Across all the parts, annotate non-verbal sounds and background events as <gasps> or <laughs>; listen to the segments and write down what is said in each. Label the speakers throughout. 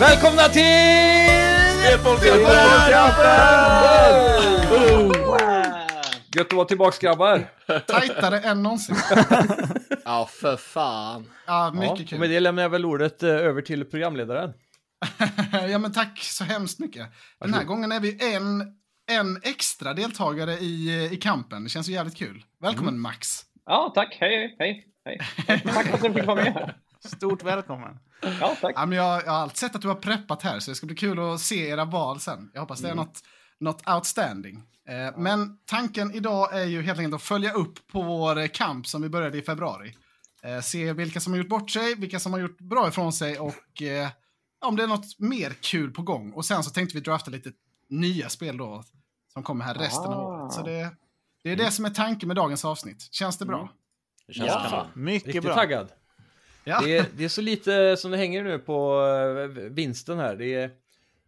Speaker 1: Välkomna till... Gött att vara tillbaks grabbar.
Speaker 2: Tajtare än någonsin.
Speaker 3: Ja, för fan.
Speaker 2: Ja,
Speaker 1: Ja,
Speaker 2: mycket
Speaker 1: och med
Speaker 2: kul.
Speaker 1: det lämnar jag väl ordet eh, över till programledaren.
Speaker 2: <laughs> ja, men tack så hemskt mycket. Den här gången är vi en, en extra deltagare i, i kampen. Det känns ju jävligt kul. Välkommen Max.
Speaker 4: Mm. Ja, tack. Hej, hej, hej. Tack för att du fick vara med här.
Speaker 5: Stort välkommen.
Speaker 4: Ja, tack.
Speaker 2: Ja, men jag, jag har alltid sett att du har preppat här, så det ska bli kul att se era val sen. Jag hoppas det
Speaker 4: Mm.
Speaker 2: är något, något outstanding. Eh, men tanken idag är ju helt enkelt att följa upp på vår eh, kamp som vi började i februari. Eh, se vilka som har gjort bort sig, vilka som har gjort bra ifrån sig och eh, om det är något mer kul på gång. Och sen så tänkte vi drafta lite nya spel då som kommer här resten av
Speaker 4: Ah.
Speaker 2: året. Så det, det är det som är tanken med dagens avsnitt. Känns det bra?
Speaker 1: Mm.
Speaker 3: Det känns
Speaker 4: Ja.
Speaker 3: kanon.
Speaker 5: Mycket
Speaker 1: Riktigt
Speaker 5: bra.
Speaker 1: taggad.
Speaker 2: Ja.
Speaker 1: Det är, det är så lite som det hänger nu på eh, vinsten här. Det är,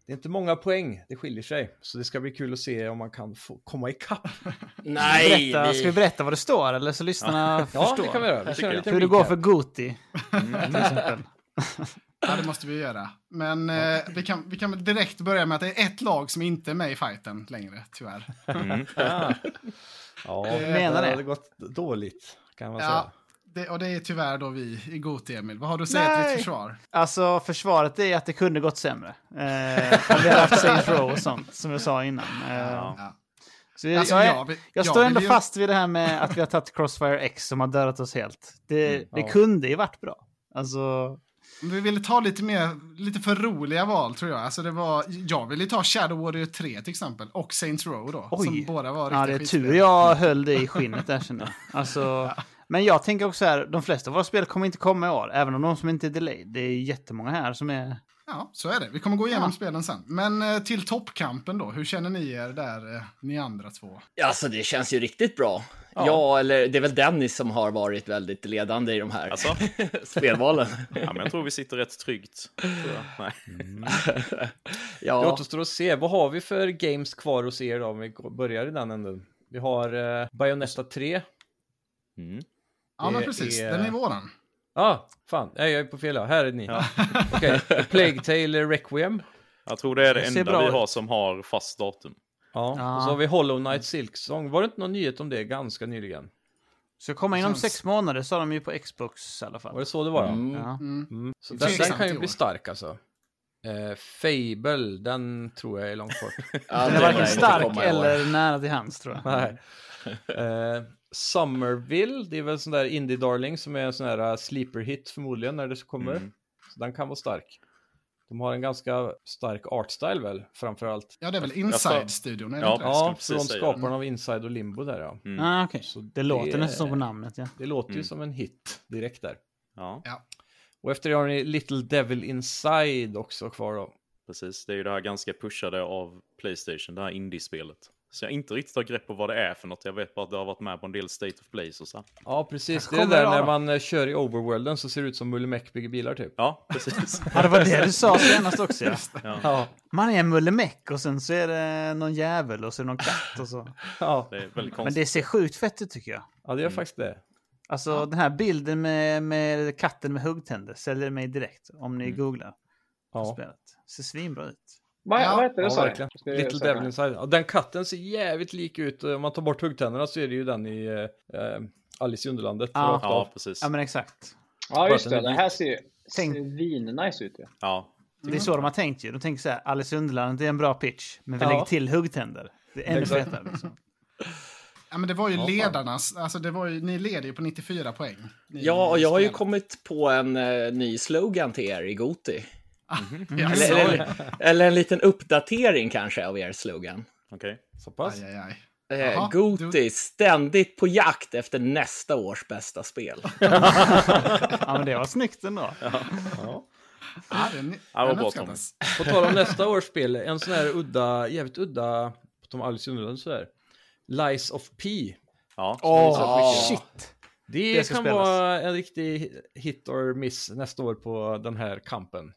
Speaker 1: det är inte många poäng, det skiljer sig. Så det ska bli kul att se om man kan få komma ikapp.
Speaker 3: Nej,
Speaker 5: berätta,
Speaker 3: vi-
Speaker 5: Ska vi berätta vad det står eller så lyssnarna
Speaker 1: Ja,
Speaker 5: förstår?
Speaker 1: det kan vi göra. Vi kör en
Speaker 3: jag.
Speaker 1: liten
Speaker 5: Hur det går
Speaker 1: recap.
Speaker 5: för Goti.
Speaker 2: Mm.
Speaker 5: Till exempel.
Speaker 2: <laughs>
Speaker 5: <laughs>
Speaker 2: Ja, det måste vi göra. Men eh, vi, kan, vi kan väl direkt börja med att det är ett lag som inte är med i fighten längre, tyvärr.
Speaker 1: Mm. Ja,
Speaker 5: menar
Speaker 1: det
Speaker 5: det.
Speaker 1: hade gått dåligt kan man
Speaker 2: Ja,
Speaker 1: säga.
Speaker 2: det, och det är tyvärr då vi i Goti, Emil. Vad har du att säga till
Speaker 5: Nej.
Speaker 2: ditt försvar?
Speaker 5: Alltså försvaret är att det kunde gått sämre. Eh, om vi hade haft Saints Row och sånt som jag sa innan. Eh,
Speaker 2: Ja.
Speaker 5: så jag,
Speaker 2: Alltså,
Speaker 5: jag, är-
Speaker 2: jag vill- jag
Speaker 5: jag står
Speaker 2: vill
Speaker 5: ändå
Speaker 2: ju-
Speaker 5: fast vid det här med att vi har tagit Crossfire X som har dödat oss helt. Det,
Speaker 2: Mm.
Speaker 5: det
Speaker 1: ja.
Speaker 5: kunde ju varit bra. Alltså,
Speaker 2: Men Vi ville ta lite, mer, lite för roliga val, tror jag. Alltså, det var, jag ville ju ta Shadow Warrior 3 till exempel, och Saints Row då.
Speaker 5: Oj.
Speaker 2: Som båda var
Speaker 5: ja, det är
Speaker 2: riktiga
Speaker 5: tur
Speaker 2: skitspel. <laughs>
Speaker 5: jag höll det i skinnet där känner jag. Alltså, Men jag tänker också så här, de flesta av våra spel kommer inte komma i år, även om de som inte är delayed. Det är jättemånga här som är
Speaker 2: Ja, så är det. Vi kommer gå igenom
Speaker 5: Ja.
Speaker 2: spelen sen. Men eh, till toppkampen då, hur känner ni er där, eh, ni andra två?
Speaker 3: Alltså, det känns ju riktigt bra.
Speaker 5: Ja.
Speaker 3: Ja. eller det är väl Dennis som har varit väldigt ledande i de här
Speaker 6: Alltså,
Speaker 3: <laughs> spelvalen.
Speaker 6: ja, men jag tror vi sitter rätt tryggt. tror jag. Nej.
Speaker 1: Det
Speaker 3: ja,
Speaker 1: återstår att se. Vad har vi för games kvar hos er då om vi går- börjar i den änden? Vi har eh, Bayonetta 3.
Speaker 2: Ja, men
Speaker 1: Det
Speaker 2: precis.
Speaker 1: är-
Speaker 2: Den är våran.
Speaker 1: Ah, fan. Nej, jag är på fel. ja. Här är ni.
Speaker 6: Ja.
Speaker 1: <laughs> Okej. Plague Tale Requiem.
Speaker 6: Jag tror det är det
Speaker 5: Det ser
Speaker 6: enda
Speaker 5: bra
Speaker 6: vi
Speaker 5: ut.
Speaker 6: har som har fast datum.
Speaker 1: Ja.
Speaker 5: Ja.
Speaker 1: Och så har vi Hollow Knight Silksong. Var det inte någon nyhet om det ganska nyligen?
Speaker 5: Så komma inom
Speaker 2: Känns-
Speaker 5: sex månader sa de ju på Xbox i alla
Speaker 1: Var
Speaker 5: fall.
Speaker 1: det så det var? ja?
Speaker 3: Mm.
Speaker 5: Ja.
Speaker 2: Mm.
Speaker 1: Mm. Så
Speaker 2: Det
Speaker 1: den,
Speaker 2: är
Speaker 1: den
Speaker 2: sant
Speaker 1: kan
Speaker 2: i
Speaker 1: ju
Speaker 2: år.
Speaker 1: bli stark alltså. Eh, Fable, den tror jag är långt bort.
Speaker 3: ja,
Speaker 5: Den
Speaker 3: det
Speaker 5: är
Speaker 3: lär
Speaker 5: varken
Speaker 3: inte
Speaker 5: stark
Speaker 3: komma i år.
Speaker 5: eller nära till hands tror jag.
Speaker 1: Nej. <laughs> Eh, Summerville, det är väl sån där Indie Darling som är en sån här eh, sleeper hit förmodligen när det kommer.
Speaker 6: Mm.
Speaker 1: Så den kan vara stark. De har en ganska stark artstyle väl, framförallt.
Speaker 2: Ja, det är väl
Speaker 6: sa-
Speaker 2: Inside-studion, är det
Speaker 6: Ja.
Speaker 2: inte det?
Speaker 6: skulle
Speaker 1: Ja,
Speaker 6: precis
Speaker 1: från
Speaker 6: säga.
Speaker 1: skaparna av Inside och Limbo där ja.
Speaker 6: Mm.
Speaker 5: Ah, okej.
Speaker 1: Så
Speaker 5: Det,
Speaker 1: det-
Speaker 5: låter nästan som på namnet ja.
Speaker 1: Det låter ju
Speaker 6: Mm.
Speaker 1: som en hit direkt där.
Speaker 6: Ja,
Speaker 1: Och efter det har ni Little Devil Inside också kvar då.
Speaker 6: precis. Det är ju det här ganska pushade av Playstation, det här indie-spelet. Så jag inte riktigt har grepp på vad det är för något. Jag vet bara att det har varit med på en del State of Plays och så.
Speaker 1: Ja, precis. Det
Speaker 5: Kanske
Speaker 1: är
Speaker 5: kommer
Speaker 1: där
Speaker 5: det
Speaker 1: när
Speaker 5: då.
Speaker 1: man eh, kör i overworlden så ser det ut som Mulle Meck bygger bilar typ.
Speaker 6: Ja, precis.
Speaker 5: <laughs> Ja, det var det du sa senast
Speaker 2: <laughs>
Speaker 5: också ja.
Speaker 6: Ja,
Speaker 1: Ja,
Speaker 5: Man är en mullemäck och sen så är det någon jävel och så är det någon katt och så.
Speaker 1: ja.
Speaker 6: det är väldigt
Speaker 5: Men
Speaker 6: konstigt.
Speaker 5: det ser sjukt fett ut tycker jag.
Speaker 1: ja
Speaker 6: Mm.
Speaker 1: det gör faktiskt det.
Speaker 5: Alltså den här bilden med, med katten med huggtänder säljer mig direkt om ni googlar på
Speaker 1: Ja.
Speaker 5: spelet. Ser svinbra ut.
Speaker 4: Vad,
Speaker 2: Ja,
Speaker 4: vad heter det,
Speaker 1: Ja,
Speaker 4: sa du?
Speaker 1: verkligen.
Speaker 4: Ska jag
Speaker 1: Little
Speaker 4: söka?
Speaker 1: Devil Inside. Ja, den katten ser jävligt lik ut. Om man tar bort huggtänderna så är det ju den i eh, eh, Alice i Underlandet.
Speaker 5: Ja.
Speaker 1: rakt av.
Speaker 6: Ja, precis.
Speaker 5: Ja men exakt.
Speaker 4: Ja, just
Speaker 1: Bara
Speaker 4: det.
Speaker 1: den är
Speaker 4: Den här ser ju
Speaker 5: Tänk-
Speaker 4: svinnice ut. Ja.
Speaker 6: Ja,
Speaker 5: Det är så de har tänkt ju. De tänker så här, Alice i Underlandet är en bra pitch, men vi
Speaker 1: Ja.
Speaker 5: lägger till huggtänder. Det är ännu
Speaker 1: Exakt.
Speaker 5: fetare liksom.
Speaker 2: Ja, men det var ju
Speaker 1: fan.
Speaker 2: ledarnas, alltså det var ju, ni leder ju på 94 poäng. Ni,
Speaker 3: Ja, och jag har ju
Speaker 2: spelar.
Speaker 3: kommit på en eh, ny slogan till er i Goti.
Speaker 2: Ja,
Speaker 3: Eller,
Speaker 2: så-
Speaker 3: eller, eller en liten uppdatering kanske av er slogan.
Speaker 6: okej.
Speaker 1: Så pass.
Speaker 2: Aj, aj, aj. Jaha,
Speaker 3: Eh, Goti,
Speaker 2: du-
Speaker 3: ständigt på jakt efter nästa års bästa spel.
Speaker 5: Ja men det var snyggt ändå.
Speaker 2: Ja, den,
Speaker 6: vad
Speaker 2: den
Speaker 6: bra,
Speaker 2: uppskattas.
Speaker 1: På tal om nästa års spel, en sån här udda, jävligt udda, på tal om Alice i Underlandet sådär. Lies of P.
Speaker 6: Ja,
Speaker 3: Ja.
Speaker 5: shit!
Speaker 1: Det,
Speaker 5: Det ska
Speaker 1: kan
Speaker 5: spelas.
Speaker 1: vara en riktig hit or miss nästa år på den här kampen.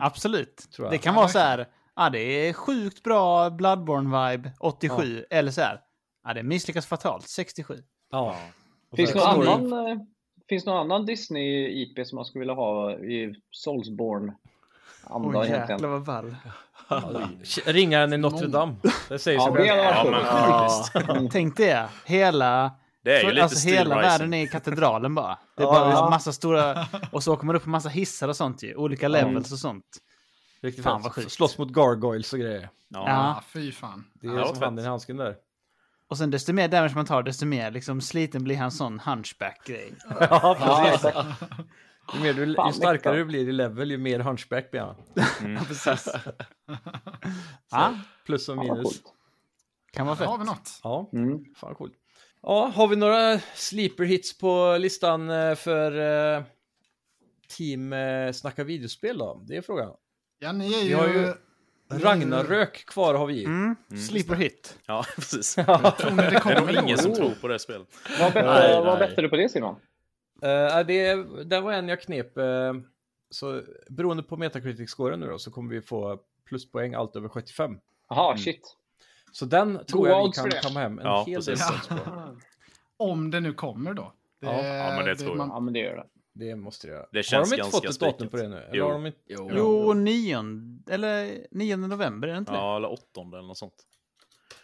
Speaker 5: Absolut.
Speaker 1: Tror jag.
Speaker 5: Det kan
Speaker 2: Ja,
Speaker 5: vara så här, ja det är sjukt bra Bloodborne-vibe 87, eller så här, ja det misslyckas fatalt 67.
Speaker 1: Ja.
Speaker 4: Finns
Speaker 1: Och
Speaker 4: det någon
Speaker 1: så-
Speaker 4: annan... eh, Finns det någon annan Disney-IP som man skulle vilja ha i Soulsborne? andan
Speaker 5: Åh jäklar
Speaker 4: egentligen.
Speaker 5: vad vall.
Speaker 1: Ringaren i Notre Dame. Det säger sig
Speaker 4: Ja, det
Speaker 1: själv.
Speaker 4: hade
Speaker 6: Ja,
Speaker 4: varit
Speaker 6: men
Speaker 4: coolt.
Speaker 6: faktiskt.
Speaker 5: Tänk det. Hela,
Speaker 6: Det är ju lite
Speaker 5: alltså, hela världen
Speaker 6: stilrising.
Speaker 5: är katedralen bara. Det är
Speaker 1: Ja,
Speaker 5: bara liksom
Speaker 1: ja.
Speaker 5: massa stora... Och så åker man upp på massa hissar och sånt ju. Olika levels och sånt.
Speaker 1: Riktigt
Speaker 5: Fan,
Speaker 1: fett.
Speaker 5: vad sjukt.
Speaker 1: Slåss mot gargoyles och grejer.
Speaker 5: Ja.
Speaker 6: Ja.
Speaker 2: Ah, fy fan.
Speaker 1: Det
Speaker 6: Ja,
Speaker 1: är
Speaker 6: det var
Speaker 1: som
Speaker 6: fett.
Speaker 1: handen i handsken där.
Speaker 5: Och sen desto mer damage man tar, desto mer liksom, sliten blir hans sån hunchback-grej.
Speaker 1: Ja,
Speaker 4: Ja,
Speaker 1: precis.
Speaker 4: exakt.
Speaker 1: Ju, mer du,
Speaker 4: Fan,
Speaker 1: ju starkare
Speaker 4: mäkta.
Speaker 1: du blir i level, ju mer hunchback blir han. <laughs>
Speaker 5: Precis. ja,
Speaker 1: Plus och
Speaker 4: Fan, vad
Speaker 1: minus.
Speaker 4: coolt.
Speaker 5: kan vara
Speaker 2: Där har
Speaker 5: fett.
Speaker 2: vi något.
Speaker 1: Ja,
Speaker 4: Mm.
Speaker 1: fan coolt. Ja, har vi några sleeper hits på listan eh, för eh, team eh, Snacka videospel då? Det är frågan.
Speaker 2: Ja, ni är
Speaker 1: Vi
Speaker 2: ju...
Speaker 1: har ju-
Speaker 4: Eh.
Speaker 1: Ragnarök kvar har vi.
Speaker 5: Mm. Sleeper hit.
Speaker 6: <laughs> ja, precis.
Speaker 2: Tror ni det
Speaker 6: Det är
Speaker 2: kommer
Speaker 6: nog ingen som
Speaker 2: något?
Speaker 6: tror på det spelet.
Speaker 4: Vad
Speaker 6: Nej,
Speaker 4: bättre-
Speaker 6: nej.
Speaker 4: Vad bättre du på det Simon?
Speaker 1: Uh, det, där var en jag knep. eh, så beroende på Metacritic-scoren nu då så kommer vi få pluspoäng allt över 75. Mm.
Speaker 4: Jaha, shit.
Speaker 1: Så den tror
Speaker 4: Goda
Speaker 1: jag vi
Speaker 4: odds för
Speaker 1: kan
Speaker 4: det.
Speaker 1: komma hem en
Speaker 6: Ja,
Speaker 1: hel del
Speaker 6: precis.
Speaker 1: odds på.
Speaker 2: Om det nu kommer då. Det,
Speaker 1: Ja.
Speaker 6: Ja, men det tror jag.
Speaker 4: Ja, men det gör det.
Speaker 1: Det måste jag göra.
Speaker 6: Det känns
Speaker 1: har de inte
Speaker 6: ganska
Speaker 1: fått ett datum
Speaker 6: spikat.
Speaker 1: på det nu? Eller
Speaker 6: Jo.
Speaker 1: har de inte...
Speaker 5: Jo, 9, eller 9 november, är det inte det?
Speaker 6: Ja, eller åttonde eller något sånt.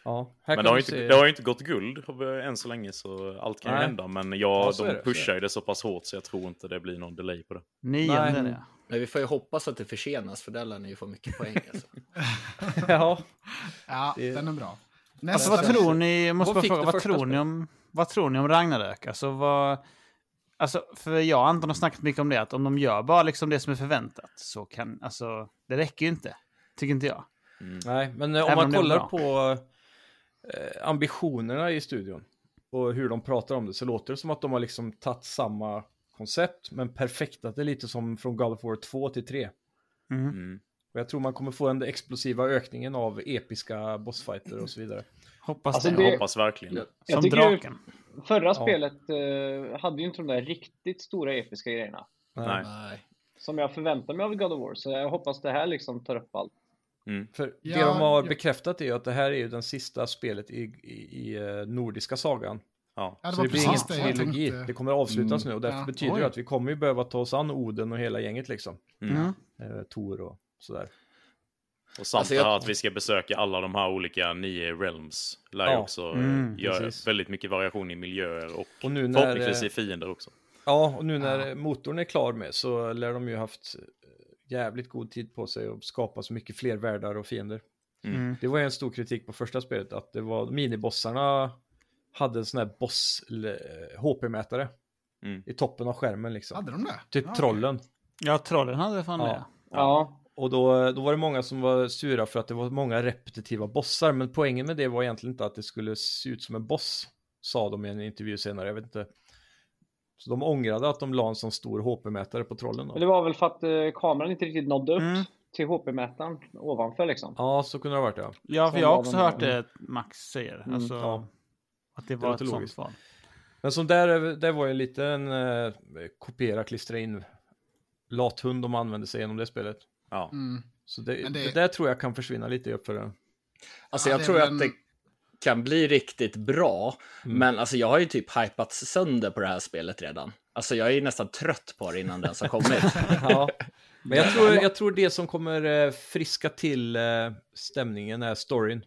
Speaker 1: Ja, här
Speaker 6: Men
Speaker 1: kan
Speaker 6: det har,
Speaker 1: vi
Speaker 6: ju inte,
Speaker 1: se.
Speaker 6: det har ju inte gått guld än så länge så allt kan ju
Speaker 1: Nej.
Speaker 6: hända. Men jag,
Speaker 1: Ja, så är
Speaker 6: de
Speaker 1: det, så är
Speaker 6: pushar ju det så pass hårt så jag tror inte det blir någon delay på det.
Speaker 5: 9
Speaker 1: Nej.
Speaker 5: är det.
Speaker 7: Men vi får ju hoppas att det försenas för där lär ni ju få mycket poäng. Alltså.
Speaker 1: <laughs> Ja,
Speaker 2: Ja,
Speaker 1: Det-
Speaker 2: den är bra.
Speaker 5: Alltså
Speaker 2: Nästa.
Speaker 5: vad tror ni, jag måste
Speaker 1: Vad
Speaker 5: bara
Speaker 1: fick
Speaker 5: fråga,
Speaker 1: det
Speaker 5: vad
Speaker 1: första
Speaker 5: tror
Speaker 1: spelet?
Speaker 5: ni om, vad tror ni om Ragnarök? Alltså vad, alltså för jag och Anton har snackat mycket om det, att om de gör bara liksom det som är förväntat så kan, alltså det räcker ju inte. Tycker inte jag.
Speaker 1: nej, men eh, om
Speaker 5: Även
Speaker 1: man
Speaker 5: om det är
Speaker 1: kollar
Speaker 5: bra.
Speaker 1: på eh, ambitionerna i studion och hur de pratar om det så låter det som att de har liksom tagit samma koncept men perfektat det lite som från God of War 2 till 3.
Speaker 5: Mm.
Speaker 6: Mm.
Speaker 1: Och jag tror man kommer få den explosiva ökningen av episka bossfighter och så vidare.
Speaker 5: Hoppas
Speaker 4: Alltså,
Speaker 5: det.
Speaker 6: Jag
Speaker 4: det-
Speaker 6: hoppas verkligen.
Speaker 4: Jag
Speaker 5: Som
Speaker 4: tycker ju-
Speaker 5: draken.
Speaker 4: Förra spelet eh, hade ju inte de där riktigt stora episka grejerna.
Speaker 6: Nej.
Speaker 7: Nej.
Speaker 4: Som jag förväntar mig av God of War. Så jag hoppas det här liksom tar upp allt.
Speaker 1: För det
Speaker 2: Ja,
Speaker 1: de har
Speaker 2: ja.
Speaker 1: bekräftat är ju att det här är ju den sista spelet i, i, i eh, nordiska sagan.
Speaker 6: Ja.
Speaker 2: Ja, det
Speaker 1: Så
Speaker 2: var
Speaker 1: det blir
Speaker 2: precis
Speaker 1: ingen
Speaker 2: det jag
Speaker 1: trilogi.
Speaker 2: tänkte. Mm.
Speaker 1: Det kommer att avslutas nu och därför
Speaker 2: Ja.
Speaker 1: betyder
Speaker 2: Oj.
Speaker 1: det att vi kommer ju behöva ta oss an Oden och hela gänget liksom.
Speaker 6: Mm.
Speaker 5: Mm.
Speaker 1: Eh, Tor och sådär.
Speaker 6: Och samt
Speaker 7: Alltså, jag-
Speaker 6: det här att vi ska besöka alla de här olika nio realms lär ju
Speaker 1: Ja.
Speaker 6: också eh,
Speaker 5: Mm,
Speaker 6: göra
Speaker 1: precis.
Speaker 6: väldigt mycket variation i miljöer och,
Speaker 1: Och nu när,
Speaker 6: förhoppningsvis
Speaker 1: eh,
Speaker 6: i fiender också.
Speaker 1: Ja, och nu när motorn är klar med så lär de ju haft eh, jävligt god tid på sig att skapa så mycket fler världar och fiender.
Speaker 5: Mm.
Speaker 1: Det var ju en stor kritik på första spelet att det var minibossarna hade en sån här boss HP-mätare
Speaker 6: Mm.
Speaker 1: i toppen av skärmen liksom.
Speaker 2: Hade de det?
Speaker 1: Typ
Speaker 2: Ja,
Speaker 1: trollen.
Speaker 5: Ja, trollen hade fan
Speaker 1: Ja.
Speaker 5: det.
Speaker 4: Ja,
Speaker 1: Och då, då var det många som var sura för att det var många repetitiva bossar. Men poängen med det var egentligen inte att det skulle se ut som en boss. Sa de i en intervju senare, jag vet inte. Så de ångrade att de la en sån stor HP-mätare på trollen.
Speaker 4: men det
Speaker 1: Då.
Speaker 4: var väl för att eh, kameran inte riktigt nådde upp
Speaker 5: Mm.
Speaker 4: till HP-mätaren ovanför liksom.
Speaker 1: Ja, så kunde det ha varit ja.
Speaker 5: Ja, för
Speaker 4: Som
Speaker 5: jag har
Speaker 4: var
Speaker 5: också
Speaker 4: de-
Speaker 5: hört det Max säger.
Speaker 4: Mm,
Speaker 5: alltså,
Speaker 1: ja.
Speaker 5: Att det var
Speaker 1: låter
Speaker 5: ett sånt
Speaker 1: logiskt.
Speaker 5: val.
Speaker 1: Men som där, där var ju en liten eh, kopiera, klistra in lathund de använde sig genom det spelet.
Speaker 6: Ja.
Speaker 2: Mm.
Speaker 1: Så det, det...
Speaker 2: Men det-
Speaker 1: där tror jag kan försvinna lite i uppföljaren.
Speaker 7: Alltså
Speaker 2: Ja,
Speaker 7: jag
Speaker 2: det är
Speaker 7: tror
Speaker 2: väl
Speaker 7: att det
Speaker 2: en-
Speaker 7: kan bli riktigt bra, men alltså jag har ju typ hypats sönder på det här spelet redan. Alltså jag är ju nästan trött på det innan det ens har <laughs> kommit.
Speaker 1: Ja. Men jag tror, jag tror det som kommer eh, friska till eh, stämningen är storyn.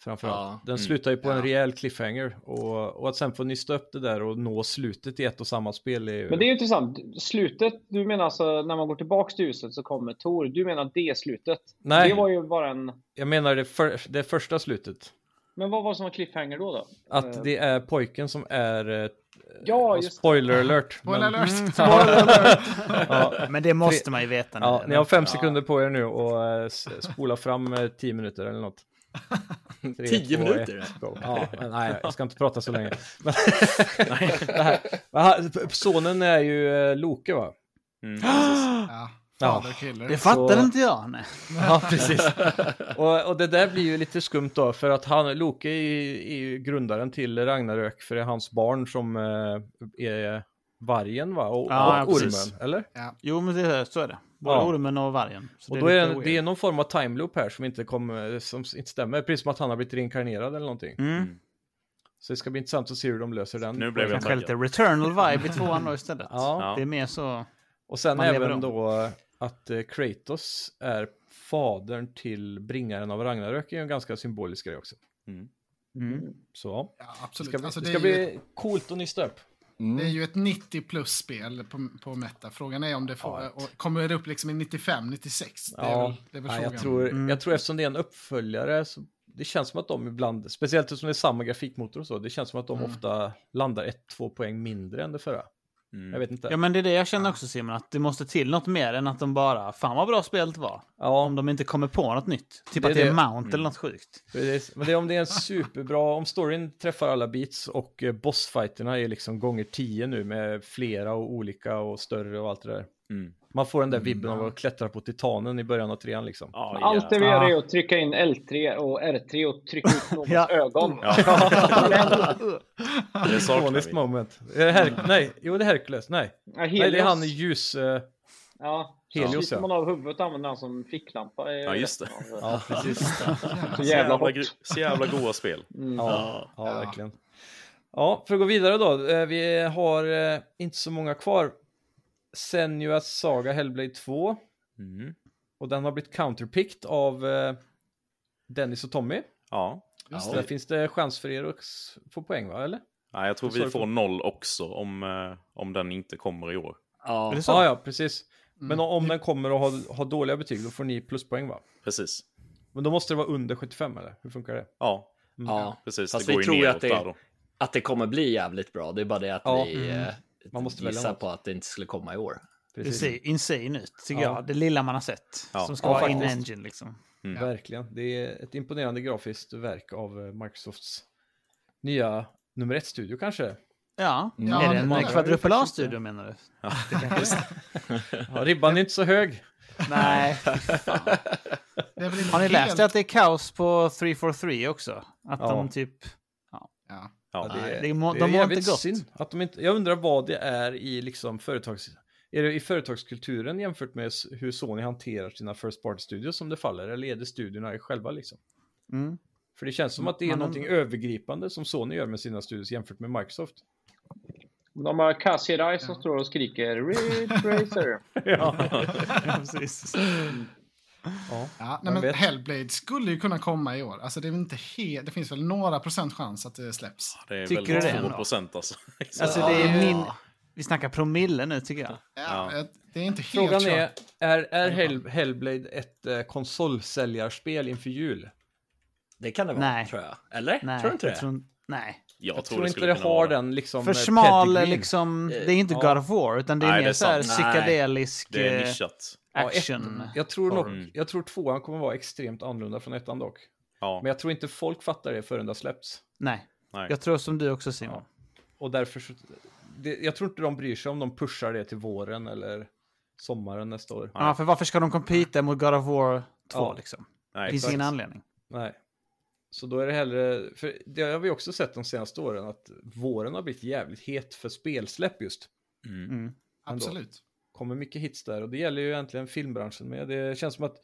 Speaker 1: Framförallt.
Speaker 7: Ja,
Speaker 1: Den slutar ju på en rejäl cliffhanger. Och, och att sen få nysta upp det där och nå slutet i ett och samma spel är ju...
Speaker 4: Men det är ju intressant. Slutet, du menar alltså när man går tillbaks till huset så kommer Tor. Du menar det slutet?
Speaker 1: Nej.
Speaker 4: Det var ju bara en...
Speaker 1: Jag menar det, för, det första slutet.
Speaker 4: Men vad var det som var cliffhanger då? då? Eh,
Speaker 1: Att det är pojken som är... eh,
Speaker 4: Ja, just
Speaker 1: spoiler alert.
Speaker 2: Spoiler
Speaker 1: men- <laughs>
Speaker 2: alert!
Speaker 1: Ja,
Speaker 5: <laughs> Men det måste man ju veta. nu,
Speaker 1: ja,
Speaker 5: eller?
Speaker 1: ni har fem sekunder på er nu och eh, s- spola fram eh, tio minuter eller något. Tre,
Speaker 7: Tio
Speaker 1: två,
Speaker 7: minuter?
Speaker 1: ett, go. Ja, men nej, jag ska inte prata så länge. Men, <laughs> det här, men han- sonen är ju eh, Loke va?
Speaker 6: Mm, precis.
Speaker 2: Ja, Father Killer.
Speaker 5: Det fattar
Speaker 1: Så-
Speaker 5: inte jag. Nej.
Speaker 1: Ja, precis. <laughs> Och, och det där blir ju lite skumt då, för att han, Loke är, ju- är ju grundaren till Ragnarök, för det är hans barn som eh, är vargen va? Och,
Speaker 5: Ja,
Speaker 1: och ormen,
Speaker 5: precis.
Speaker 1: eller?
Speaker 5: Jo, men det, är- så är det. Både
Speaker 1: Ja.
Speaker 5: ormen och vargen. Så
Speaker 1: Och då är
Speaker 5: lite
Speaker 1: det,
Speaker 5: weird.
Speaker 1: det är någon form av time loop här som inte, kommer som inte stämmer, precis som att han har blivit reinkarnerad eller någonting.
Speaker 5: Mm.
Speaker 1: Så det ska bli intressant att se hur de löser den.
Speaker 6: Nu blev jag
Speaker 5: Kanske
Speaker 6: taggad.
Speaker 5: lite returnal vibe i tvåan då istället.
Speaker 1: Ja.
Speaker 5: Det är mer så...
Speaker 1: Och sen
Speaker 5: Man lever
Speaker 1: även
Speaker 5: om.
Speaker 1: då att eh, Kratos är fadern till bringaren av Ragnarök är ju en ganska symbolisk grej också.
Speaker 5: Mm.
Speaker 1: Så ja,
Speaker 2: Ja,
Speaker 1: det
Speaker 2: absolut.
Speaker 1: ska, bli-
Speaker 2: alltså,
Speaker 1: det
Speaker 2: det,
Speaker 1: ska
Speaker 2: är
Speaker 1: bli
Speaker 2: ju,
Speaker 1: coolt att nysta upp.
Speaker 2: det är ju ett 90 plus spel på, på Meta. Frågan är om det får,
Speaker 1: Ja.
Speaker 2: och kommer det upp liksom i 95, 96? Det är
Speaker 1: Ja.
Speaker 2: väl, det är väl
Speaker 1: Nej,
Speaker 2: frågan.
Speaker 1: jag, tror,
Speaker 5: Mm.
Speaker 1: jag tror eftersom det är en uppföljare så det känns som att de ibland, speciellt eftersom det är samma grafikmotor och så, det känns som att de
Speaker 2: Mm.
Speaker 1: ofta landar ett, två poäng mindre än det förra.
Speaker 6: Mm.
Speaker 1: Jag vet inte.
Speaker 5: Ja, men det är det jag känner också Simon, att det måste till något mer än att de bara “Fan vad bra spelet var”.
Speaker 1: Ja,
Speaker 5: Om de inte kommer på något nytt. Typ
Speaker 1: Det är
Speaker 5: att det är
Speaker 1: det.
Speaker 5: Mount eller
Speaker 6: Mm.
Speaker 5: något sjukt.
Speaker 1: Precis. Men det är om det är en superbra, om storyn träffar alla beats och eh, bossfighterna är liksom gånger tio nu med flera och olika och större och allt det där.
Speaker 6: Mm.
Speaker 1: Man får den där vibben av att klättra på titanen i början av trean liksom.
Speaker 6: Ja,
Speaker 4: Allt det
Speaker 6: jävlar.
Speaker 4: vi gör
Speaker 5: Ja.
Speaker 4: är att trycka in L3 och R3 och
Speaker 1: <laughs>
Speaker 4: trycka ut någons
Speaker 5: Ja.
Speaker 4: ögon.
Speaker 5: <laughs>
Speaker 6: det saknar
Speaker 1: Ikoniskt
Speaker 6: vi.
Speaker 1: moment. Är det Her- nej, jo det är Hercules, nej.
Speaker 4: Ja,
Speaker 1: nej det är
Speaker 4: Helios.
Speaker 1: han i ljus... eh,
Speaker 4: Ja.
Speaker 1: Helios,
Speaker 4: Sliter
Speaker 1: ja.
Speaker 4: man av huvudet och använder han som ficklampa. är
Speaker 6: Ja, just
Speaker 4: rätt
Speaker 6: det.
Speaker 4: av-
Speaker 1: <laughs> ja, precis.
Speaker 4: Så
Speaker 6: Så
Speaker 4: jävla
Speaker 6: jävla,
Speaker 4: hot.
Speaker 6: gr- så jävla goa spel.
Speaker 4: Mm.
Speaker 1: Ja, ja,
Speaker 2: Ja.
Speaker 1: verkligen. Ja, för att gå vidare då. eh, Vi har eh, inte så många kvar. Senuas Saga Hellblade 2.
Speaker 6: Mm.
Speaker 1: Och den har blivit counterpicked av eh, Dennis och Tommy.
Speaker 6: Ja.
Speaker 2: Just
Speaker 1: Så där finns det chans för er att s- få poäng va, eller?
Speaker 6: Nej, jag tror
Speaker 1: Sorry
Speaker 6: vi
Speaker 1: för-
Speaker 6: får noll också om, eh, om den inte kommer i år.
Speaker 5: Är det så?
Speaker 1: Ja, ja, precis.
Speaker 2: Mm.
Speaker 1: Men om den kommer och har, har dåliga betyg, då får ni pluspoäng va?
Speaker 6: Precis.
Speaker 1: Men då måste det vara under 75 eller? Hur funkar det?
Speaker 6: Ja,
Speaker 7: Ja.
Speaker 6: precis.
Speaker 7: Fast
Speaker 6: det
Speaker 7: vi
Speaker 6: går ju
Speaker 7: tror ju
Speaker 6: neråt
Speaker 7: att det-
Speaker 6: där då.
Speaker 7: Att det kommer bli jävligt bra, det är bara det att
Speaker 1: Ja,
Speaker 7: vi
Speaker 5: mm.
Speaker 7: eh,
Speaker 1: Man måste välja
Speaker 7: gissar
Speaker 1: något.
Speaker 7: på att det inte skulle komma i år.
Speaker 5: Det ser insane ut, tycker
Speaker 1: Ja.
Speaker 5: jag. Det lilla man har sett.
Speaker 6: Ja.
Speaker 5: Som ska
Speaker 1: Ja,
Speaker 5: vara in
Speaker 1: faktiskt.
Speaker 5: engine liksom.
Speaker 2: Ja.
Speaker 1: Verkligen. Det är ett imponerande grafiskt verk av eh, Microsofts nya nummer ett-studio kanske.
Speaker 5: Ja.
Speaker 2: Ja,
Speaker 5: är det
Speaker 2: man-
Speaker 5: en kvadrupel A-studio menar du?
Speaker 1: Ja, ribban är inte så hög.
Speaker 5: Nej.
Speaker 2: det är väl inte
Speaker 5: Har ni läst
Speaker 2: helt-
Speaker 5: det att det är kaos på 343 också? Att
Speaker 1: Ja.
Speaker 5: de typ...
Speaker 2: Ja.
Speaker 6: Ja.
Speaker 1: det är-
Speaker 5: Det må,
Speaker 1: Det är
Speaker 5: de mår
Speaker 1: jävligt
Speaker 5: inte gott.
Speaker 1: synd Att de inte, jag undrar vad det är i liksom företags... Är det i företagskulturen jämfört med s- hur Sony hanterar sina First Party Studios som det faller? Eller är det studierna i själva liksom?
Speaker 5: Mm.
Speaker 1: För det känns som att det är
Speaker 5: Man
Speaker 1: någonting övergripande som Sony gör med sina studios jämfört med
Speaker 5: <laughs>
Speaker 1: Microsoft.
Speaker 4: De har Kassirai som står och skriker
Speaker 1: <laughs>
Speaker 4: Ridge Racer.
Speaker 5: Precis.
Speaker 1: Ja,
Speaker 2: Ja,
Speaker 1: Vem
Speaker 2: nej, men
Speaker 1: vet?
Speaker 2: Hellblade skulle ju kunna komma i år. Alltså, det, är väl inte he- det finns väl några procent chans att det släpps.
Speaker 6: Det är
Speaker 5: Tycker
Speaker 6: väldigt
Speaker 5: du det
Speaker 6: få
Speaker 5: ändå?
Speaker 6: procent alltså.
Speaker 5: <laughs> Alltså det är min... Vi snackar promille nu tycker jag.
Speaker 2: Ja, Det är inte helt
Speaker 1: Frågan
Speaker 2: kört.
Speaker 1: är, är, är Hell, Hellblade ett eh, konsolsäljarspel inför jul?
Speaker 7: Det kan det vara,
Speaker 5: Nej.
Speaker 7: tror jag. Eller?
Speaker 5: Nej,
Speaker 7: tror du inte
Speaker 5: jag
Speaker 7: det?
Speaker 5: tror in- Nej.
Speaker 6: Jag,
Speaker 1: Jag,
Speaker 6: tror,
Speaker 1: tror
Speaker 6: det
Speaker 1: inte
Speaker 6: skulle
Speaker 1: det
Speaker 6: kunna
Speaker 1: har
Speaker 6: vara det.
Speaker 1: den liksom...
Speaker 5: För
Speaker 1: eh,
Speaker 5: smal
Speaker 1: pedigreein.
Speaker 5: liksom... Det är inte
Speaker 1: ja.
Speaker 5: God of War, utan det är
Speaker 6: Nej, det
Speaker 5: mer
Speaker 6: är
Speaker 5: så här
Speaker 6: sant.
Speaker 7: Nej.
Speaker 5: psykedelisk
Speaker 6: Det är
Speaker 5: eh,
Speaker 6: nischat.
Speaker 1: Ja, ett-
Speaker 5: action.
Speaker 1: Jag tror, nog,
Speaker 6: Mm.
Speaker 1: jag tror tvåan kommer vara extremt annorlunda från ettan dock.
Speaker 6: Ja,
Speaker 1: Men jag tror inte folk fattar det förrän det har släppts.
Speaker 5: Nej.
Speaker 6: Nej.
Speaker 5: Jag tror som du också Simon.
Speaker 1: Och därför så, det, jag tror inte de bryr sig om de pushar det till våren eller sommaren nästa år.
Speaker 5: Ja, för varför ska de compete mot God of War 2
Speaker 1: Ja.
Speaker 5: liksom? Det
Speaker 6: nej,
Speaker 5: finns
Speaker 6: exakt.
Speaker 5: ingen anledning.
Speaker 1: Nej. Så då är det hellre, för det har vi också sett de senaste åren, att våren har blivit jävligt het för spelsläpp just.
Speaker 6: Mm.
Speaker 5: Mm.
Speaker 2: Absolut.
Speaker 1: Kommer mycket hits där och det gäller ju egentligen filmbranschen med. Det känns som att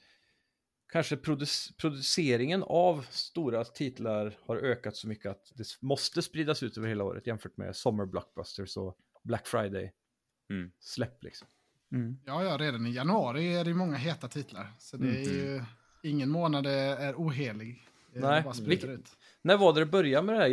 Speaker 1: kanske produc- produceringen av stora titlar har ökat så mycket att det måste spridas ut över hela året jämfört med sommarblockbusters och Black Friday.
Speaker 6: Mm.
Speaker 1: Släpp liksom.
Speaker 5: Mm.
Speaker 2: Ja, ja, redan i januari är det ju många heta titlar. Så det är ju ingen månad är ohelig. Eh,
Speaker 1: Mm. Nej,
Speaker 2: det bara spritter
Speaker 1: vilket-
Speaker 2: ut.
Speaker 1: När var det det började med det här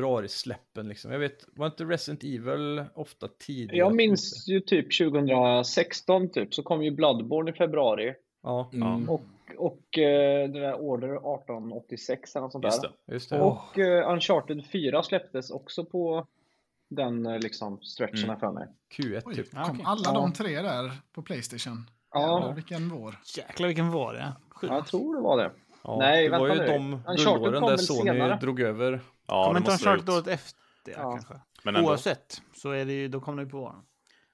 Speaker 1: januari-februari-släppen? Liksom? Jag vet, var inte Resident Evil ofta tidigare?
Speaker 4: Jag minns ju typ 2016 typ, så kom ju Bloodborne i februari.
Speaker 1: Ja,
Speaker 6: Ja,
Speaker 4: Och, och eh, det där Order 1886 eller något sånt
Speaker 6: just
Speaker 4: där.
Speaker 6: det.
Speaker 1: just det.
Speaker 4: Och eh, Uncharted 4 släpptes också på den eh, liksom stretchen
Speaker 6: Mm.
Speaker 4: här för mig.
Speaker 1: Q1
Speaker 2: Oj,
Speaker 1: typ.
Speaker 5: Ja,
Speaker 2: kom
Speaker 5: okej.
Speaker 2: alla
Speaker 4: Ja.
Speaker 2: de tre där på Playstation?
Speaker 4: Ja.
Speaker 2: Jävlar, vilken vår.
Speaker 5: Jäklar vilken vår det är. Sjukt.
Speaker 4: Ja, jag tror det var det.
Speaker 1: Ja,
Speaker 4: Nej,
Speaker 1: det var ju
Speaker 4: vänta nu.
Speaker 1: de
Speaker 4: Uncharted
Speaker 1: guldåren
Speaker 4: kom
Speaker 1: där
Speaker 4: väl
Speaker 1: Sony
Speaker 4: senare?
Speaker 1: drog över.
Speaker 6: Ja,
Speaker 5: Kommer
Speaker 6: det
Speaker 5: inte
Speaker 6: måste det ha
Speaker 5: Uncharted
Speaker 6: gjort.
Speaker 5: året efter
Speaker 4: Ja.
Speaker 5: kanske?
Speaker 6: Men ändå.
Speaker 5: Oavsett så är det ju, då kommer det ju på våren.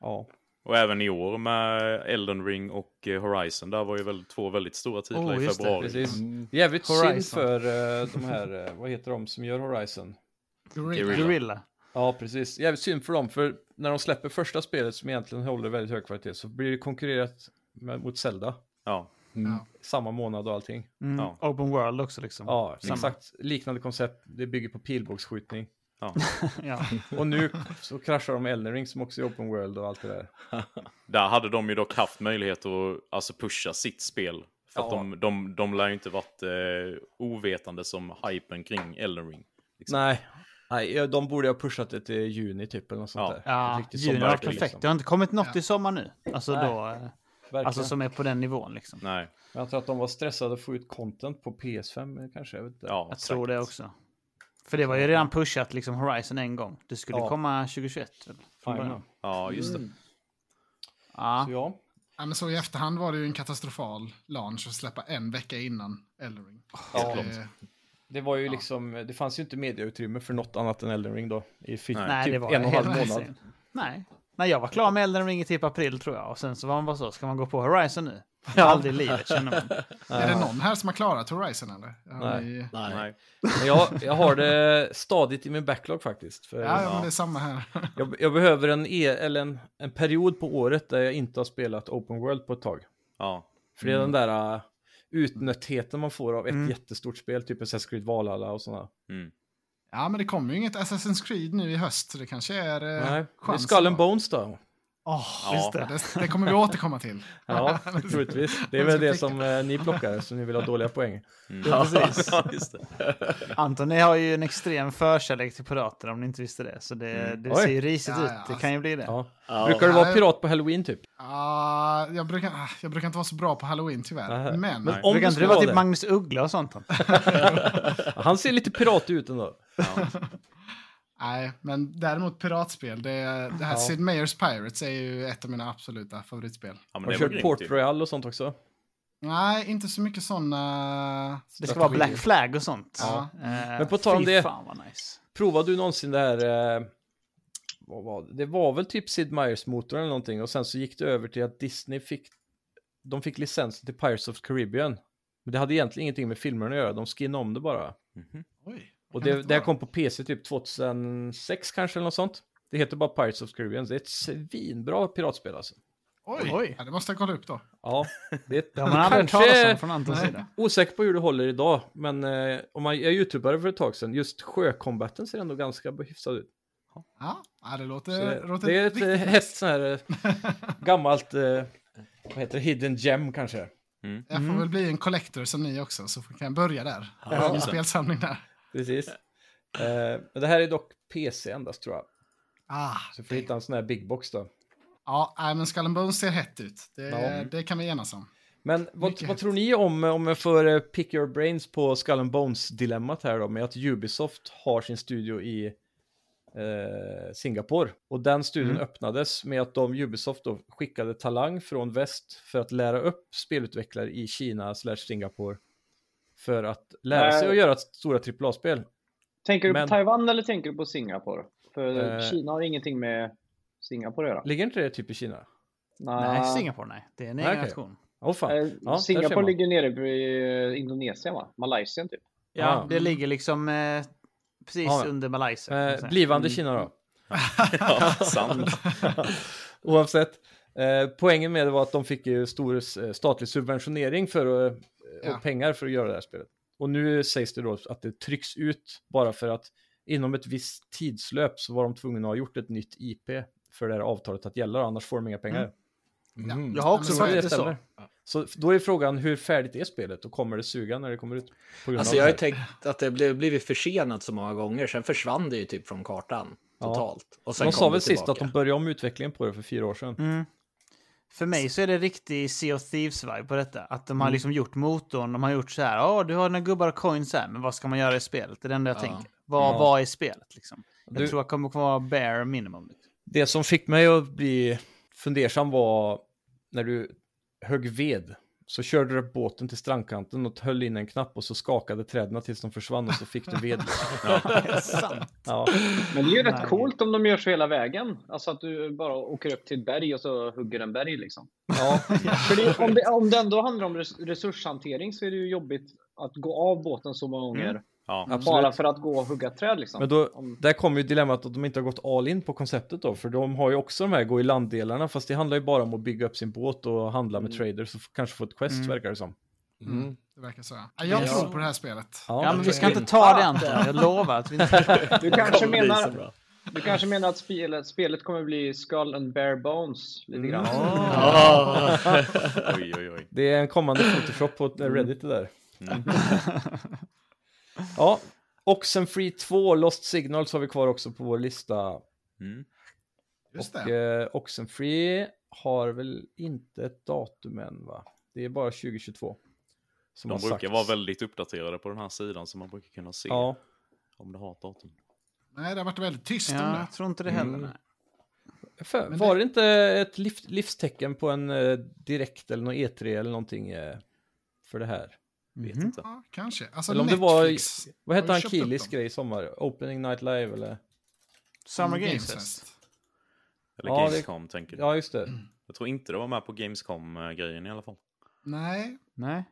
Speaker 1: Ja,
Speaker 6: Och även i år med Elden Ring och eh, Horizon. Där var ju väl, två väldigt stora titlar
Speaker 5: Oh,
Speaker 6: i
Speaker 5: just det,
Speaker 6: februari.
Speaker 1: precis. Jävligt synd
Speaker 5: Horizon.
Speaker 1: för eh, de här, eh, vad heter de som gör Horizon?
Speaker 2: Gorilla.
Speaker 6: Gorilla.
Speaker 5: Gorilla.
Speaker 1: Ja, precis. Jävligt synd för dem, för när de släpper första spelet som egentligen håller väldigt hög kvalitet så blir det konkurrerat med, mot Zelda
Speaker 6: Ja,
Speaker 2: Ja.
Speaker 1: samma månad och allting.
Speaker 5: Mm.
Speaker 6: Ja.
Speaker 5: Open World också liksom.
Speaker 1: Ja,
Speaker 5: Samma.
Speaker 1: exakt liknande koncept. Det bygger på pilbågsskjutning.
Speaker 6: Ja.
Speaker 5: <laughs>
Speaker 6: <laughs>
Speaker 5: ja.
Speaker 1: Och
Speaker 5: <laughs>
Speaker 1: nu så kraschar de Elden Ring som också är open world och allt det där.
Speaker 6: Där hade de ju dock haft möjlighet att alltså, pusha sitt spel. För att
Speaker 1: Ja.
Speaker 6: de, de, de lär ju inte varit eh, ovetande som hypen kring Elden Ring. Liksom.
Speaker 1: Nej. Nej, ja, de borde ha pushat det till juni typ eller något sånt
Speaker 6: Ja.
Speaker 1: där.
Speaker 5: ja
Speaker 1: Riktigt
Speaker 5: juni var
Speaker 1: sommarverk,
Speaker 5: perfekt. Alltså,
Speaker 1: liksom.
Speaker 5: Det har inte kommit något i sommar nu. Alltså,
Speaker 1: Nej.
Speaker 5: då, eh,
Speaker 1: Verkligen.
Speaker 5: alltså som är på den nivån liksom.
Speaker 6: Nej,
Speaker 1: Men jag tror att de var stressade att få ut content på PS5 kanske. Jag vet inte.
Speaker 6: ja,
Speaker 5: Jag
Speaker 6: säkert.
Speaker 5: tror det också. För det var ju redan pushat liksom Horizon en gång. Det skulle
Speaker 1: Ja.
Speaker 5: komma 2021. väl, från
Speaker 1: Jajamän.
Speaker 5: början.
Speaker 6: Ja, just det.
Speaker 5: Ja.
Speaker 1: Så ja.
Speaker 2: Ja, men så i efterhand var det ju en katastrofal launch att släppa en vecka innan Elden Ring.
Speaker 1: Ja.
Speaker 2: Eh,
Speaker 1: Det var ju liksom, det fanns ju inte mediautrymme för något annat än Elden Ring då. I fi-
Speaker 6: Nej.
Speaker 5: Nej,
Speaker 1: typ
Speaker 5: det var
Speaker 1: en och en halv
Speaker 5: helt
Speaker 1: månad.
Speaker 5: <laughs> insane. Nej. Nej, jag var klar med Elden Ring i typ april tror jag. Och sen så var man bara så, ska man gå på
Speaker 1: <laughs>
Speaker 5: Horizon nu? Aldrig i livet känner man.
Speaker 2: Är det någon här som har klarat Horizon eller? Har
Speaker 1: Nej.
Speaker 2: ni-
Speaker 7: Nej.
Speaker 6: Nej.
Speaker 1: Men jag, jag har det stadigt i min backlog faktiskt. För
Speaker 2: Ja, ja, men det är samma här. <laughs>
Speaker 1: jag, jag behöver en, e, eller en, en period på året där jag inte har spelat Open World på ett tag.
Speaker 6: Ja.
Speaker 1: För det är den där uh, utnöttheten man får av ett jättestort spel, typ Assassin's Creed Valhalla och sådana.
Speaker 6: Mm.
Speaker 2: Ja, men det kommer ju inget Assassin's Creed nu i höst, så det kanske är eh,
Speaker 1: Nej, det är
Speaker 2: chansen
Speaker 1: Skull
Speaker 2: då.
Speaker 1: and Bones då.
Speaker 2: <laughs> Åh,
Speaker 6: Ja.
Speaker 5: Just det.
Speaker 2: det, det kommer vi återkomma till. <laughs>
Speaker 1: Ja, <laughs> troligtvis. Det är
Speaker 2: Jag
Speaker 1: väl
Speaker 2: ska
Speaker 1: det
Speaker 2: klicka.
Speaker 1: som eh, ni plockar, så ni vill ha dåliga poäng.
Speaker 5: Ja, precis.
Speaker 6: Ja, <laughs> just det.
Speaker 5: Anton, ni har ju en extrem förkärlek till pirater om ni inte visste det. Så det, det
Speaker 1: Mm. Oj.
Speaker 5: ser ju risigt
Speaker 2: Ja, alltså.
Speaker 5: ut.
Speaker 2: ja,
Speaker 5: Det kan ju bli det.
Speaker 1: Ja. Brukar du vara
Speaker 2: Nej.
Speaker 1: pirat på halloween typ?
Speaker 2: Ah, jag, brukar, ah, jag brukar inte vara så bra på halloween tyvärr.
Speaker 1: Nej.
Speaker 2: Men,
Speaker 1: Men
Speaker 5: Om
Speaker 1: om
Speaker 5: Brukar
Speaker 1: du
Speaker 5: inte det
Speaker 1: skulle
Speaker 5: vara
Speaker 1: vara
Speaker 5: typ
Speaker 1: det,
Speaker 5: Magnus Uggla och
Speaker 1: <laughs>
Speaker 5: sånt? Anton?
Speaker 1: han ser lite pirat ut ändå.
Speaker 2: nej, men däremot piratspel. Det, det här
Speaker 1: Ja.
Speaker 2: Sid Meier's Pirates är ju ett av mina absoluta favoritspel.
Speaker 6: Ja, men
Speaker 1: Har du
Speaker 6: det var
Speaker 1: kört
Speaker 6: grymt
Speaker 1: Port
Speaker 6: ju.
Speaker 1: Royal och sånt också?
Speaker 2: Nej, inte så mycket eh, sådana...
Speaker 5: Det ska vara Black Flag och sånt.
Speaker 2: Ja.
Speaker 5: Eh,
Speaker 1: Men på tal om
Speaker 5: fy
Speaker 1: det-
Speaker 5: fan vad nice.
Speaker 1: Provade du någonsin det här... Eh, vad var det? det var väl typ Sid Meier's-motorn eller någonting och sen så gick det över till att Disney fick... De fick licensen till Pirates of Caribbean. Men det hade egentligen ingenting med filmerna att göra, de skinnade om det bara.
Speaker 2: Oj,
Speaker 1: Och
Speaker 2: kan
Speaker 1: det,
Speaker 2: inte
Speaker 1: det här
Speaker 2: vara.
Speaker 1: kom på PC typ 2006 kanske eller något sånt. Det heter bara Pirates of Caribbean, det är ett svinbra piratspel alltså.
Speaker 2: Oj,
Speaker 5: Oj.
Speaker 2: Ja, det måste jag kolla upp då.
Speaker 1: Ja, det är ett,
Speaker 5: Det har man aldrig hört talas om från Antons
Speaker 2: Nej.
Speaker 5: sida.
Speaker 1: Osäker på hur det håller idag, men eh, om man, jag youtubade för ett tag sedan, just sjökombatten ser ändå ganska hyfsad ut.
Speaker 2: Ja, ja det låter...
Speaker 1: Så det,
Speaker 2: låter
Speaker 1: det är ett
Speaker 2: riktigt
Speaker 1: eh,
Speaker 2: nice.
Speaker 1: hett sån här <laughs> eh, gammalt, eh, vad heter det, hidden gem kanske.
Speaker 2: Jag
Speaker 1: mm.
Speaker 2: får väl bli en collector som ni också, så kan jag börja där. Jag har en spelsamling där.
Speaker 1: Precis. Eh, men det här är dock PC endast tror jag,
Speaker 2: Ah,
Speaker 1: så vi får hitta en sån här big box då.
Speaker 2: ja, nej, men Skull and Bones ser hett ut. Det,
Speaker 1: Ja.
Speaker 2: det kan vi enas om.
Speaker 4: <laughs>
Speaker 1: Men vad,
Speaker 2: Mycket
Speaker 1: vad
Speaker 2: hett.
Speaker 1: tror ni om, om jag får eh, pick your brains på Skull and Bones-dilemmat här då, med att Ubisoft har sin studio i eh, Singapore. Och den studion
Speaker 4: Mm.
Speaker 1: öppnades med att de, Ubisoft då, skickade talang från väst för att lära upp spelutvecklare i Kina slash Singapore. För att lära
Speaker 4: Nej.
Speaker 1: sig att göra stora AAA-spel.
Speaker 4: Tänker du
Speaker 1: Men-
Speaker 4: på Taiwan eller tänker du på Singapore? För
Speaker 1: Eh.
Speaker 4: Kina har ingenting med Singapore att göra.
Speaker 1: Ligger inte det typ i Kina?
Speaker 5: Nej,
Speaker 4: Nä.
Speaker 5: Singapore nej. Det är en
Speaker 1: Ah. Nej,
Speaker 5: egen
Speaker 1: okej.
Speaker 5: nation.
Speaker 1: Åh fan.
Speaker 4: Eh,
Speaker 1: Ja, där ser
Speaker 4: Singapore
Speaker 1: man.
Speaker 4: ligger nere i eh, Indonesien va? Malaysia typ.
Speaker 5: Ja,
Speaker 1: Ah.
Speaker 5: det ligger liksom eh, precis
Speaker 1: Ja, ja.
Speaker 5: under Malaysia. kan man
Speaker 1: Eh,
Speaker 5: säga.
Speaker 1: blivande
Speaker 4: mm,
Speaker 1: Kina då. <laughs>
Speaker 6: Ja, sant.
Speaker 1: Oavsett. Eh, poängen med det var att de fick ju stor eh, statlig subventionering för, att- eh,
Speaker 2: Ja.
Speaker 1: och pengar för att göra det här spelet. Och nu sägs det då att det trycks ut bara för att inom ett visst tidslöp så var de tvungna att ha gjort ett nytt IP för det här avtalet att gälla, annars får de inga pengar.
Speaker 2: Ja.
Speaker 1: Mm.
Speaker 5: Jag har också
Speaker 2: Men
Speaker 1: Så
Speaker 2: så är
Speaker 5: sagt
Speaker 1: det
Speaker 5: det så.
Speaker 1: stämmer. Så då är frågan hur färdigt är spelet och kommer det suga när det kommer ut? På grund
Speaker 7: Alltså
Speaker 1: av
Speaker 7: jag har ju
Speaker 1: det här?
Speaker 7: tänkt att det blev, blivit försenat så många gånger, sen försvann det ju typ från kartan
Speaker 1: Ja.
Speaker 7: totalt. Och sen
Speaker 1: de
Speaker 7: kom
Speaker 1: sa
Speaker 7: det
Speaker 1: väl sist
Speaker 7: tillbaka.
Speaker 1: att de började om utvecklingen på det för fyra år sedan.
Speaker 5: Mm. För mig så är det riktig Sea of Thieves-vibe på detta. Att de har liksom gjort motorn, de har gjort så här, ja du har några gubbar och coins här, men vad ska man göra i spelet? Det är det enda jag tänker. Vad,
Speaker 1: Ja.
Speaker 5: vad är spelet liksom? Jag
Speaker 1: Du-
Speaker 5: tror jag kommer att vara bare minimum. Liksom.
Speaker 1: Det som fick mig att bli fundersam var när du högg ved så körde du upp båten till strandkanten och höll in en knapp och så skakade träden tills de försvann och så fick du
Speaker 5: <laughs>
Speaker 1: ved.
Speaker 5: Sant.
Speaker 1: Ja,
Speaker 4: Men det är ju
Speaker 5: Nej.
Speaker 4: rätt coolt om de gör så hela vägen. Alltså att du bara åker upp till ett berg och så hugger en berg liksom.
Speaker 1: ja,
Speaker 4: För det, om, det, om det ändå handlar om res- resurshantering så är det ju jobbigt att gå av båten så många gånger.
Speaker 6: Ja.
Speaker 4: Bara
Speaker 1: Mm, absolut.
Speaker 4: för att gå och hugga träd liksom.
Speaker 1: Men då,
Speaker 4: Om-
Speaker 1: där kommer ju dilemmat att de inte har gått all in på konceptet då, för de har ju också de här gå i
Speaker 5: Mm.
Speaker 1: landdelarna, fast det handlar ju bara om att bygga upp sin båt och handla med traders och f- kanske få ett quest, verkar det som.
Speaker 2: Mm. Det verkar så. Ja. Jag tror på det här spelet.
Speaker 1: Ja,
Speaker 5: Ja, men vi ska
Speaker 1: det-
Speaker 5: inte ta det Anton. Jag lovar att vi inte...
Speaker 1: <laughs>
Speaker 4: Du kanske menar, du kanske menar att spelet, spelet kommer bli Skull and Bare Bones? Lite grann.
Speaker 6: Oj, oj, oj.
Speaker 1: Det är en kommande Photoshop på
Speaker 6: Mm.
Speaker 1: Reddit det där. <laughs> ja, Oxenfree 2, Lost Signals har vi kvar också på vår lista.
Speaker 6: Mm.
Speaker 2: Just
Speaker 1: Och
Speaker 2: det.
Speaker 1: eh, Oxenfree har väl inte ett datum än va? Det är bara 2022. Som
Speaker 6: De
Speaker 1: har
Speaker 6: brukar
Speaker 1: sagts.
Speaker 6: vara väldigt uppdaterade på den här sidan så man brukar kunna se
Speaker 1: Ja,
Speaker 6: om det har ett datum.
Speaker 2: Nej, det har varit väldigt tyst om
Speaker 5: Ja,
Speaker 2: det.
Speaker 5: jag tror inte det heller. nej.
Speaker 1: för,
Speaker 2: Men
Speaker 1: var
Speaker 2: det-
Speaker 1: det inte ett liv, livstecken på en eh, direkt eller någon E3 eller någonting eh, för det här?
Speaker 6: Vet
Speaker 5: Mhm.
Speaker 6: inte.
Speaker 2: Ja, kanske. Alltså,
Speaker 1: eller om
Speaker 2: Netflix.
Speaker 1: det var, vad hette
Speaker 2: har
Speaker 1: han
Speaker 2: ju köpt upp
Speaker 1: Kilis
Speaker 2: dem.
Speaker 1: grej i sommar? Opening Night Live eller?
Speaker 5: Summer
Speaker 2: Mm,
Speaker 5: Games Fest.
Speaker 2: Fest.
Speaker 6: Eller
Speaker 1: Ja, det-
Speaker 6: Gamescom tänker du.
Speaker 1: Ja, just
Speaker 2: Mm.
Speaker 1: det.
Speaker 6: Jag tror inte det var med på Gamescom-grejen i alla fall.
Speaker 2: Nej,
Speaker 5: Nej.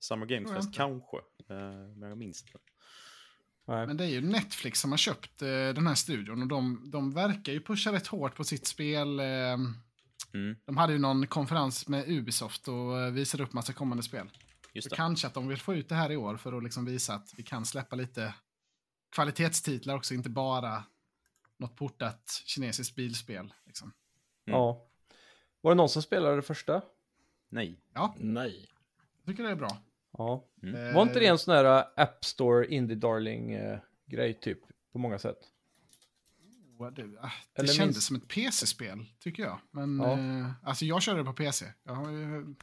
Speaker 6: Summer Games
Speaker 2: Tror jag
Speaker 6: Fest kanske. Eh, Men jag minns inte.
Speaker 1: Nej.
Speaker 2: men det är ju Netflix som har köpt eh, den här studion och de, de verkar ju pusha rätt hårt på sitt spel. Eh,
Speaker 6: Mm,
Speaker 2: de hade ju någon konferens med Ubisoft och eh, visade upp massa kommande spel.
Speaker 6: just
Speaker 2: Så
Speaker 6: det.
Speaker 2: kanske att de vill få ut det här i år för att liksom visa att vi kan släppa lite kvalitetstitlar också, inte bara något portat kinesiskt bilspel. Liksom.
Speaker 6: Mm.
Speaker 1: Ja. Var det någon som spelade det första?
Speaker 6: Nej.
Speaker 7: Nej.
Speaker 2: Jag tycker det är bra.
Speaker 1: Ja.
Speaker 6: Mm.
Speaker 2: Eh,
Speaker 1: Var inte det en sån här äh, App Store Indie Darling eh, grej typ? På många sätt.
Speaker 2: Vad du- ah, Det
Speaker 1: Eller
Speaker 2: kändes
Speaker 1: minst-
Speaker 2: som ett PC-spel, tycker jag. Men
Speaker 1: Ja.
Speaker 2: eh, alltså jag körde det på PC. Jag har ju,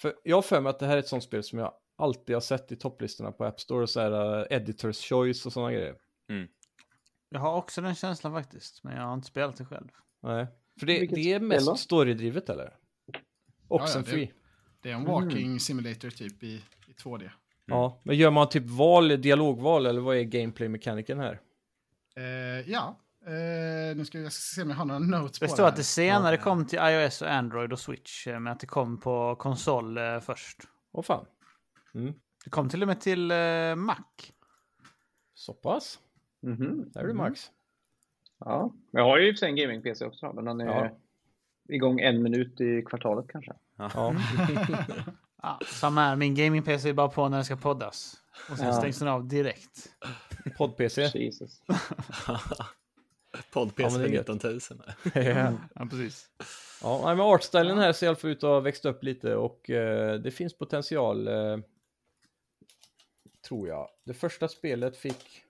Speaker 1: För jag har för mig att det här är ett sånt spel som jag alltid har sett i topplistorna på App Store. och Så här eh, Editors Choice och såna grejer.
Speaker 5: Jag har också den känslan faktiskt, men jag har inte spelat det själv.
Speaker 1: Nej. För det,
Speaker 4: Vilket
Speaker 1: det är
Speaker 4: spel
Speaker 1: mest
Speaker 4: då?
Speaker 1: storydrivet eller? Oxenfree.
Speaker 2: Ja,
Speaker 1: Ja,
Speaker 2: det är
Speaker 1: Mm.
Speaker 2: en walking simulator typ i, i 2D.
Speaker 1: Men gör man typ val, dialogval eller vad är gameplay-mekaniken här?
Speaker 2: Eh, ja, eh, nu ska jag, jag ska se om jag har några notes
Speaker 5: Det
Speaker 2: på
Speaker 5: står att
Speaker 2: här.
Speaker 5: det senare kom till iOS och Android och Switch, eh, men att det kom på konsol eh, först.
Speaker 1: Åh fan,
Speaker 5: Det kom till och med till eh, Mac.
Speaker 1: så pass? Mm.
Speaker 4: Mhm.
Speaker 1: Där är du Max.
Speaker 4: Ja. Jag har ju i och för sig en gaming-PC också, men den är
Speaker 1: Ja.
Speaker 4: igång en minut i kvartalet kanske.
Speaker 1: Ja.
Speaker 5: Ja, samma här, min gaming-PC är bara på när den ska poddas. Och sen
Speaker 4: Ja.
Speaker 5: stängs den av direkt.
Speaker 4: <laughs>
Speaker 1: Podd-PC.
Speaker 4: Jesus.
Speaker 7: Podd-PC
Speaker 1: Ja, men det
Speaker 7: för
Speaker 1: är gött.
Speaker 7: 19 000.
Speaker 5: Ja, precis.
Speaker 1: Ja, nej, men artstylen här ser i alla fall ut att ha växt upp lite och eh, det finns potential. Eh, tror jag. Det första spelet fick...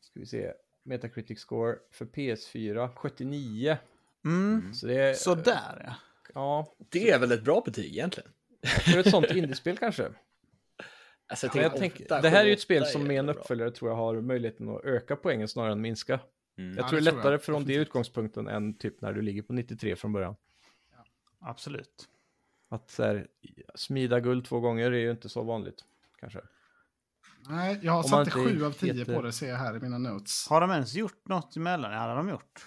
Speaker 1: Ska vi se. Metacritic score för PS4 79.
Speaker 5: Mm.
Speaker 1: Så det är... eh,
Speaker 5: Sådär ja.
Speaker 1: Ja,
Speaker 7: Det är väl ett bra betyg egentligen?
Speaker 1: för ett sånt indiespel kanske.
Speaker 7: Alltså, jag
Speaker 1: Men jag
Speaker 7: tänker
Speaker 1: tänker,
Speaker 7: åtta,
Speaker 1: det här är ju
Speaker 7: sju,
Speaker 1: ett spel
Speaker 7: åtta
Speaker 1: som med en
Speaker 7: ändå bra.
Speaker 1: uppföljare tror jag har möjligheten att öka poängen snarare än minska.
Speaker 6: Mm.
Speaker 1: Jag
Speaker 2: Ja,
Speaker 1: tror
Speaker 2: det
Speaker 1: det är
Speaker 2: tror jag.
Speaker 1: lättare från det utgångspunkten än typ när du ligger på 93 från början.
Speaker 5: Absolut.
Speaker 1: Att så här, smida guld två gånger är ju inte så vanligt. Kanske.
Speaker 2: Nej, jag har
Speaker 1: Om
Speaker 2: satt
Speaker 1: man
Speaker 2: det
Speaker 1: inte
Speaker 2: 7 av 10
Speaker 1: heter-
Speaker 2: på det ser jag här i mina notes.
Speaker 5: Har de ens gjort något emellan? Ja, det har de gjort.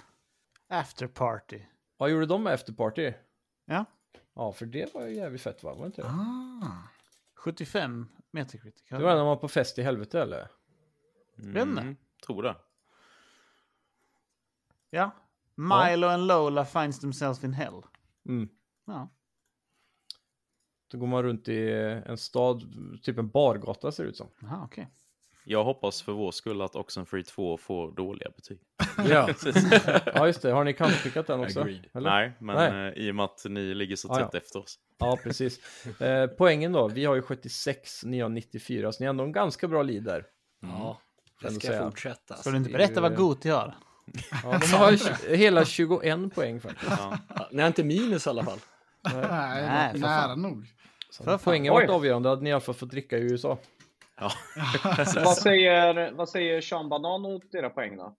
Speaker 5: After party.
Speaker 1: Vad gjorde de med Afterparty?
Speaker 5: Ja.
Speaker 1: Ja, för det var ju jävligt fett va? Var det inte det?
Speaker 2: Ah,
Speaker 5: 75 Metacritic.
Speaker 1: Det var när man var på fest i helvete eller?
Speaker 5: Vem?
Speaker 6: Mm. Tror det.
Speaker 5: Ja. Milo and Lola finds themselves in hell.
Speaker 1: Mm.
Speaker 5: Ja.
Speaker 1: Då går man runt i en stad, typ en bargata ser det ut som.
Speaker 5: Aha, okej.
Speaker 6: Jag hoppas för vår skull att Oxenfree 2 får dåliga betyg.
Speaker 1: Ja, <laughs> ja just det. Har ni counterpickat den också?
Speaker 7: Agreed.
Speaker 1: Eller?
Speaker 6: Nej, men
Speaker 1: Nej.
Speaker 6: eh, i och med att ni ligger så
Speaker 1: Ah,
Speaker 6: tätt
Speaker 1: ja.
Speaker 6: efter oss.
Speaker 1: Ja, precis. Eh, poängen då, vi har ju 76, ni har 94, så ni har ändå en ganska bra lead där.
Speaker 7: Ja,
Speaker 1: Mm. Kan
Speaker 7: jag
Speaker 1: du
Speaker 7: ska
Speaker 1: säga.
Speaker 7: fortsätta.
Speaker 5: Ska
Speaker 7: Alltså.
Speaker 5: du inte
Speaker 1: det är ju-
Speaker 5: berätta vad Goti har?
Speaker 1: Ja, de har ju tj- hela 21 poäng faktiskt.
Speaker 7: Ja, Nej, inte minus i alla fall.
Speaker 2: nej, det
Speaker 5: Nej,
Speaker 2: var
Speaker 5: för
Speaker 2: nära nog.
Speaker 1: Så
Speaker 5: För fan.
Speaker 1: poängen var
Speaker 4: Oj.
Speaker 1: avgörande, hade ni i alla fall fått dricka i USA.
Speaker 6: Ja.
Speaker 4: vad, säger, vad säger Sean Banan åt era poäng då?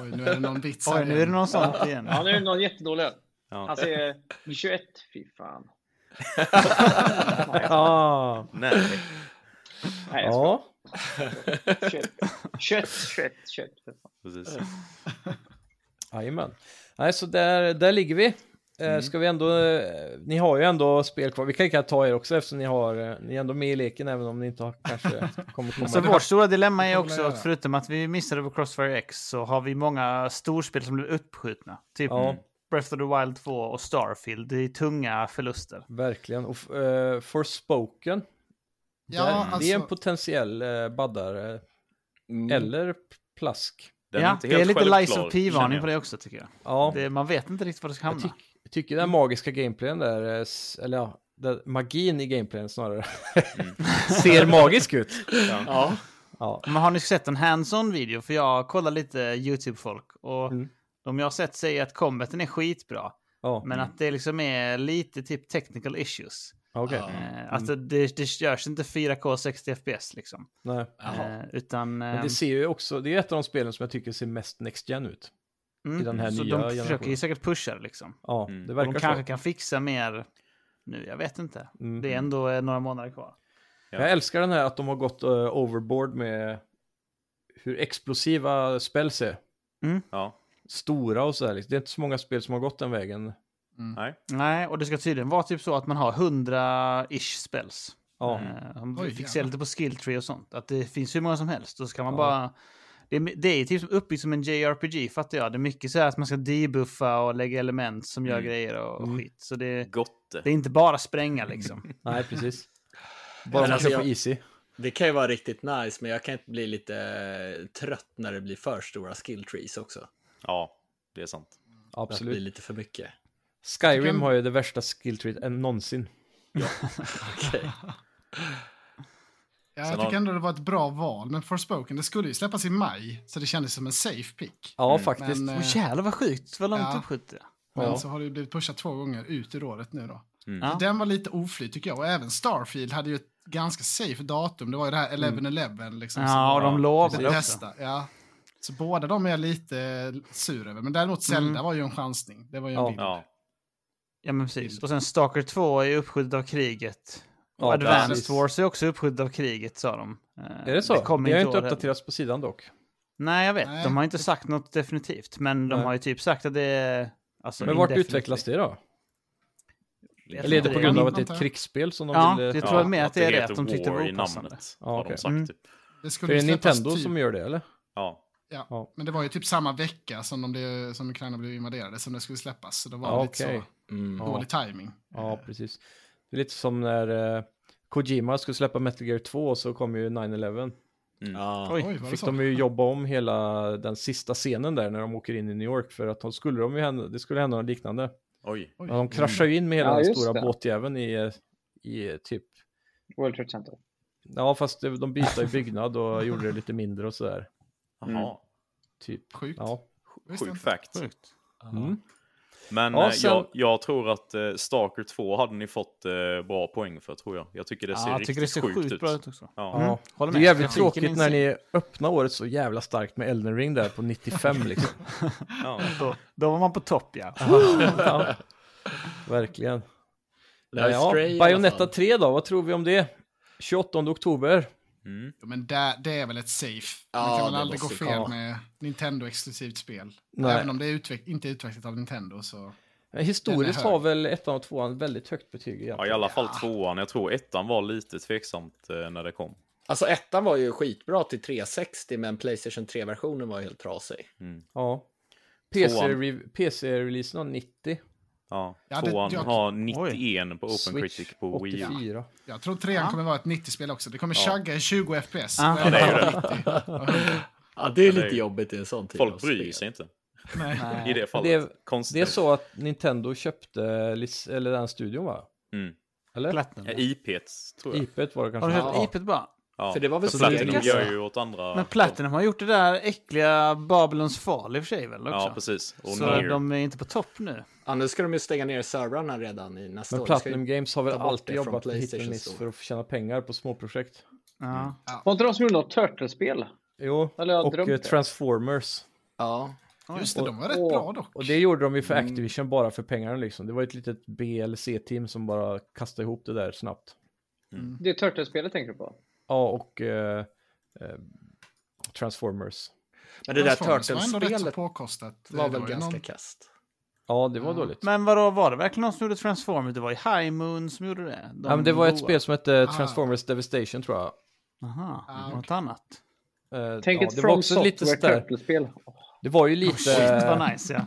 Speaker 2: Oj, nu är det någon vits här
Speaker 5: Oj, nu är det
Speaker 2: igen.
Speaker 5: någon sånt igen.
Speaker 4: Ja, nu är det någon jättedålig öl.
Speaker 6: Ja.
Speaker 4: Han säger 21, fy fan.
Speaker 1: Ah,
Speaker 6: Nej,
Speaker 4: Nej, jag
Speaker 1: ja,
Speaker 4: 21, 21, 21, 21. för fan.
Speaker 6: precis.
Speaker 1: jajamän. Nej, så där, där ligger vi. Mm. Ska vi ändå, eh, ni har ju ändå spel kvar, vi kan ju kunna ta er också eftersom ni har, eh, ni är ändå med i leken även om ni inte har, kanske kommer komma.
Speaker 5: Så vårt stora dilemma är också
Speaker 2: göra.
Speaker 5: att förutom att vi missade på Crossfire X så har vi många storspel som blev uppskjutna. Typ
Speaker 1: Ja.
Speaker 5: Breath of the Wild 2 och Starfield. Det är tunga förluster.
Speaker 1: Verkligen. Och uh, Forspoken,
Speaker 2: Ja,
Speaker 1: där, det är en
Speaker 2: alltså,
Speaker 1: potentiell eh, baddare. Eller plask.
Speaker 6: Den
Speaker 5: ja,
Speaker 6: inte
Speaker 5: det är
Speaker 6: helt
Speaker 5: lite
Speaker 6: självklar,
Speaker 5: Lies of
Speaker 6: känner
Speaker 5: P-varning
Speaker 6: jag.
Speaker 5: på det också tycker jag.
Speaker 1: Ja,
Speaker 5: Det, man vet inte riktigt var det ska
Speaker 1: jag
Speaker 5: hamna.
Speaker 1: tyck- tycker den magiska gameplayen där, eh, s- eller ja, den, magin i gameplayen snarare, <laughs> ser magisk ut.
Speaker 7: Ja.
Speaker 1: Ja,
Speaker 5: Men har ni sett en hands-on video? För jag kollar lite YouTube-folk och
Speaker 1: Mm.
Speaker 5: de jag har sett säger att combaten är skitbra.
Speaker 1: ja.
Speaker 5: Men att det liksom är lite typ technical issues.
Speaker 1: okej.
Speaker 5: Eh, Alltså det, det görs inte 4K 60 FPS liksom.
Speaker 1: Nej.
Speaker 5: Eh, utan...
Speaker 1: Men
Speaker 5: ehm,
Speaker 1: det ser ju också, det är ett av de spelen som jag tycker ser mest Next Gen ut.
Speaker 5: mm,
Speaker 1: i den här
Speaker 5: så
Speaker 1: nya
Speaker 5: de försöker ju
Speaker 1: generationen.
Speaker 5: säkert pusha det liksom.
Speaker 1: Ja,
Speaker 6: Mm.
Speaker 1: det
Speaker 5: Och de
Speaker 1: verkar
Speaker 5: kanske
Speaker 1: så.
Speaker 5: kan fixa mer nu, jag vet inte.
Speaker 1: Mm.
Speaker 5: Det är ändå eh, några månader kvar.
Speaker 6: Ja.
Speaker 1: Jag älskar den här att de har gått eh, overboard med hur explosiva spels är.
Speaker 6: Ja.
Speaker 1: Stora och sådär. liksom. Det är inte så många spel som har gått den vägen.
Speaker 5: Nej, och det ska tydligen vara typ så att man har 100-ish spells.
Speaker 1: Ja,
Speaker 7: Mm.
Speaker 5: Eh, om
Speaker 2: Oj,
Speaker 5: vi fixerar
Speaker 2: jävlar.
Speaker 5: lite på skill tree och sånt. Att det finns hur många som helst. Och så kan man
Speaker 1: Ja.
Speaker 5: bara... Det är, det är typ som- uppbyggt som en JRPG fattar jag. Det är mycket så här att man ska debuffa och lägga element som gör
Speaker 6: Mm.
Speaker 5: grejer och
Speaker 1: Mm.
Speaker 5: skit. Så det,
Speaker 6: Gotte.
Speaker 5: det är inte bara
Speaker 2: <laughs>
Speaker 5: spränga liksom.
Speaker 1: nej
Speaker 7: <laughs>
Speaker 1: precis. Bara
Speaker 7: Men
Speaker 1: man
Speaker 7: alltså,
Speaker 1: kör på
Speaker 7: jag-
Speaker 1: Easy.
Speaker 7: Det kan ju vara riktigt nice, men jag kan inte bli lite eh, trött när det blir för stora skill trees också.
Speaker 6: Ja, det är sant.
Speaker 7: Att det blir
Speaker 1: Absolut.
Speaker 7: lite för mycket.
Speaker 1: Skyrim
Speaker 2: Tycker-
Speaker 1: har ju det värsta skilltreet än någonsin.
Speaker 7: Okej.
Speaker 2: ja,
Speaker 6: Sen
Speaker 2: jag
Speaker 6: har-
Speaker 2: tycker ändå det var ett bra val, men Forspoken, det skulle ju släppas i maj, så det kändes som en safe pick.
Speaker 1: Ja,
Speaker 7: Mm.
Speaker 1: faktiskt.
Speaker 2: Men, eh,
Speaker 5: Åh jävlar vad sjukt, vad långt
Speaker 2: Ja.
Speaker 5: uppskjutit det.
Speaker 2: Men
Speaker 1: Ja.
Speaker 2: så har det ju blivit pushat två gånger ut ur året nu då.
Speaker 6: Mm.
Speaker 5: Ja.
Speaker 2: Så den var lite oflyt tycker jag. Och även Starfield hade ju ett ganska safe datum. Det var ju det
Speaker 1: Mm.
Speaker 2: här 11-11 liksom. som
Speaker 5: Ja, och de lovade
Speaker 2: det
Speaker 5: också.
Speaker 2: bästa. Ja. Så båda de är jag lite sur över. Men däremot Zelda var ju en chansning. Det var ju en
Speaker 1: Mm. Ja.
Speaker 2: bild.
Speaker 6: Ja.
Speaker 5: Ja, men precis. Och sen Stalker 2 är uppskjutet av kriget.
Speaker 1: Ja,
Speaker 5: och Advanced
Speaker 1: precis.
Speaker 5: Wars är också uppskjutet av kriget, sa de. Eh,
Speaker 1: Är det så? Det,
Speaker 5: kommer
Speaker 1: har ju
Speaker 5: i
Speaker 1: inte
Speaker 5: år heller.
Speaker 1: uppdaterats på sidan dock.
Speaker 5: Nej, jag vet.
Speaker 2: Nej.
Speaker 5: De har inte sagt något definitivt, men de
Speaker 1: Nej.
Speaker 5: har ju typ sagt att det är... Alltså,
Speaker 1: Men vart
Speaker 5: indefinite.
Speaker 1: utvecklas det då?
Speaker 5: Vet
Speaker 1: Eller är
Speaker 5: inte
Speaker 1: det på grund av att det är
Speaker 2: antar
Speaker 1: ett
Speaker 2: jag.
Speaker 1: krigsspel som de
Speaker 5: Ja,
Speaker 1: ville...
Speaker 5: det tror jag med att det är det,
Speaker 6: heter
Speaker 5: att de tyckte det
Speaker 6: War
Speaker 5: var
Speaker 6: i
Speaker 5: opassande.
Speaker 6: namnet.
Speaker 1: Ja,
Speaker 6: har de
Speaker 1: okej.
Speaker 6: sagt
Speaker 5: Mm.
Speaker 6: typ.
Speaker 2: Det
Speaker 1: För
Speaker 2: skulle
Speaker 1: det är
Speaker 2: ju släppas
Speaker 1: Nintendo
Speaker 2: typ,
Speaker 1: som gör det eller?
Speaker 6: Ja.
Speaker 2: ja.
Speaker 1: Ja.
Speaker 2: Men det var ju typ samma vecka som, de blev, som Ukraina blev invaderade som det skulle släppas. Så det var
Speaker 1: Ja,
Speaker 2: lite
Speaker 1: okej.
Speaker 7: Mm.
Speaker 2: så
Speaker 1: Ja.
Speaker 2: dålig timing.
Speaker 1: Ja, precis. Det är lite som när eh, Kojima skulle släppa Metal Gear 2 och så kom ju 9-11.
Speaker 7: Ja.
Speaker 5: Oj.
Speaker 2: Oj, var det
Speaker 1: Fick
Speaker 2: så?
Speaker 1: de ju jobba om hela den sista scenen där när de åker in i New York för att då skulle de ju hända, det skulle hända något liknande.
Speaker 6: Oj.
Speaker 1: Ja, de kraschar ju in med hela
Speaker 4: Ja,
Speaker 1: den
Speaker 4: just
Speaker 1: stora
Speaker 4: det.
Speaker 1: båtjäveln i, eh, i eh, typ,
Speaker 4: World Trade Center.
Speaker 1: ja fast det- de bytte i byggnad och gjorde det lite mindre och sådär.
Speaker 5: Mm.
Speaker 6: Jaha.
Speaker 1: Typ,
Speaker 2: Mm, Sjukt.
Speaker 1: ja.
Speaker 2: Visst
Speaker 6: Sjuk
Speaker 2: inte.
Speaker 6: fact.
Speaker 5: Sjukt.
Speaker 1: Mm.
Speaker 6: Men
Speaker 1: Ja,
Speaker 6: eh,
Speaker 1: sen-
Speaker 6: jag, jag tror att eh, Stalker 2 hade ni fått eh, bra poäng för tror jag. Jag tycker det ser
Speaker 5: Ja, jag
Speaker 6: riktigt
Speaker 5: tycker det ser
Speaker 6: sjukt,
Speaker 5: sjukt
Speaker 6: ut.
Speaker 5: bra ut Mm. också.
Speaker 6: Ja.
Speaker 1: Ja.
Speaker 5: Håller
Speaker 1: Det är
Speaker 5: med.
Speaker 1: jävligt
Speaker 5: Grafiken
Speaker 1: tråkigt när
Speaker 5: insane.
Speaker 1: ni öppnar året så jävla starkt med Elden Ring där på 95 liksom.
Speaker 6: Ja.
Speaker 5: Då, då var man på topp, ja.
Speaker 1: ja. Verkligen.
Speaker 7: Det har ju
Speaker 1: Ja,
Speaker 7: Stray i alla
Speaker 1: Bayonetta
Speaker 7: fall.
Speaker 1: 3 då, vad tror vi om det? 28 oktober.
Speaker 6: Mm.
Speaker 2: Jo, Men det, det är väl ett safe.
Speaker 7: Ja,
Speaker 2: Man kan
Speaker 7: det
Speaker 2: väl aldrig gå
Speaker 7: måste
Speaker 2: fel
Speaker 1: ju- ja.
Speaker 2: med Nintendo-exklusivt spel.
Speaker 1: Nej.
Speaker 2: Även om det är utveck- inte är utvecklat av Nintendo så...
Speaker 1: Men Eh, Historiskt
Speaker 2: Den är hög.
Speaker 1: har väl ettan och tvåan väldigt högt betyg
Speaker 6: ja,
Speaker 1: egentligen.
Speaker 6: i alla fall tvåan. Jag tror ettan var lite tveksamt eh, när det kom.
Speaker 7: Alltså ettan var ju skitbra till 360, men Playstation 3-versionen var ju helt trasig.
Speaker 1: Ja.
Speaker 6: Tvåan.
Speaker 1: PC-re- PC-releasen har 90,
Speaker 6: Ja.
Speaker 2: Ja, det-
Speaker 6: tvåan
Speaker 2: jag-
Speaker 6: har 91 på Open
Speaker 1: Switch
Speaker 6: Critic på Wii.
Speaker 1: 84.
Speaker 2: Jag tror trean kommer vara ett 90-spel också. Det kommer
Speaker 6: Ja.
Speaker 2: chugga i 20 FPS.
Speaker 5: Ja.
Speaker 2: Och
Speaker 5: Ja,
Speaker 6: det är ju
Speaker 2: 90.
Speaker 7: Ja, det är
Speaker 6: det är
Speaker 7: lite
Speaker 6: ju-
Speaker 7: jobbigt i en sån typ av
Speaker 6: Folk
Speaker 7: spel.
Speaker 6: bryr sig inte
Speaker 2: Nej.
Speaker 6: i det fallet.
Speaker 1: Det är-
Speaker 6: Konstigt.
Speaker 1: Det är så att Nintendo köpte lic- eller den studion va?
Speaker 6: Mm.
Speaker 1: Eller?
Speaker 5: Platinum.
Speaker 6: Ja, IP't tror jag.
Speaker 1: IP var det
Speaker 5: Har
Speaker 1: kanske.
Speaker 5: du hört
Speaker 1: Ja.
Speaker 5: IPet E bara?
Speaker 6: Ja.
Speaker 7: För det var väl
Speaker 6: Så
Speaker 7: Sega
Speaker 6: Platinum
Speaker 7: också?
Speaker 6: gör ju åt andra...
Speaker 5: Men Platinum har gjort det där äckliga Babylons Fall i och för sig väl också?
Speaker 6: Ja, precis. Och
Speaker 5: Så
Speaker 6: Nier.
Speaker 5: de är inte på topp nu.
Speaker 7: Ja, nu ska de ju stänga ner servrarna redan i nästa
Speaker 1: Men
Speaker 7: år. Det ska ju-
Speaker 1: Platinum Games har väl
Speaker 7: ta bort
Speaker 1: alltid
Speaker 7: det från
Speaker 1: jobbat med hit and
Speaker 7: PlayStation
Speaker 1: miss
Speaker 7: Store.
Speaker 1: för att tjäna pengar på småprojekt.
Speaker 5: Ja.
Speaker 6: Mm.
Speaker 4: Var inte de som gjorde något Turtle-spel?
Speaker 1: Jo,
Speaker 4: Eller jag har
Speaker 1: och
Speaker 4: drömt
Speaker 1: eh,
Speaker 4: det.
Speaker 1: Transformers.
Speaker 7: Ja.
Speaker 2: Just det, de var rätt
Speaker 1: och,
Speaker 2: bra dock.
Speaker 1: Och det gjorde de ju för Activision bara för pengarna liksom. Det var ett litet BLC-team som bara kastade ihop det där snabbt.
Speaker 4: Det är Turtle-spelet tänker du på?
Speaker 1: Ja, och eh, eh, Transformers.
Speaker 7: Men det där
Speaker 2: Transformers var ändå rätt så
Speaker 7: Turtles-spelet
Speaker 2: påkostat.
Speaker 7: var
Speaker 2: Det
Speaker 7: väl
Speaker 2: ju
Speaker 7: ganska
Speaker 2: någon-
Speaker 7: kast.
Speaker 1: Ja, det var dåligt.
Speaker 5: Men vadå, var det verkligen någon som gjorde Transformers? Det var ju High Moon som gjorde det. De
Speaker 1: ja, men det var ett
Speaker 5: goa.
Speaker 1: spel som hette eh, Transformers Devastation tror jag.
Speaker 5: Aha,
Speaker 2: Ah, okej.
Speaker 5: något annat.
Speaker 1: Eh,
Speaker 4: Tänk
Speaker 1: ja,
Speaker 4: ett
Speaker 1: det var
Speaker 4: From
Speaker 1: också lite
Speaker 4: Software typ.
Speaker 1: sådär.
Speaker 4: Turtle-spel.
Speaker 5: Oh,
Speaker 1: Det var ju lite...
Speaker 5: Shit vad nice ja.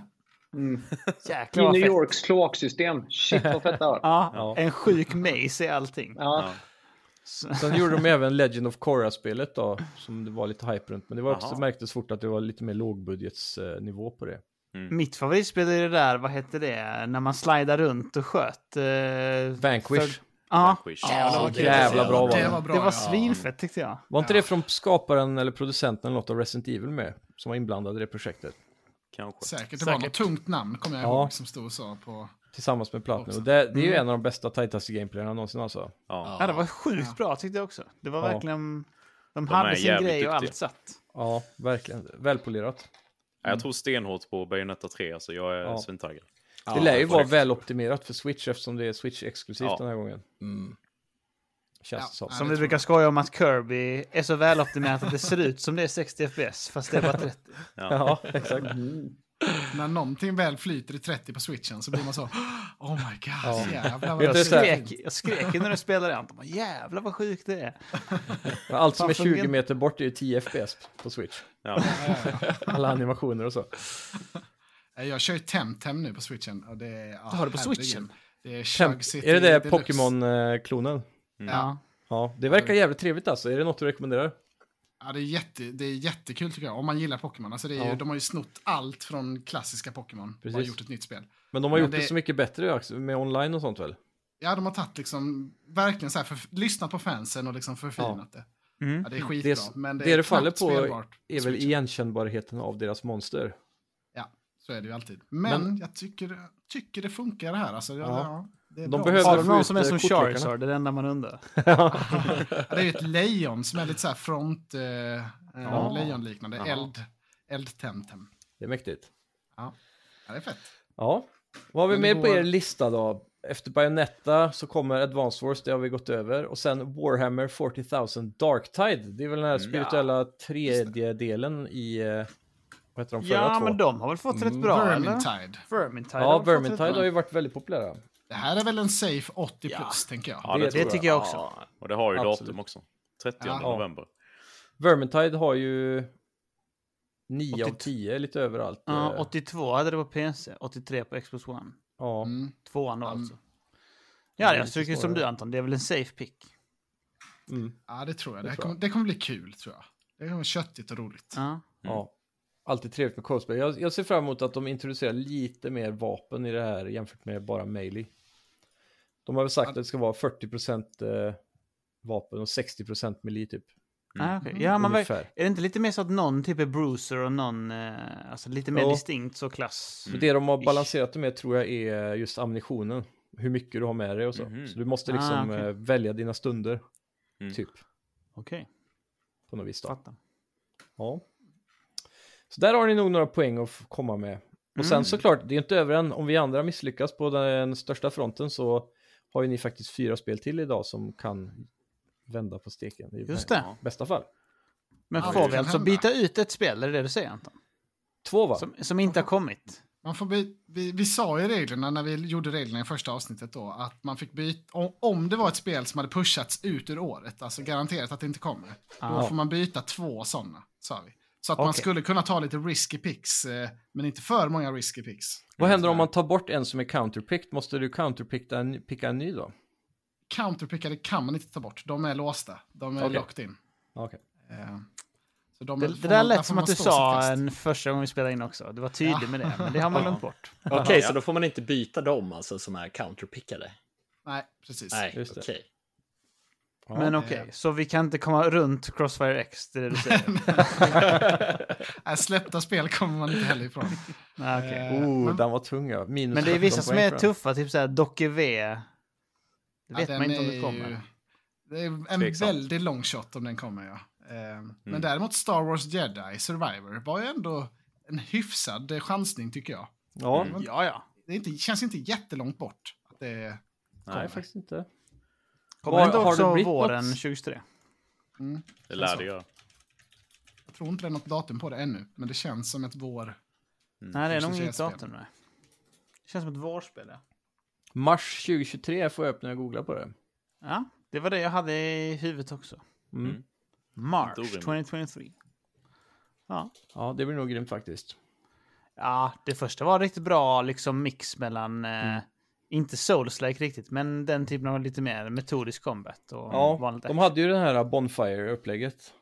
Speaker 2: Mm.
Speaker 5: Jäklar
Speaker 4: I
Speaker 5: vad
Speaker 4: New
Speaker 5: fett.
Speaker 4: Yorks kloaksystem. Shit vad fett det var.
Speaker 5: Ja,
Speaker 1: <laughs> Ja.
Speaker 5: en sjuk maze i allting.
Speaker 4: Ja.
Speaker 5: Så,
Speaker 1: <laughs> Sen gjorde de även Legend of Korra-spelet då, som det var lite hype runt. Men det var också,
Speaker 6: Jaha.
Speaker 1: märktes fort att det var lite mer lågbudgetsnivå på det.
Speaker 5: mitt favoritspel är det där, vad hette det, när man slidar runt och sköt. eh,
Speaker 1: Vanquish.
Speaker 5: för- Ja,
Speaker 6: Vanquish.
Speaker 2: Ja,
Speaker 1: vad jävla bra var
Speaker 2: det.
Speaker 1: det.
Speaker 2: var bra.
Speaker 5: det var
Speaker 2: ja.
Speaker 5: svinfett tyckte jag.
Speaker 1: Var inte det från skaparen eller producenten eller något av Resident Evil med? Som var inblandad i det projektet.
Speaker 6: Kanske.
Speaker 2: Säkert, det var något tungt namn kommer jag
Speaker 1: Ja.
Speaker 2: ihåg som stod så på...
Speaker 1: Tillsammans med Platinum.
Speaker 2: Också.
Speaker 1: Och det, det är ju en av de bästa, tajtaste gameplayerna någonsin alltså.
Speaker 6: Ja.
Speaker 5: Ja, det var sjukt bra tyckte jag också. Det var
Speaker 1: Ja.
Speaker 5: verkligen... De
Speaker 6: De är
Speaker 5: hade sin grej
Speaker 6: jävligt
Speaker 5: och
Speaker 6: duktiga.
Speaker 5: allt satt.
Speaker 1: Ja, verkligen. Välpolerat.
Speaker 6: Jag tror stenhårt på Bayonetta 3, alltså jag är
Speaker 1: Ja.
Speaker 6: svintaggad.
Speaker 1: det lär ju vara väloptimerat för Switch eftersom det är Switch-exklusivt
Speaker 6: Ja.
Speaker 1: den här gången. Känns
Speaker 2: Ja,
Speaker 1: det som.
Speaker 2: nej,
Speaker 5: Som
Speaker 2: det
Speaker 5: vi
Speaker 2: tror
Speaker 5: brukar skoja om att Kirby är så väloptimerat att det ser ut som det är 60 FPS, fast det är bara 30.
Speaker 1: <laughs> Ja, exakt.
Speaker 2: När någonting väl flyter i 30 på switchen så blir man så... <gasps> Oh my god,
Speaker 1: Ja.
Speaker 2: jävlar vad
Speaker 1: Vet
Speaker 5: Jag
Speaker 1: du,
Speaker 2: det
Speaker 1: så här-
Speaker 5: skrek, jag skrek ju när du spelade den. Bara, Jävlar vad sjukt det
Speaker 2: Mm.
Speaker 5: är.
Speaker 1: Men Allt som
Speaker 5: Fan,
Speaker 1: är 20
Speaker 5: fungerar-
Speaker 1: meter bort är ju 10 FPS på Switch.
Speaker 6: Ja.
Speaker 1: Alla animationer och så.
Speaker 2: Eh, Jag kör ju Temtem nu på switchen. Och det är, ja,
Speaker 5: Du har det på
Speaker 2: herregud.
Speaker 5: switchen?
Speaker 2: Det är
Speaker 1: Temp-
Speaker 2: Chug City
Speaker 1: är det det
Speaker 2: Deluxe.
Speaker 1: Pokémon-klonen?
Speaker 2: Ja.
Speaker 5: Ja.
Speaker 1: Ja, det verkar jävligt trevligt alltså. Är det något du rekommenderar?
Speaker 2: Ja, det, är jätte, det är jättekul tycker jag, om man gillar Pokémon. Alltså det är ju,
Speaker 1: Ja.
Speaker 2: De har ju snott allt från klassiska Pokémon och har
Speaker 1: Precis.
Speaker 2: gjort ett nytt spel.
Speaker 1: Men de har
Speaker 2: Men
Speaker 1: gjort det...
Speaker 2: det-
Speaker 1: så mycket bättre Axel, med online och sånt väl?
Speaker 2: Ja, de har tagit liksom, verkligen så här, för, lyssnat på fansen och liksom förfinat det.
Speaker 5: Mm.
Speaker 2: Ja, det är
Speaker 1: Det,
Speaker 2: skitbra,
Speaker 1: är s-
Speaker 2: men det,
Speaker 1: det,
Speaker 2: är
Speaker 1: det faller
Speaker 2: knappt
Speaker 1: på
Speaker 2: spelbart.
Speaker 1: är väl igenkännbarheten av deras <laughs> monster.
Speaker 2: Ja, så är det ju alltid. Men,
Speaker 1: Men-
Speaker 2: jag tycker, tycker det funkar det här. Alltså, ja.
Speaker 1: Ja.
Speaker 2: Ja, det är
Speaker 1: De
Speaker 2: bra.
Speaker 1: behöver-
Speaker 5: Har
Speaker 1: Jag
Speaker 5: de
Speaker 1: får
Speaker 5: någon
Speaker 1: ut,
Speaker 5: som är
Speaker 1: eh,
Speaker 5: som
Speaker 1: kortlekarna.
Speaker 5: Charizard? Det är det enda man undrar.
Speaker 2: Ja, det är ju ett lejon som är lite så här front, eh, eh,
Speaker 1: Ja.
Speaker 2: lejonliknande, eld, eldtemtem.
Speaker 1: Det är mäktigt.
Speaker 2: Ja, det är fett.
Speaker 1: Ja. Vad har vi
Speaker 2: Men det
Speaker 1: med på
Speaker 2: går-
Speaker 1: er lista då? Efter Bayonetta så kommer Advance Wars, det har vi gått över. Och sen Warhammer 40,000 Darktide. Det är väl den här spirituella tredje delen i... eh, Vad heter de förra
Speaker 5: Ja,
Speaker 1: två?
Speaker 5: men de har väl fått rätt bra, eller?
Speaker 2: Mm. Vermintide.
Speaker 5: Vermintide. har
Speaker 1: Ja,
Speaker 5: väl fått rätt
Speaker 1: Vermintide
Speaker 5: bra.
Speaker 1: har ju varit väldigt populära.
Speaker 2: Det här är väl en safe 80
Speaker 5: Ja.
Speaker 2: plus, tänker jag.
Speaker 6: Ja,
Speaker 5: Det,
Speaker 6: tror
Speaker 5: det tycker jag också.
Speaker 6: Och det har ju
Speaker 1: Absolut.
Speaker 6: datum också. 30
Speaker 2: Ja.
Speaker 6: november.
Speaker 1: Vermintide har ju 9 av
Speaker 5: 82.
Speaker 1: 10 lite överallt.
Speaker 5: Ja,
Speaker 1: eh,
Speaker 5: 82 hade det på PC, 83 på Xbox One.
Speaker 1: ja.
Speaker 2: Mm.
Speaker 5: Tvåan då
Speaker 2: Ja,
Speaker 5: alltså.
Speaker 1: det är
Speaker 5: Ja, jag
Speaker 1: lite
Speaker 5: tycker som
Speaker 1: svårare.
Speaker 5: du Anton, det är väl en safe pick.
Speaker 2: Ja, det tror jag. Det,
Speaker 1: tror
Speaker 2: här
Speaker 1: jag.
Speaker 2: kommer, det kommer bli kul, tror jag. Det kommer bli köttigt och roligt.
Speaker 1: Mm.
Speaker 5: Ja.
Speaker 1: Ja. Alltid trevligt med cosplay. Jag, jag ser fram emot att de introducerar lite mer vapen i det här jämfört med bara Melee. De har väl sagt att det ska vara 40% eh, vapen och 60% melee typ.
Speaker 5: Ah, okej. ja man verkar-
Speaker 1: Ungefär.
Speaker 5: är det inte lite mer så att någon typ är bruiser och någon, eh, alltså lite mer
Speaker 1: Ja. Mm.
Speaker 5: distinkt så klass?
Speaker 1: Så det de har balanserat det med tror jag är just ammunitionen. Hur mycket du har med dig och så.
Speaker 6: Mhm.
Speaker 1: Så du måste liksom
Speaker 5: Ah, okej.
Speaker 1: eh, välja dina stunder.
Speaker 6: Mm.
Speaker 1: Typ.
Speaker 5: Okej,
Speaker 1: På något vis då.
Speaker 5: fattar.
Speaker 1: Ja. Så där har ni nog några poäng att f- komma med. Och
Speaker 5: Mm.
Speaker 1: sen såklart, det är inte över än. Om vi andra misslyckas på den största fronten så har ju ni faktiskt fyra spel till idag som kan vända på steken. I
Speaker 5: Just det.
Speaker 1: bästa fall.
Speaker 5: Men
Speaker 2: Ja,
Speaker 5: får
Speaker 2: det
Speaker 5: vi
Speaker 2: kan
Speaker 5: alltså
Speaker 2: hända.
Speaker 5: byta ut ett spel, är det det du säger Anton?
Speaker 1: Två va?
Speaker 5: Som, som inte har kommit?
Speaker 2: Man får by- vi, vi sa ju reglerna när vi gjorde reglerna i första avsnittet då, att man fick byta, om, om det var ett spel som hade pushats ut ur året, alltså garanterat att det inte kommer, då
Speaker 5: Ah.
Speaker 2: får man byta två sådana, sa vi. Så att man
Speaker 1: Okej.
Speaker 2: skulle kunna ta lite risky picks, eh, men inte för många risky picks.
Speaker 1: Vad händer
Speaker 5: Mm.
Speaker 1: om man tar bort en som är counterpicked? Måste du counterpicka en, picka en ny då?
Speaker 2: Counterpickade kan man inte ta bort, de är låsta, de är
Speaker 1: Okej.
Speaker 2: locked in.
Speaker 1: Ja, Okej.
Speaker 2: Eh, så de,
Speaker 5: Det,
Speaker 2: får
Speaker 5: det
Speaker 2: man-
Speaker 5: där
Speaker 2: får
Speaker 5: lät som
Speaker 2: man
Speaker 5: att du
Speaker 2: stå sitt
Speaker 5: sa
Speaker 2: kast.
Speaker 5: en första gången vi spelade in också. Du var tydlig med det, men det har man glömt bort.
Speaker 7: Okej, så då får man inte byta dem alltså som är counterpickade?
Speaker 2: Nej, precis.
Speaker 7: Nej,
Speaker 1: Just det.
Speaker 7: okej.
Speaker 1: Ja.
Speaker 5: Men okej, så vi kan inte komma runt Crossfire X, det är det du
Speaker 2: <laughs>
Speaker 5: säger?
Speaker 2: Nej, släppta spel kommer man inte heller ifrån.
Speaker 5: Nej, okej.
Speaker 2: Eh,
Speaker 1: Oh, den var tung ja. Minus
Speaker 5: Eh, Men det är
Speaker 1: 17
Speaker 5: vissa som
Speaker 1: poäng
Speaker 5: är
Speaker 1: för den.
Speaker 5: tuffa, typ såhär Docke V. Det vet
Speaker 2: Ja,
Speaker 5: man
Speaker 2: den
Speaker 5: inte om
Speaker 2: är
Speaker 5: det kommer.
Speaker 2: ju- Det är en
Speaker 6: Tveksamt.
Speaker 2: väldigt lång shot om den kommer, ja. Eh,
Speaker 5: Mm.
Speaker 2: Men däremot Star Wars Jedi Survivor var ju ändå en hyfsad eh, chansning, tycker jag.
Speaker 1: Ja,
Speaker 5: Ja, ja.
Speaker 2: Det är inte, känns inte jättelångt bort. Att det,
Speaker 1: nej faktiskt inte.
Speaker 5: Kommer
Speaker 1: Var-
Speaker 5: inte
Speaker 1: har det
Speaker 5: också
Speaker 1: blivit
Speaker 5: våren
Speaker 1: något?
Speaker 5: 2023?
Speaker 6: Det lär det göra.
Speaker 2: jag tror inte det är något datum på det ännu, men det känns som ett vår.
Speaker 5: Nej, det är nog
Speaker 2: 2023
Speaker 5: inget datum. Nej. Det känns som ett vårspel, ja.
Speaker 1: Mars 2023 får jag upp när jag googlar på det.
Speaker 5: ja. Det var det jag hade i huvudet också.
Speaker 1: Mm.
Speaker 5: March
Speaker 6: Inte orimligt.
Speaker 5: 2023. Ja.
Speaker 1: Ja, det blir nog grymt faktiskt.
Speaker 5: Ja, det första var riktigt bra liksom mix mellan, eh, inte Souls-like riktigt, men den typen av lite mer metodisk combat och
Speaker 1: Ja,
Speaker 5: vanligt.
Speaker 1: de hade ju det här Bonfire-upplägget.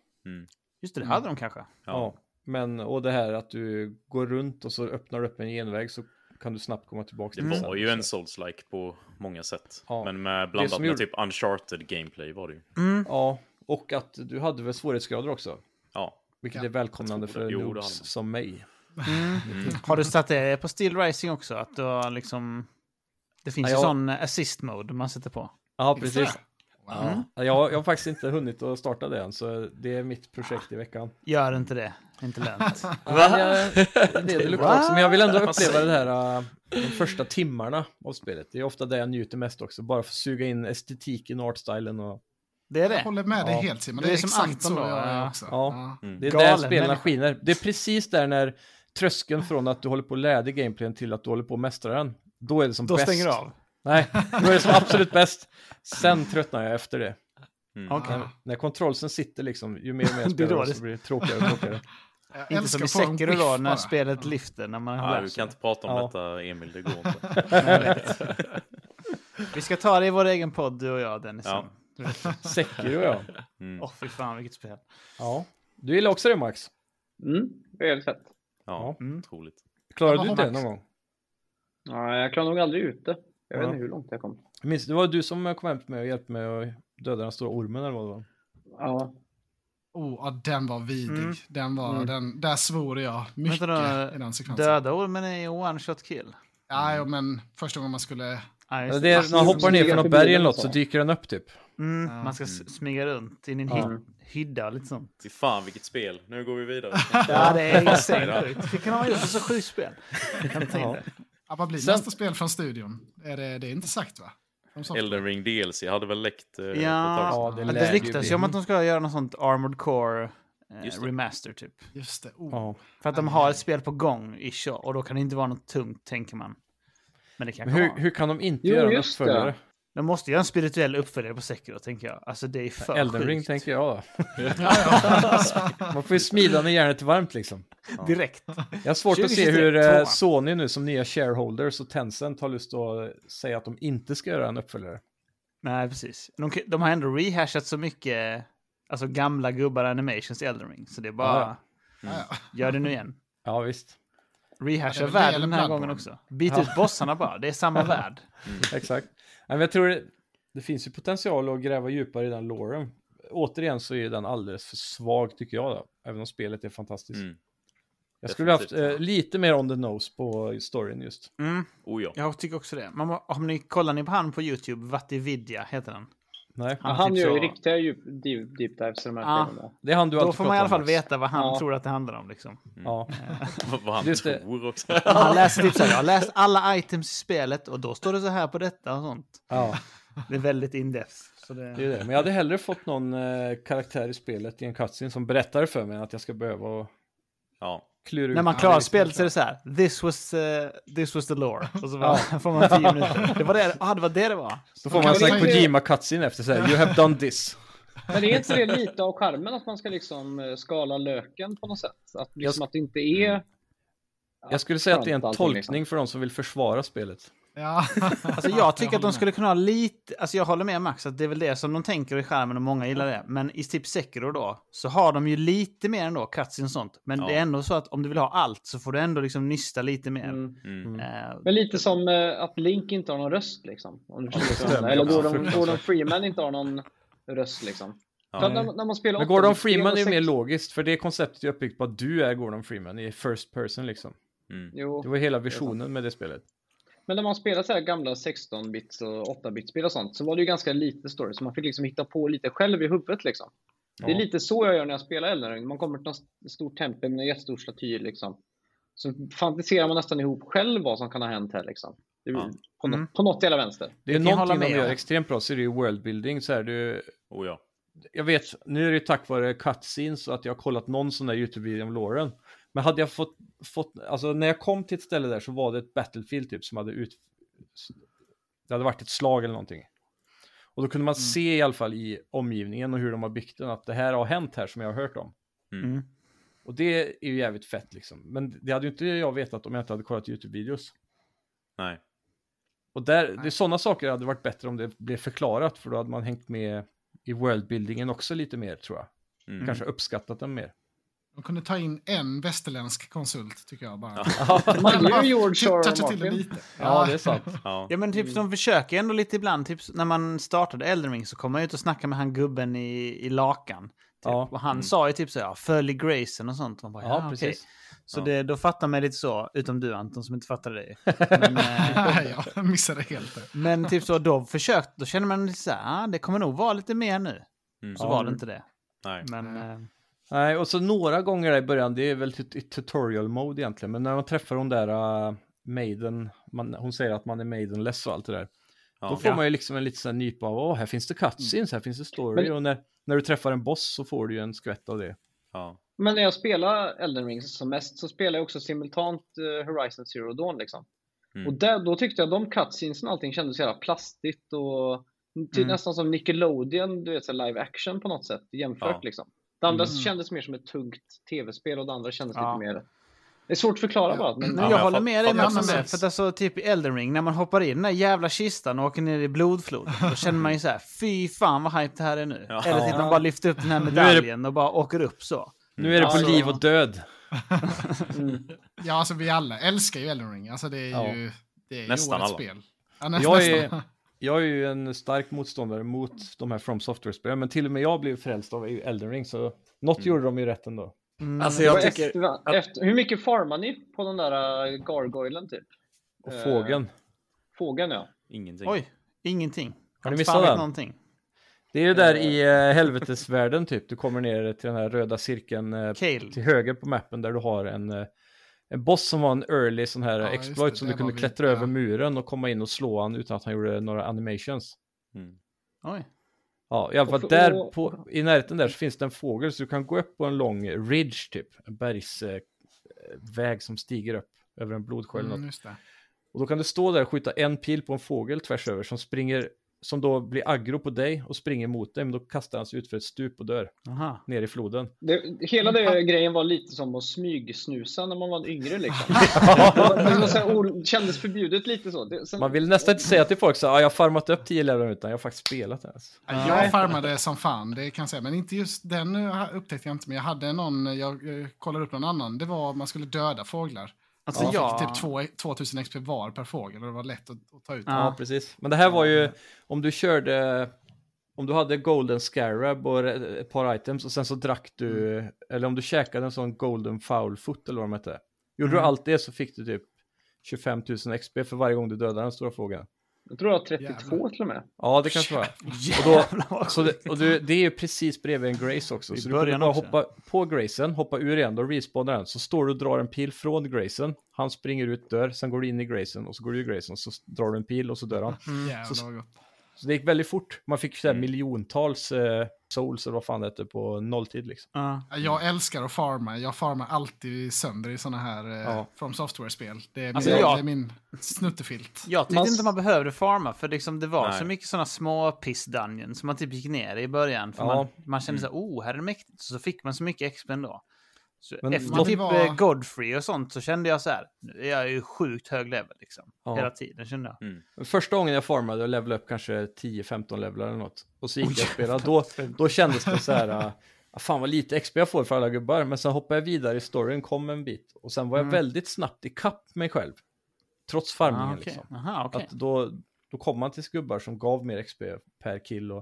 Speaker 5: Just det, det hade de kanske.
Speaker 1: Ja. men och det här att du går runt och så öppnar du upp en genväg så kan du snabbt komma tillbaka
Speaker 6: Det
Speaker 1: till
Speaker 6: var
Speaker 1: sen.
Speaker 6: ju en Souls-like på många sätt.
Speaker 1: Mm. Ja.
Speaker 6: Men med blandat
Speaker 1: som
Speaker 6: med
Speaker 1: gjorde-
Speaker 6: typ Uncharted gameplay var det ju.
Speaker 1: Ja, och att du hade väl svårighetsgrader också.
Speaker 6: Ja.
Speaker 1: Vilket
Speaker 2: Ja.
Speaker 1: är välkomnande
Speaker 6: Jag tror det.
Speaker 1: för
Speaker 6: Jo, det
Speaker 1: noobs
Speaker 6: hade man.
Speaker 1: som mig.
Speaker 5: Har du satt det på Steel Rising också? Att du har liksom... Det finns
Speaker 1: Ja,
Speaker 5: ju
Speaker 1: jag-
Speaker 5: sån assist mode man sätter på.
Speaker 1: Ja,
Speaker 2: Finns det
Speaker 1: precis.
Speaker 2: Wow.
Speaker 6: Mm.
Speaker 1: Ja, Jag, jag har faktiskt inte hunnit att starta det än, så det är mitt projekt i
Speaker 6: <laughs>
Speaker 1: veckan.
Speaker 5: Gör inte det. Inte lönt.
Speaker 1: Ja, jag- Det, det luktar också, men jag vill ändå uppleva det
Speaker 6: <laughs>
Speaker 1: här, äh, de första timmarna av spelet. Det är ofta det jag njuter mest också, bara för att suga in estetiken och artstylen. Och,
Speaker 5: Det är
Speaker 2: Jag
Speaker 5: det.
Speaker 2: håller med dig
Speaker 1: Ja.
Speaker 2: helt Simon.
Speaker 5: Du
Speaker 2: Det
Speaker 5: är
Speaker 2: är
Speaker 5: som
Speaker 2: exakt
Speaker 5: Anton
Speaker 2: så
Speaker 5: då,
Speaker 2: jag
Speaker 5: ja. Mm.
Speaker 2: är också.
Speaker 1: Ja.
Speaker 2: Ja.
Speaker 1: det är
Speaker 5: Galen
Speaker 1: där spelarna
Speaker 5: människa.
Speaker 1: skiner. Det är precis där när tröskeln från att du håller på att lära dig gameplayen till att du håller på att mästra den. Då är det som
Speaker 5: Då
Speaker 1: bäst.
Speaker 5: stänger du av.
Speaker 1: Nej, då är det som absolut bäst. Sen tröttnar jag efter det.
Speaker 6: Mm.
Speaker 5: Okej.
Speaker 2: Ja.
Speaker 1: När kontrollsen sitter liksom, ju mer och mer
Speaker 5: Det är
Speaker 1: jag spelar
Speaker 5: dåligt.
Speaker 1: så blir det tråkigare och tråkigare.
Speaker 2: Jag
Speaker 5: Inte
Speaker 2: älskar
Speaker 5: som i
Speaker 2: att få en
Speaker 5: Sekiro då,
Speaker 2: skiff
Speaker 5: när
Speaker 2: bara.
Speaker 5: spelet lyfter. När man
Speaker 6: Nej,
Speaker 5: lär
Speaker 6: du
Speaker 5: sig.
Speaker 6: kan inte prata om
Speaker 1: Ja.
Speaker 6: detta, Emil. Det går inte.
Speaker 5: Vi ska ta det i vår egen podd, du och jag, Dennis.
Speaker 6: Ja.
Speaker 5: Åh,
Speaker 1: Sekiro ja.
Speaker 6: Mm.
Speaker 5: fy fan vilket spel.
Speaker 1: ja. Du gillar också det Max?
Speaker 4: Mm, det är helt fett.
Speaker 6: Ja,
Speaker 5: Mm.
Speaker 6: otroligt.
Speaker 1: Klarade
Speaker 2: Jag
Speaker 1: du
Speaker 2: har
Speaker 1: inte det
Speaker 2: Max.
Speaker 1: någon gång?
Speaker 4: Ja, jag klarar nog aldrig ute. Jag vet
Speaker 1: Ja.
Speaker 4: inte hur långt jag kom.
Speaker 1: Jag minns, det var du som kom hem till mig och hjälpte mig att döda den stora ormen eller vad det var.
Speaker 4: Ja.
Speaker 2: Oh, ja, den var vidrig.
Speaker 5: Mm.
Speaker 2: Den var,
Speaker 4: Mm.
Speaker 2: Den, där svor jag mycket
Speaker 5: Vänta då,
Speaker 2: i den sekvensen.
Speaker 5: Döda ormen är ju one shot kill.
Speaker 2: Ja,
Speaker 1: Mm.
Speaker 2: jo, men första gången man skulle...
Speaker 5: Ja,
Speaker 1: Alltså,
Speaker 5: just
Speaker 1: det
Speaker 5: det.
Speaker 1: är, när man hoppar ner från något berg eller något så dyker den upp typ.
Speaker 5: Mm,
Speaker 2: Ja.
Speaker 5: man ska s- smyga runt in i en
Speaker 1: Ja.
Speaker 5: hy- hydda och lite sånt.
Speaker 6: Fy fan vilket spel. Nu går vi vidare.
Speaker 5: Ja, det är insane
Speaker 6: Ja.
Speaker 5: sjukt. Det kan man göra på så sjukt spel. Jag kan inte ta in det.
Speaker 2: Ja, vad blir
Speaker 1: Sen-
Speaker 2: nästa spel från studion? Är det, det är inte sagt va? De sa-
Speaker 6: <laughs> Elden Ring DLC hade väl läckt eh, på ett tag
Speaker 5: Ja,
Speaker 1: Ja, det
Speaker 5: det,
Speaker 1: lär
Speaker 5: det
Speaker 1: ju
Speaker 5: ryktas
Speaker 1: bli.
Speaker 5: ju om att de ska göra något sånt Armored Core eh,
Speaker 6: Just det.
Speaker 5: Remaster typ.
Speaker 2: Just det. Oh.
Speaker 1: Ja.
Speaker 5: För att de har ett spel på gång i och då kan det inte vara något tungt tänker man. Men det
Speaker 1: Men
Speaker 5: kanske
Speaker 1: hur,
Speaker 5: hur,
Speaker 1: hur kan de inte
Speaker 4: Jo,
Speaker 1: göra en
Speaker 4: just det.
Speaker 1: uppföljare?
Speaker 5: De måste göra en spirituell uppföljare på Sekiro tänker jag. Alltså det är för
Speaker 1: Elden Ring
Speaker 5: sjukt.
Speaker 1: tänker jag då. <laughs> Man får ju smida när järnet är varmt liksom.
Speaker 5: Direkt.
Speaker 1: Jag har svårt att se
Speaker 5: 2023,
Speaker 1: hur eh,
Speaker 5: tvåan.
Speaker 1: Sony nu som nya shareholders och Tencent har lust att säga att de inte ska göra en uppföljare.
Speaker 5: Nej, precis. De, kan- de har ändå rehashat så mycket alltså gamla gubbar animations i Elden Ring. Så det är bara,
Speaker 1: Ja.
Speaker 2: Ja, ja.
Speaker 5: gör det nu igen.
Speaker 1: Ja visst,
Speaker 5: Rehasha
Speaker 2: Ja, det är väl
Speaker 5: världen den här
Speaker 2: Bloodborne.
Speaker 5: gången också. Byt
Speaker 1: Ja.
Speaker 5: ut bossarna bara, det är <laughs> samma värld.
Speaker 1: exakt. Nej, Men jag tror det, det finns ju potential att gräva djupare i den loren. Återigen så är ju den alldeles för svag tycker jag, då, även om spelet är fantastiskt.
Speaker 6: Mm.
Speaker 1: jag skulle haft
Speaker 6: definitivt,
Speaker 1: eh,
Speaker 6: ja.
Speaker 1: lite mer on the nose på storyn just.
Speaker 5: Mm,
Speaker 6: Oh, ja. <laughs>
Speaker 5: jag tycker också det. Man, må- om ni kollar ni på han på YouTube, Vatividya heter han.
Speaker 1: Nej,
Speaker 4: Han,
Speaker 5: typ
Speaker 4: gör ju
Speaker 5: så-
Speaker 4: riktiga djup, deep, deep dives i de här
Speaker 5: Ja.
Speaker 4: filmerna.
Speaker 1: det är han du
Speaker 5: Då
Speaker 1: alltid
Speaker 5: får man
Speaker 1: pratar
Speaker 5: i alla
Speaker 1: om,
Speaker 5: fall
Speaker 1: Max.
Speaker 5: veta vad han
Speaker 4: Ja.
Speaker 5: tror att det handlar om. Liksom.
Speaker 1: Ja.
Speaker 6: Mm. Vad- Vad han
Speaker 1: Just det.
Speaker 6: tror också.
Speaker 5: Han läser typ så här, jag har läst alla items i spelet och då står det så här på detta och sånt.
Speaker 1: ja,
Speaker 5: Det är väldigt in-depth. Så
Speaker 1: det är
Speaker 5: det...
Speaker 1: det. Men jag hade hellre fått någon eh, karaktär i spelet i en cutscene som berättar för mig att jag ska behöva
Speaker 6: Ja.
Speaker 1: klura ut.
Speaker 5: När man
Speaker 1: Ja,
Speaker 5: klarar
Speaker 1: det är
Speaker 5: spelet så är
Speaker 1: liksom-
Speaker 5: det så här, this was, eh, this was the lore. Och så bara, <laughs> får man tio minuter. Det var det, ah, det var det det var.
Speaker 1: Då får man en sån här
Speaker 2: Kan vi-
Speaker 1: Kojima cutscene efter så här, you have done this.
Speaker 4: Men det är inte det lite av charmen att man ska liksom eh, skala löken på något sätt? Att, liksom
Speaker 1: sk- Mm.
Speaker 4: att det inte är...
Speaker 1: Jag skulle säga att det är
Speaker 4: skönt
Speaker 1: en
Speaker 4: allting, liksom.
Speaker 1: tolkning för de som vill försvara spelet.
Speaker 2: Ja.
Speaker 1: Mm.
Speaker 5: Alltså jag tycker att de skulle kunna ha lite, alltså jag håller med Max att det är väl det som de tänker i skärmen och många gillar det. Men i typ Sekiro då, så har de ju lite mer ändå, cutscenes och sånt. Men
Speaker 6: Ja.
Speaker 5: det är ändå så att om du vill ha allt så får du ändå liksom nysta lite mer.
Speaker 4: Mm.
Speaker 6: Mm.
Speaker 5: Eh,
Speaker 4: Men lite som eh, att Link inte har någon röst liksom. Om du förstår vad jag
Speaker 1: stämmer
Speaker 4: menar. Eller
Speaker 1: också.
Speaker 4: Gordon,
Speaker 1: Fruktansvärt.
Speaker 4: Gordon Freeman inte har någon röst liksom.
Speaker 6: Ja.
Speaker 4: För att när, när man spelar
Speaker 1: Men Gordon
Speaker 4: 8-bit-spel
Speaker 1: Freeman
Speaker 4: och
Speaker 1: är ju
Speaker 4: sex-
Speaker 1: mer logiskt, för det konceptet är uppbyggt på att du är Gordon Freeman i first person liksom.
Speaker 6: Mm.
Speaker 1: Det
Speaker 4: Jo,
Speaker 1: var hela visionen med det spelet.
Speaker 4: men när man spelar så här gamla 16-bits och 8-bits-spel och sånt så var det ju ganska lite story. Så man fick liksom hitta på lite själv i huvudet liksom. Det är
Speaker 1: Ja.
Speaker 4: lite så jag gör när jag spelar Elden Ring. Man kommer till något stort tempel med jättestor staty liksom. Så fantiserar man nästan ihop själv vad som kan ha hänt här liksom. Det,
Speaker 6: Ja.
Speaker 4: på, nå-
Speaker 5: Mm.
Speaker 4: på något jävla vänster.
Speaker 1: Det är
Speaker 5: kan jag hålla
Speaker 1: någonting de
Speaker 5: med
Speaker 1: gör
Speaker 5: om.
Speaker 1: extremt bra, så är det ju worldbuilding. Så här, du,
Speaker 6: Oh, ja.
Speaker 1: jag vet, nu är det ju tack vare cutscenes och att jag har kollat någon sån där YouTube-video om Lauren. Men hade jag fått, fått, alltså när jag kom till ett ställe där så var det ett Battlefield typ som hade ut, det hade varit ett slag eller någonting. Och då kunde man se i alla fall i omgivningen och hur de har byggt den att det här har hänt här som jag har hört om.
Speaker 6: Mm.
Speaker 1: Och det är ju jävligt fett liksom. Men det hade ju inte jag vetat om jag inte hade kollat YouTube-videos.
Speaker 6: Nej.
Speaker 1: Och där, det är sådana saker hade varit bättre om det blev förklarat, för då hade man hängt med i worldbuildingen också lite mer tror jag.
Speaker 6: Mm.
Speaker 1: Kanske uppskattat den mer.
Speaker 2: De kunde ta in en västerländsk konsult, tycker jag. bara.
Speaker 4: Man
Speaker 2: Bara
Speaker 4: gör George
Speaker 2: toucha
Speaker 4: R. R.
Speaker 2: till det
Speaker 4: Martin.
Speaker 2: lite.
Speaker 1: Ja, det är
Speaker 2: <laughs>
Speaker 1: sant.
Speaker 6: Ja.
Speaker 5: Ja men typ de försöker ändå lite ibland. Typ när man startade Elden Ring så kom man ut och snackade med han gubben i, i lakan. Typ.
Speaker 1: Ja.
Speaker 5: Och han sa ju typ så här, "Ja, följ Grayson och sånt. Man bara, ja,
Speaker 1: Ja,
Speaker 5: okej.
Speaker 1: precis.
Speaker 5: Så
Speaker 6: Ja.
Speaker 5: det, då fattar man lite så, utom du Anton som inte fattade det.
Speaker 2: eh, Nej, jag missade helt det.
Speaker 5: Men typ så, då försökte, då känner man lite så här, ah, det kommer nog vara lite mer nu.
Speaker 6: Mm.
Speaker 5: Så
Speaker 1: Ja.
Speaker 5: var det inte det.
Speaker 6: Nej.
Speaker 5: Men eh,
Speaker 1: Nej, och så några gånger där i början, det är väl tut- i tutorial mode egentligen, men när man träffar hon där uh, maiden, man, hon säger att man är maidenless och allt det där, då
Speaker 6: Ja.
Speaker 1: får
Speaker 5: Ja.
Speaker 1: man ju liksom en liten sån här nypa av, åh, här finns det cutscenes, här finns det story,
Speaker 4: Men-
Speaker 1: och när, när du träffar en boss så får du ju en skvätt av det.
Speaker 6: Ja.
Speaker 4: Men när jag spelar Elden Ring som mest så spelar jag också simultant eh, Horizon Zero Dawn. Liksom.
Speaker 6: Mm.
Speaker 4: Och där, då tyckte jag de cutscenesen och allting kändes så jävla plastigt och ty-
Speaker 5: Mm.
Speaker 4: nästan som Nickelodeon, du vet så här live action på något sätt jämfört
Speaker 6: Ja.
Speaker 4: liksom. Det andra
Speaker 2: Mm.
Speaker 4: kändes mer som ett tungt tv-spel och det andra kändes
Speaker 5: Ja.
Speaker 4: lite mer... Det är svårt att förklara
Speaker 2: Ja.
Speaker 4: bara. Men,
Speaker 5: Nej,
Speaker 6: Ja,
Speaker 5: jag
Speaker 6: men
Speaker 5: håller
Speaker 6: fa-
Speaker 5: med dig
Speaker 2: fattar
Speaker 5: Max
Speaker 2: vad
Speaker 5: om det.
Speaker 2: du
Speaker 5: För att
Speaker 2: säger.
Speaker 5: alltså, typ i Elden Ring, när man hoppar in i den där jävla kistan och åker ner i blodfloden, då känner man ju så här, fy fan vad hype det här är nu.
Speaker 6: Ja.
Speaker 5: Eller typ man bara lyfter upp den här medaljen och bara åker upp så.
Speaker 1: Nu är det på
Speaker 4: Alltså-
Speaker 1: liv och död.
Speaker 2: Ja, alltså vi alla älskar ju Elden Ring. Alltså det är
Speaker 1: Ja.
Speaker 2: ju, det är
Speaker 6: Nästan
Speaker 2: ju årets
Speaker 6: alla.
Speaker 2: spel. Ja, nä,
Speaker 1: Jag
Speaker 2: nästan. <laughs>
Speaker 1: är- Jag är ju en stark motståndare mot de här From Software-spelen, men till och med jag blev frälst av Elden Ring, så något gjorde de ju rätt ändå.
Speaker 7: Alltså
Speaker 4: jag
Speaker 7: jag
Speaker 4: efter,
Speaker 7: tycker...
Speaker 4: efter, hur mycket farmar ni på den där eh, gargoylen typ?
Speaker 1: Och
Speaker 4: Eh,
Speaker 1: fågeln.
Speaker 4: Fågeln ja.
Speaker 6: Ingenting.
Speaker 5: Oj, ingenting.
Speaker 1: Har ni
Speaker 5: Inte
Speaker 1: missat
Speaker 5: fan vet
Speaker 1: den?
Speaker 5: Någonting.
Speaker 1: Det är ju där i eh, helvetesvärlden typ, du kommer ner till den här röda cirkeln eh,
Speaker 5: Kale.
Speaker 1: till höger på mappen där du har en, eh, en boss som var en early sån här
Speaker 2: Ja, just
Speaker 1: exploit
Speaker 2: det,
Speaker 1: som
Speaker 2: där
Speaker 1: du kunde
Speaker 2: var vi,
Speaker 1: klättra
Speaker 2: ja.
Speaker 1: över muren och komma in och slå han utan att han gjorde några animations.
Speaker 6: Mm.
Speaker 5: Oj.
Speaker 1: Ja, i alla fall
Speaker 4: Och-
Speaker 1: där
Speaker 4: och-
Speaker 1: på, i närheten där så finns det en fågel så du kan gå upp på en lång ridge typ, en bergsväg eh, väg som stiger upp över en blodsjö eller något.
Speaker 2: Mm, just det.
Speaker 1: Och då kan du stå där och skjuta en pil på en fågel tvärs över som springer, som då blir aggro på dig och springer mot dig, men då kastar han sig ut för ett stup och dör
Speaker 5: Aha.
Speaker 1: ner i floden.
Speaker 5: Mm.
Speaker 4: Det, hela
Speaker 2: Men pa-
Speaker 4: den grejen var lite som att smygsnusa när man var
Speaker 1: <laughs>
Speaker 4: yngre liksom. det var så här, o- kändes förbjudet lite så. Det, sen,
Speaker 1: Man vill nästan inte säga till folk så här, "Ah, jag har farmat upp 10 level utan jag har faktiskt spelat det här. alltså."
Speaker 2: Ja, Jag farmade som fan, det kan jag säga. Men inte just den eh, upptäckte jag inte. Men jag hade någon, jag eh, kollade upp någon annan. Det var man skulle döda fåglar.
Speaker 5: Alltså
Speaker 2: Man
Speaker 5: jag...
Speaker 2: fick typ två- 2000 XP var per fågel och det var lätt att, att ta ut.
Speaker 5: Ja.
Speaker 1: Ja, precis. Men det här var ju, om du körde, om du hade Golden Scarab och ett par items och sen så drack du,
Speaker 5: Mm.
Speaker 1: eller om du käkade en sån Golden Foulfoot eller vad de hette. Gjorde du
Speaker 5: Mm.
Speaker 1: allt det så fick du typ 25 000 XP för varje gång du dödade den stora fågeln.
Speaker 4: Jag tror jag var 32
Speaker 2: Jävlar.
Speaker 4: till och med.
Speaker 1: Ja, det kanske var.
Speaker 5: <laughs> Jävlar vad
Speaker 1: Så Alltså, det, och du, det är ju precis bredvid en Grace också.
Speaker 5: I
Speaker 1: Så du kunde
Speaker 5: början
Speaker 1: bara
Speaker 5: också.
Speaker 1: hoppa på Gracen, hoppa ur igen, då respawnar den. Så står du och drar en pil från Gracen, han springer ut, dör, sen går du in i Gracen och så går du ur Gracen, så drar du en pil och Mm. så dör han.
Speaker 5: Mm.
Speaker 2: Jävlar vad gott.
Speaker 1: Så det gick väldigt fort. Man fick så här
Speaker 6: Mm.
Speaker 1: miljontals eh, souls eller vad fan det hette på nolltid liksom.
Speaker 5: Ja.
Speaker 2: Ja, Jag älskar att farma. Jag farmar alltid sönder i sådana här eh,
Speaker 1: Ja.
Speaker 2: From Software-spel. Det, är
Speaker 5: Alltså,
Speaker 2: min-
Speaker 5: jag-
Speaker 2: det är min snuttefilt.
Speaker 5: Jag tyckte
Speaker 4: Man-
Speaker 5: inte man behövde farma, för liksom det var
Speaker 6: Nej.
Speaker 5: så mycket sådana små piss dungeons som man typ gick ner i början. För
Speaker 1: Ja. Mm.
Speaker 5: man, man kände så här, oh, här är det mäktigt. Så fick man så mycket XP ändå. Så
Speaker 1: Men
Speaker 5: efter
Speaker 1: man
Speaker 5: typ
Speaker 2: var-
Speaker 5: eh, Godfrey och sånt så kände jag så här, nu är jag ju sjukt hög level liksom.
Speaker 1: Ja.
Speaker 5: Hela tiden kände jag.
Speaker 1: Första gången jag farmade och levlade upp kanske 10-15 levlar eller något. Och så gick jag och spelade. Då, då kändes det så här, eh, "Ah, fan vad lite XP jag får för alla gubbar. Men sen hoppade jag vidare i storyn, kom en bit. Och sen var jag
Speaker 5: Mm.
Speaker 1: väldigt snabbt i kapp mig själv. Trots farmingen
Speaker 5: Ah, okej.
Speaker 1: liksom.
Speaker 5: Aha, okej.
Speaker 1: Att då, då kom man till gubbar som gav mer XP per kill och,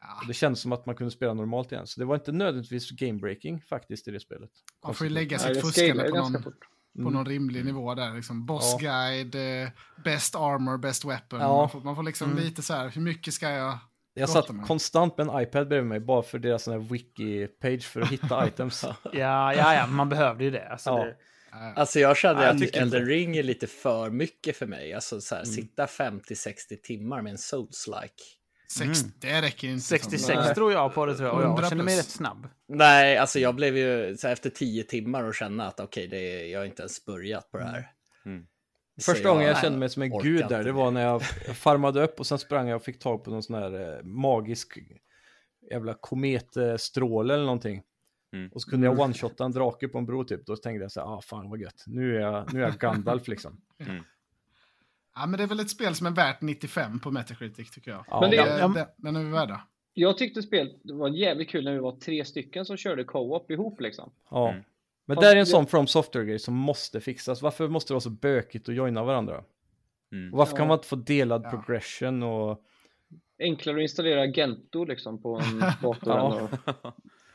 Speaker 5: Ah.
Speaker 2: Ja.
Speaker 1: och det kändes som att man kunde spela normalt igen. Så det var inte nödvändigtvis game-breaking faktiskt i det spelet.
Speaker 2: Man får ju lägga
Speaker 4: Nej,
Speaker 2: sitt
Speaker 4: det scalar
Speaker 2: fuskande
Speaker 4: ju
Speaker 2: på
Speaker 4: ganska
Speaker 2: någon,
Speaker 4: fort.
Speaker 2: på någon rimlig nivå där. Liksom boss guide, eh, best armor, best weapon.
Speaker 1: Ja. Mm.
Speaker 2: Man, får, man får liksom lite så här, hur mycket ska jag...
Speaker 1: Jag
Speaker 2: Prata
Speaker 1: satt
Speaker 2: med.
Speaker 1: konstant med en iPad bredvid mig bara för deras sån här wiki-page för att
Speaker 5: <laughs>
Speaker 1: hitta items.
Speaker 5: Ja, ja, ja, man behövde ju det. Alltså,
Speaker 1: Ja.
Speaker 5: det...
Speaker 7: Alltså jag känner
Speaker 6: jag
Speaker 7: att
Speaker 6: tycker inte.
Speaker 7: Elden Ring är lite för mycket för mig. Alltså så här, sitta 50-60 timmar med en Souls-like.
Speaker 2: Sex, Det räcker inte. som-
Speaker 5: 66 tror jag på det tror jag, och
Speaker 2: 100
Speaker 5: jag kände mig
Speaker 2: plus.
Speaker 5: rätt snabb.
Speaker 7: Nej, alltså jag blev ju så här, efter 10 timmar och känna att okej, det är- jag har inte ens börjat på det här.
Speaker 6: Mm.
Speaker 7: Så
Speaker 1: Första gången jag kände mig som en
Speaker 7: orkar
Speaker 1: gud
Speaker 7: inte
Speaker 1: där, det
Speaker 7: mer.
Speaker 1: var när jag farmade upp och sen sprang jag och fick tag på någon sån här eh, magisk jävla kometstråle eller någonting.
Speaker 6: Mm.
Speaker 1: Och så kunde jag one-shotta en drake på en bro typ. Då tänkte jag så här, ah fan vad gött. Nu är jag, nu är jag Gandalf liksom.
Speaker 2: Ja, men det är väl ett spel som är värt 95 på Metacritic tycker jag.
Speaker 1: Ja,
Speaker 4: Men det-
Speaker 2: Eh,
Speaker 5: ja, men-
Speaker 2: den, den är vi värda.
Speaker 4: Jag tyckte spelet var jävligt kul när vi var tre stycken som körde co-op ihop liksom.
Speaker 1: ja.
Speaker 6: Mm.
Speaker 1: Men
Speaker 4: Fast
Speaker 1: där är en
Speaker 4: jag-
Speaker 1: sån From Software-grej som måste fixas. Varför måste det vara så bökigt att joina varandra?
Speaker 6: Mm.
Speaker 1: Och varför kan
Speaker 4: Ja.
Speaker 1: man inte få delad
Speaker 2: Ja.
Speaker 1: progression och...
Speaker 4: Enklare att installera Gento liksom på
Speaker 2: <laughs>
Speaker 4: en dator.
Speaker 1: Ja.
Speaker 4: än att-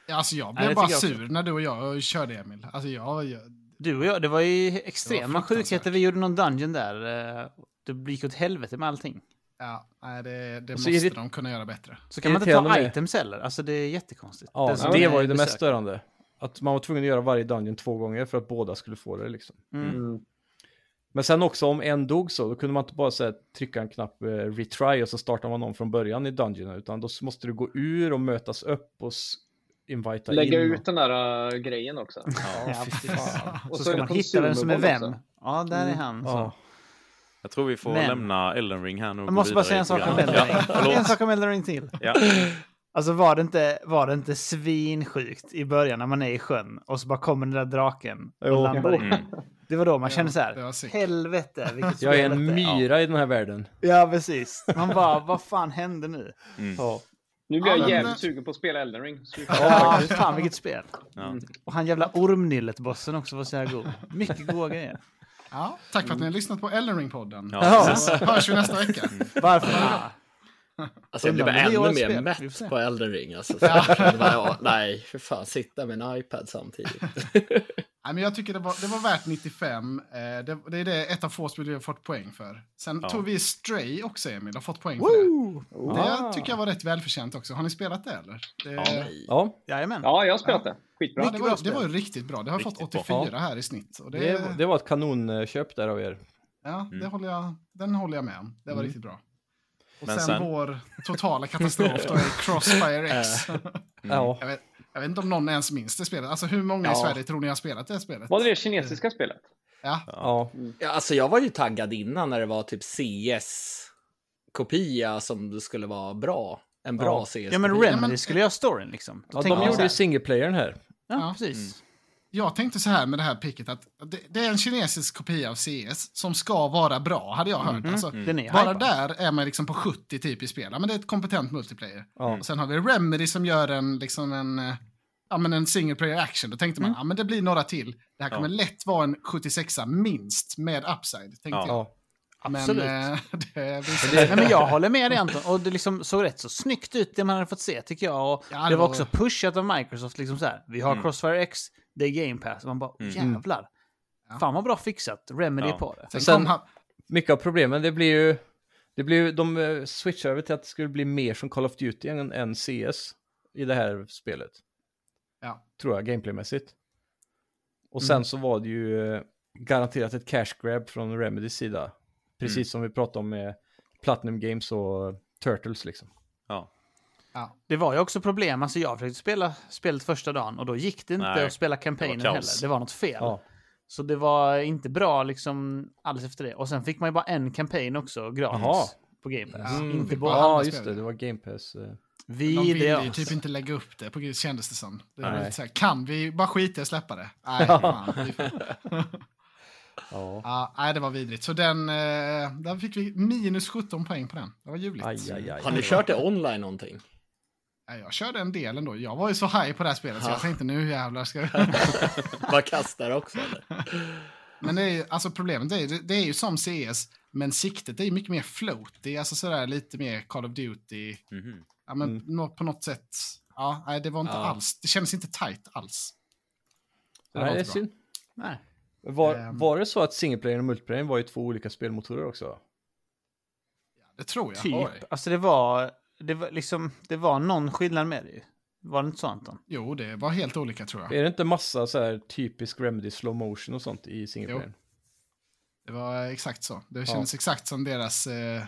Speaker 2: Ja, Alltså jag
Speaker 5: Ja,
Speaker 2: blev
Speaker 5: det
Speaker 2: bara
Speaker 5: tycker jag också.
Speaker 2: sur när du och jag körde Emil. Alltså jag, jag
Speaker 5: Du och jag, det var ju
Speaker 2: Det
Speaker 5: extrema
Speaker 2: var fruktansvärt.
Speaker 5: sjukheter. Vi gjorde någon dungeon där. eh, Det gick åt helvete med allting.
Speaker 2: ja, nej, det, det
Speaker 1: Och
Speaker 2: måste
Speaker 1: så irrit-
Speaker 2: de kunna göra bättre.
Speaker 5: Så kan man inte
Speaker 1: Irriterande
Speaker 5: ta
Speaker 1: med.
Speaker 5: items heller. Alltså det är jättekonstigt.
Speaker 1: Ja,
Speaker 5: Den som
Speaker 1: det
Speaker 5: är
Speaker 1: var ju det mest
Speaker 5: besökare.
Speaker 1: störande. Att man var tvungen att göra varje dungeon två gånger för att båda skulle få det liksom.
Speaker 5: Mm.
Speaker 4: Mm.
Speaker 1: Men sen också om en dog så, då kunde man inte bara så här, trycka en knapp eh, retry och så startar man om från början i dungeon, utan då s- måste du gå ur och mötas upp och s- invita
Speaker 4: Lägga
Speaker 1: in.
Speaker 4: ut den där äh, grejen också.
Speaker 5: Ja,
Speaker 4: Och
Speaker 5: så,
Speaker 4: så
Speaker 5: ska
Speaker 4: är det
Speaker 5: man hitta vem som är
Speaker 4: konsumerboll
Speaker 5: vem.
Speaker 4: också.
Speaker 5: Ja, där är
Speaker 4: Mm.
Speaker 5: han. Så.
Speaker 1: Ja.
Speaker 6: <laughs> Jag tror vi får
Speaker 5: Men-
Speaker 6: lämna Elden Ring här nu.
Speaker 5: Jag
Speaker 6: och gå
Speaker 5: måste bara
Speaker 6: vidare
Speaker 5: säga
Speaker 6: i
Speaker 5: en sak om
Speaker 6: programmet.
Speaker 5: Elden Ring.
Speaker 6: Ja, förlåt.
Speaker 5: En sak om Elden Ring till.
Speaker 6: Ja.
Speaker 5: Alltså var det, inte, var det inte svinsjukt i början när man är i sjön och så bara kommer den där draken och
Speaker 1: Jo.
Speaker 5: landar i.
Speaker 6: Mm.
Speaker 5: Det var då man kände så
Speaker 2: det var
Speaker 5: här,
Speaker 2: sick.
Speaker 5: helvete vilket spel
Speaker 1: Jag är en
Speaker 5: detta
Speaker 1: myra i den här världen.
Speaker 5: Ja, precis. Man bara, vad fan hände nu?
Speaker 1: Ja.
Speaker 4: Nu blir jag
Speaker 2: Ja, men-
Speaker 4: jävligt sugen på att spela Elden Ring. Så vi får-
Speaker 5: Ja, fan vilket spel.
Speaker 6: Ja.
Speaker 5: Och han jävla ormnyllet-bossen också var så här god. Mycket goda grejer.
Speaker 2: Ja, tack för att ni har lyssnat på Elden Ring-podden.
Speaker 6: Ja,
Speaker 5: Ja.
Speaker 6: precis.
Speaker 2: Så hörs vi nästa vecka.
Speaker 5: Varför? Ah,
Speaker 7: Alltså jag blir bara
Speaker 5: Undrar om
Speaker 7: ännu
Speaker 5: det är årets
Speaker 7: mer
Speaker 5: spel. Vi får se.
Speaker 7: mätt på Elden Ring. Alltså, för <laughs> jag bara, ja, nej, för fan, sitta med en iPad
Speaker 6: <laughs>
Speaker 7: samtidigt.
Speaker 2: Nej, men jag tycker det var, det var värt 95. Eh, det, det är det ett av få spel vi har fått poäng för. Sen
Speaker 6: Ja.
Speaker 2: tog vi Stray också, Emil, och fått poäng för
Speaker 5: woo! Ah.
Speaker 2: det. Det tycker jag var rätt välförtjänt också. Har ni spelat det eller? Det,
Speaker 6: Ja.
Speaker 1: Ja,
Speaker 5: Jajamän.
Speaker 4: Ja, jag har spelat det. Skitbra.
Speaker 2: Ja, det,
Speaker 5: Mycket bra
Speaker 2: var, det
Speaker 5: spel.
Speaker 2: var ju riktigt bra. Det har fått
Speaker 6: Riktigt bra.
Speaker 2: 84 här i snitt. Och det,
Speaker 1: det, Mm. det var ett kanonköp där av er.
Speaker 2: ja, det håller jag, den håller jag med om. Det var
Speaker 1: Mm.
Speaker 2: riktigt bra. Och
Speaker 6: Men
Speaker 2: sen,
Speaker 6: sen-
Speaker 2: vår totala katastrof då är Crossfire X.
Speaker 1: Ja.
Speaker 2: jag, vet, jag vet inte om någon ens minns det spelet. Alltså hur många i
Speaker 4: Ja.
Speaker 2: Sverige tror ni har spelat det spelet?
Speaker 4: Var det det kinesiska spelet?
Speaker 2: Ja,
Speaker 1: ja.
Speaker 7: Ja, alltså jag var ju taggad innan när det var typ CS-kopia som skulle vara bra. En bra
Speaker 1: Ja.
Speaker 7: CS-kopia.
Speaker 5: Ja, men Remedy skulle göra storyn liksom. Då
Speaker 1: ja
Speaker 5: tänker
Speaker 1: de
Speaker 5: man så
Speaker 1: gjorde
Speaker 5: här,
Speaker 1: ju singleplayern här.
Speaker 5: Ja,
Speaker 2: Ja.
Speaker 5: precis.
Speaker 2: Jag tänkte så här med det här picket att det, det är en kinesisk kopia av CS som ska vara bra, hade jag hört.
Speaker 5: Mm.
Speaker 2: Alltså,
Speaker 5: Den är
Speaker 2: Bara
Speaker 5: hypad.
Speaker 2: där är man liksom på 70 typ i spel. Ja, men det är ett kompetent multiplayer.
Speaker 1: Ja.
Speaker 2: Och sen har vi Remedy som gör en, liksom en, eh, ja, men en single player action. Då tänkte
Speaker 5: Mm.
Speaker 2: man, ja men det blir några till. Det här kommer lätt vara en 76a minst med upside, tänkte
Speaker 6: Ja.
Speaker 2: jag. Men,
Speaker 5: Absolut.
Speaker 2: eh, <laughs> det visar
Speaker 5: Nej, men jag håller med dig Anton. Och det liksom såg rätt så snyggt ut det man hade fått se tycker jag. Och
Speaker 2: Ja, det
Speaker 5: det var
Speaker 2: var-
Speaker 5: också pushat av Microsoft. Liksom så här, vi har Crossfire X, det är Game Pass. Och man bara, jävlar. Fan vad bra fixat. Remedy
Speaker 6: Ja.
Speaker 5: på det.
Speaker 2: sen,
Speaker 1: sen-
Speaker 2: kom han,
Speaker 1: Mycket av problemen, det blir ju... Det blir ju de eh, switchar över till att det skulle bli mer som Call of Duty än, än CS i det här spelet.
Speaker 2: ja, Mm.
Speaker 1: tror jag, gameplaymässigt. Och sen så var det ju eh, garanterat ett cash grab från Remedys sida. Precis
Speaker 2: Mm.
Speaker 1: som vi pratade om med Platinum Games och Turtles liksom.
Speaker 6: Ja.
Speaker 2: ja.
Speaker 5: Det var ju också problem. Alltså jag försökte spela spelet första dagen och då gick det inte
Speaker 6: Nej,
Speaker 5: att spela kampanjen
Speaker 6: det var kaos.
Speaker 5: heller. Det var något fel.
Speaker 1: Ja.
Speaker 5: Så det var inte bra liksom alls efter det. Och sen fick man ju bara en kampanj också gratis
Speaker 1: Jaha.
Speaker 5: på Game Pass.
Speaker 2: Ja,
Speaker 5: inte
Speaker 2: fick
Speaker 5: båda.
Speaker 2: bara-
Speaker 1: Ja,
Speaker 2: Alla
Speaker 1: just
Speaker 2: spel.
Speaker 1: det, det var Game Pass. eh.
Speaker 2: De ville ju
Speaker 5: Vidrigt.
Speaker 2: typ inte lägga upp det, på, kändes det som. Det var
Speaker 1: Nej.
Speaker 2: lite så här, kan vi bara skita i att släppa det? Nej, fan. vi får-
Speaker 1: <laughs> Ja.
Speaker 2: <laughs> Ja, nej, det var vidrigt. Så den, eh, där fick vi minus 17 poäng på den. Det var ljuvligt.
Speaker 1: Aj, aj, aj.
Speaker 7: Har ni kört det
Speaker 1: <laughs>
Speaker 7: online någonting?
Speaker 2: Ja, Jag körde en del ändå. Jag var ju så high på det här spelet så jag tänkte nu jävlar
Speaker 1: <laughs>
Speaker 2: ska jag...
Speaker 7: Bara kastar också eller?
Speaker 2: Men det är ju, alltså problemet är, ju- det är ju som CS, men siktet är ju mycket mer float. Det är alltså sådär lite mer Call of Duty.
Speaker 6: Mhm.
Speaker 2: Ja, men nå- på något sätt. Ja, nej, det var inte
Speaker 7: Ja.
Speaker 2: alls. Det kändes inte tight alls.
Speaker 1: Det
Speaker 2: det var
Speaker 1: här är
Speaker 2: inte bra.
Speaker 1: synd.
Speaker 5: Nej.
Speaker 1: Var,
Speaker 2: Ehm.
Speaker 1: var det så att singleplayern och multiplayern var ju två olika spelmotorer också?
Speaker 2: Det tror jag.
Speaker 5: Typ.
Speaker 2: Oj.
Speaker 5: Alltså det var, det var liksom, det var någon skillnad med det ju. Var det inte så Anton?
Speaker 2: Jo, det var helt olika tror jag.
Speaker 1: Är det inte massa så här typisk Remedy slow motion och sånt i singleplayern?
Speaker 2: Det var exakt så. Det kändes exakt som deras eh,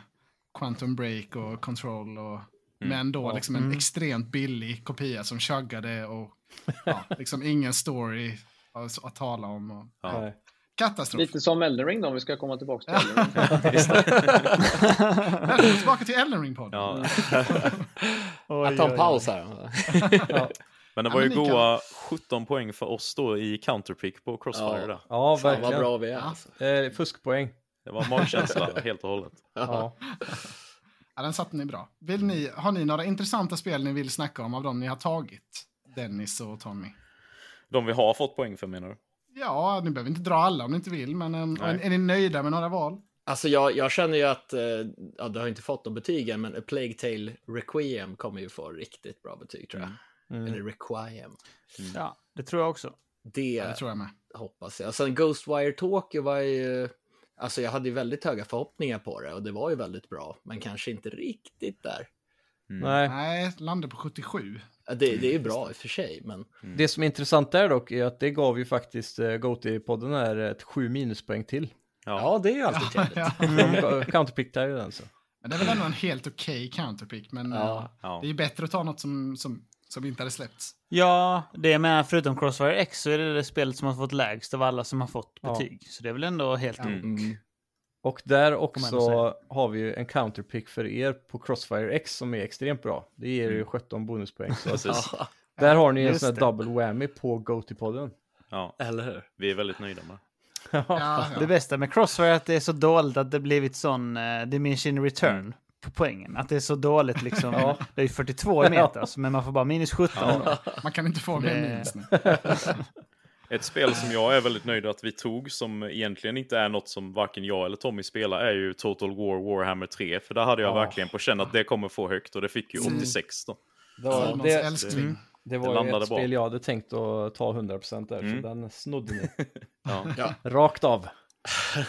Speaker 2: Quantum Break och Control. Och, Men då liksom en extremt billig kopia som chuggade och
Speaker 1: <laughs>
Speaker 2: ja, liksom ingen story att, att tala om. Och,
Speaker 6: Ja.
Speaker 1: Nej.
Speaker 2: Katastrof.
Speaker 4: Lite som Elden Ring då, om vi ska komma tillbaka till <laughs> Elden
Speaker 1: <laughs>
Speaker 4: Ring.
Speaker 2: Välkommen Mm. tillbaka till Elden Ring podden
Speaker 6: Ja.
Speaker 7: <laughs> Jag tar en paus här.
Speaker 6: Men det
Speaker 2: Ja,
Speaker 6: var ju
Speaker 2: men ni kan-
Speaker 6: goa 17 poäng för oss då i counterpick på Crossfire
Speaker 7: Ja.
Speaker 6: där.
Speaker 1: Ja,
Speaker 7: Fan vad
Speaker 1: verkligen.
Speaker 7: bra vi är.
Speaker 2: Ja.
Speaker 7: Alltså.
Speaker 1: Eh, fuskpoäng.
Speaker 6: Det var magkänsla helt och hållet.
Speaker 1: Ja.
Speaker 2: Ja, den satte ni bra. Vill ni, har ni några intressanta spel ni vill snacka om av dem ni har tagit? Dennis och Tommy.
Speaker 6: De vi har fått poäng för menar du?
Speaker 2: Ja, ni behöver inte dra alla om ni inte vill, men äm,
Speaker 6: Nej.
Speaker 2: är, är ni nöjda med några val?
Speaker 7: Alltså jag, jag känner ju att, eh, ja du har inte fått de betygen, men A Plague Tale Requiem kommer ju få riktigt bra betyg tror jag.
Speaker 1: Mm.
Speaker 7: Eller Requiem.
Speaker 5: Ja, det tror jag också.
Speaker 7: Det,
Speaker 2: Ja, det tror jag med.
Speaker 7: hoppas jag. Och sen Ghostwire Tokyo var ju, alltså jag hade ju väldigt höga förhoppningar på det och det var ju väldigt bra, men kanske inte riktigt där.
Speaker 6: Mm.
Speaker 1: Nej.
Speaker 2: Nej, landar på 77.
Speaker 7: Ja, Det, det är ju bra i och för sig, men
Speaker 1: Det som är intressant där dock är att det gav ju faktiskt eh, GoTi-podden här ett sju minuspoäng till.
Speaker 7: ja, det är ju
Speaker 2: <laughs>
Speaker 7: alltid trevligt.
Speaker 2: Ja,
Speaker 1: De counterpickade ju den så.
Speaker 2: Men det är väl ändå en helt okej counterpick, men
Speaker 7: Ja,
Speaker 2: äh,
Speaker 6: ja.
Speaker 2: det är ju bättre att ta något som, som, som inte hade släppts.
Speaker 5: Ja, det med förutom Crossfire X så är det det spelet som har fått lägst av alla som har fått
Speaker 1: Ja.
Speaker 5: betyg. Så det är väl ändå helt
Speaker 2: Ja.
Speaker 5: ok.
Speaker 7: Mm.
Speaker 1: Och där
Speaker 5: man
Speaker 1: också
Speaker 5: ändå
Speaker 1: har vi ju en counterpick för er på Crossfire X som är extremt bra. Det ger ju 17 bonuspoäng. Så att
Speaker 6: Precis.
Speaker 7: Ja,
Speaker 1: där har ni en
Speaker 5: Just
Speaker 1: sån här
Speaker 5: det.
Speaker 1: double whammy på GoTi-podden.
Speaker 6: Ja,
Speaker 7: eller hur?
Speaker 6: vi är väldigt nöjda med det.
Speaker 2: Ja, ja.
Speaker 5: Det bästa med Crossfire är att det är så dåligt att det blivit sån uh, diminishing return på
Speaker 6: Mm.
Speaker 5: poängen. Att det är så dåligt
Speaker 6: <laughs>
Speaker 5: liksom. Det är ju 42 i metas, men man får bara minus 17. ändå.
Speaker 2: Man kan inte få mer
Speaker 5: Det-
Speaker 2: minus nu.
Speaker 6: Ett spel som jag är väldigt nöjd att vi tog, som egentligen inte är något som varken jag eller Tommy spelar, är ju Total War Warhammer 3. För där hade jag
Speaker 1: Ja.
Speaker 6: verkligen på känn att det kommer få högt och det fick ju 86 då.
Speaker 1: Det var,
Speaker 2: Simons
Speaker 1: det,
Speaker 2: älskling.
Speaker 1: det
Speaker 6: det
Speaker 1: var ju
Speaker 6: landade
Speaker 1: ett
Speaker 6: bra.
Speaker 1: spel jag hade tänkt att ta 100% där,
Speaker 6: Mm.
Speaker 1: så den snodde ni.
Speaker 6: Ja,
Speaker 1: Rakt av.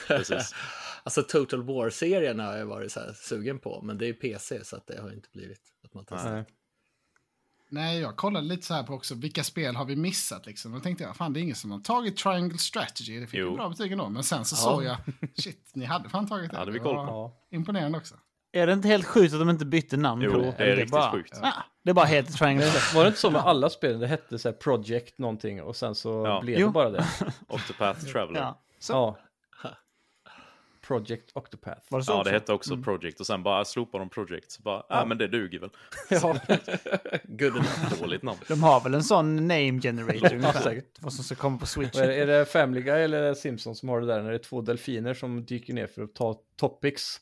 Speaker 6: precis.
Speaker 7: <laughs> Alltså Total War-serien har jag varit så här sugen på, men det är ju PC så att det har inte blivit att man testar.
Speaker 1: Nej.
Speaker 2: Nej, jag kollade lite så här på också, vilka spel har vi missat liksom? Då tänkte jag, fan det är ingen som har tagit Triangle Strategy, det fick
Speaker 6: Jo.
Speaker 2: ju bra betyg ändå. Men sen så
Speaker 7: Ja.
Speaker 2: såg jag, shit, ni hade fan tagit det.
Speaker 6: Ja, det vi koll på.
Speaker 2: var
Speaker 1: Ja.
Speaker 2: Imponerande också.
Speaker 5: Är det inte helt sjukt att de inte bytte namn
Speaker 6: Jo,
Speaker 5: på
Speaker 6: det är riktigt
Speaker 5: bara,
Speaker 6: sjukt.
Speaker 5: Ah, det är bara helt Triangle.
Speaker 1: Var det inte så med alla spelen? Det hette så här Project någonting och sen så
Speaker 6: Ja.
Speaker 1: blev
Speaker 5: Jo.
Speaker 1: det bara <laughs> det.
Speaker 6: Octopath Traveler.
Speaker 5: ja.
Speaker 6: Ja,
Speaker 5: Så,
Speaker 1: Ja. <laughs> Project Octopath.
Speaker 5: Var det så
Speaker 6: det
Speaker 5: också?
Speaker 6: hette också Project och sen bara slopar de Project. Så bara, ja ah, men det duger väl.
Speaker 1: Ja,
Speaker 7: Good enough.
Speaker 6: Dåligt namn.
Speaker 5: De har väl en sån name
Speaker 6: <laughs>
Speaker 5: generator ungefär?
Speaker 1: säkert.
Speaker 5: Vad som ska komma på Switch.
Speaker 1: Och är, är det Family Guy eller Simpsons som har det där när det är två delfiner som dyker ner för att ta topics?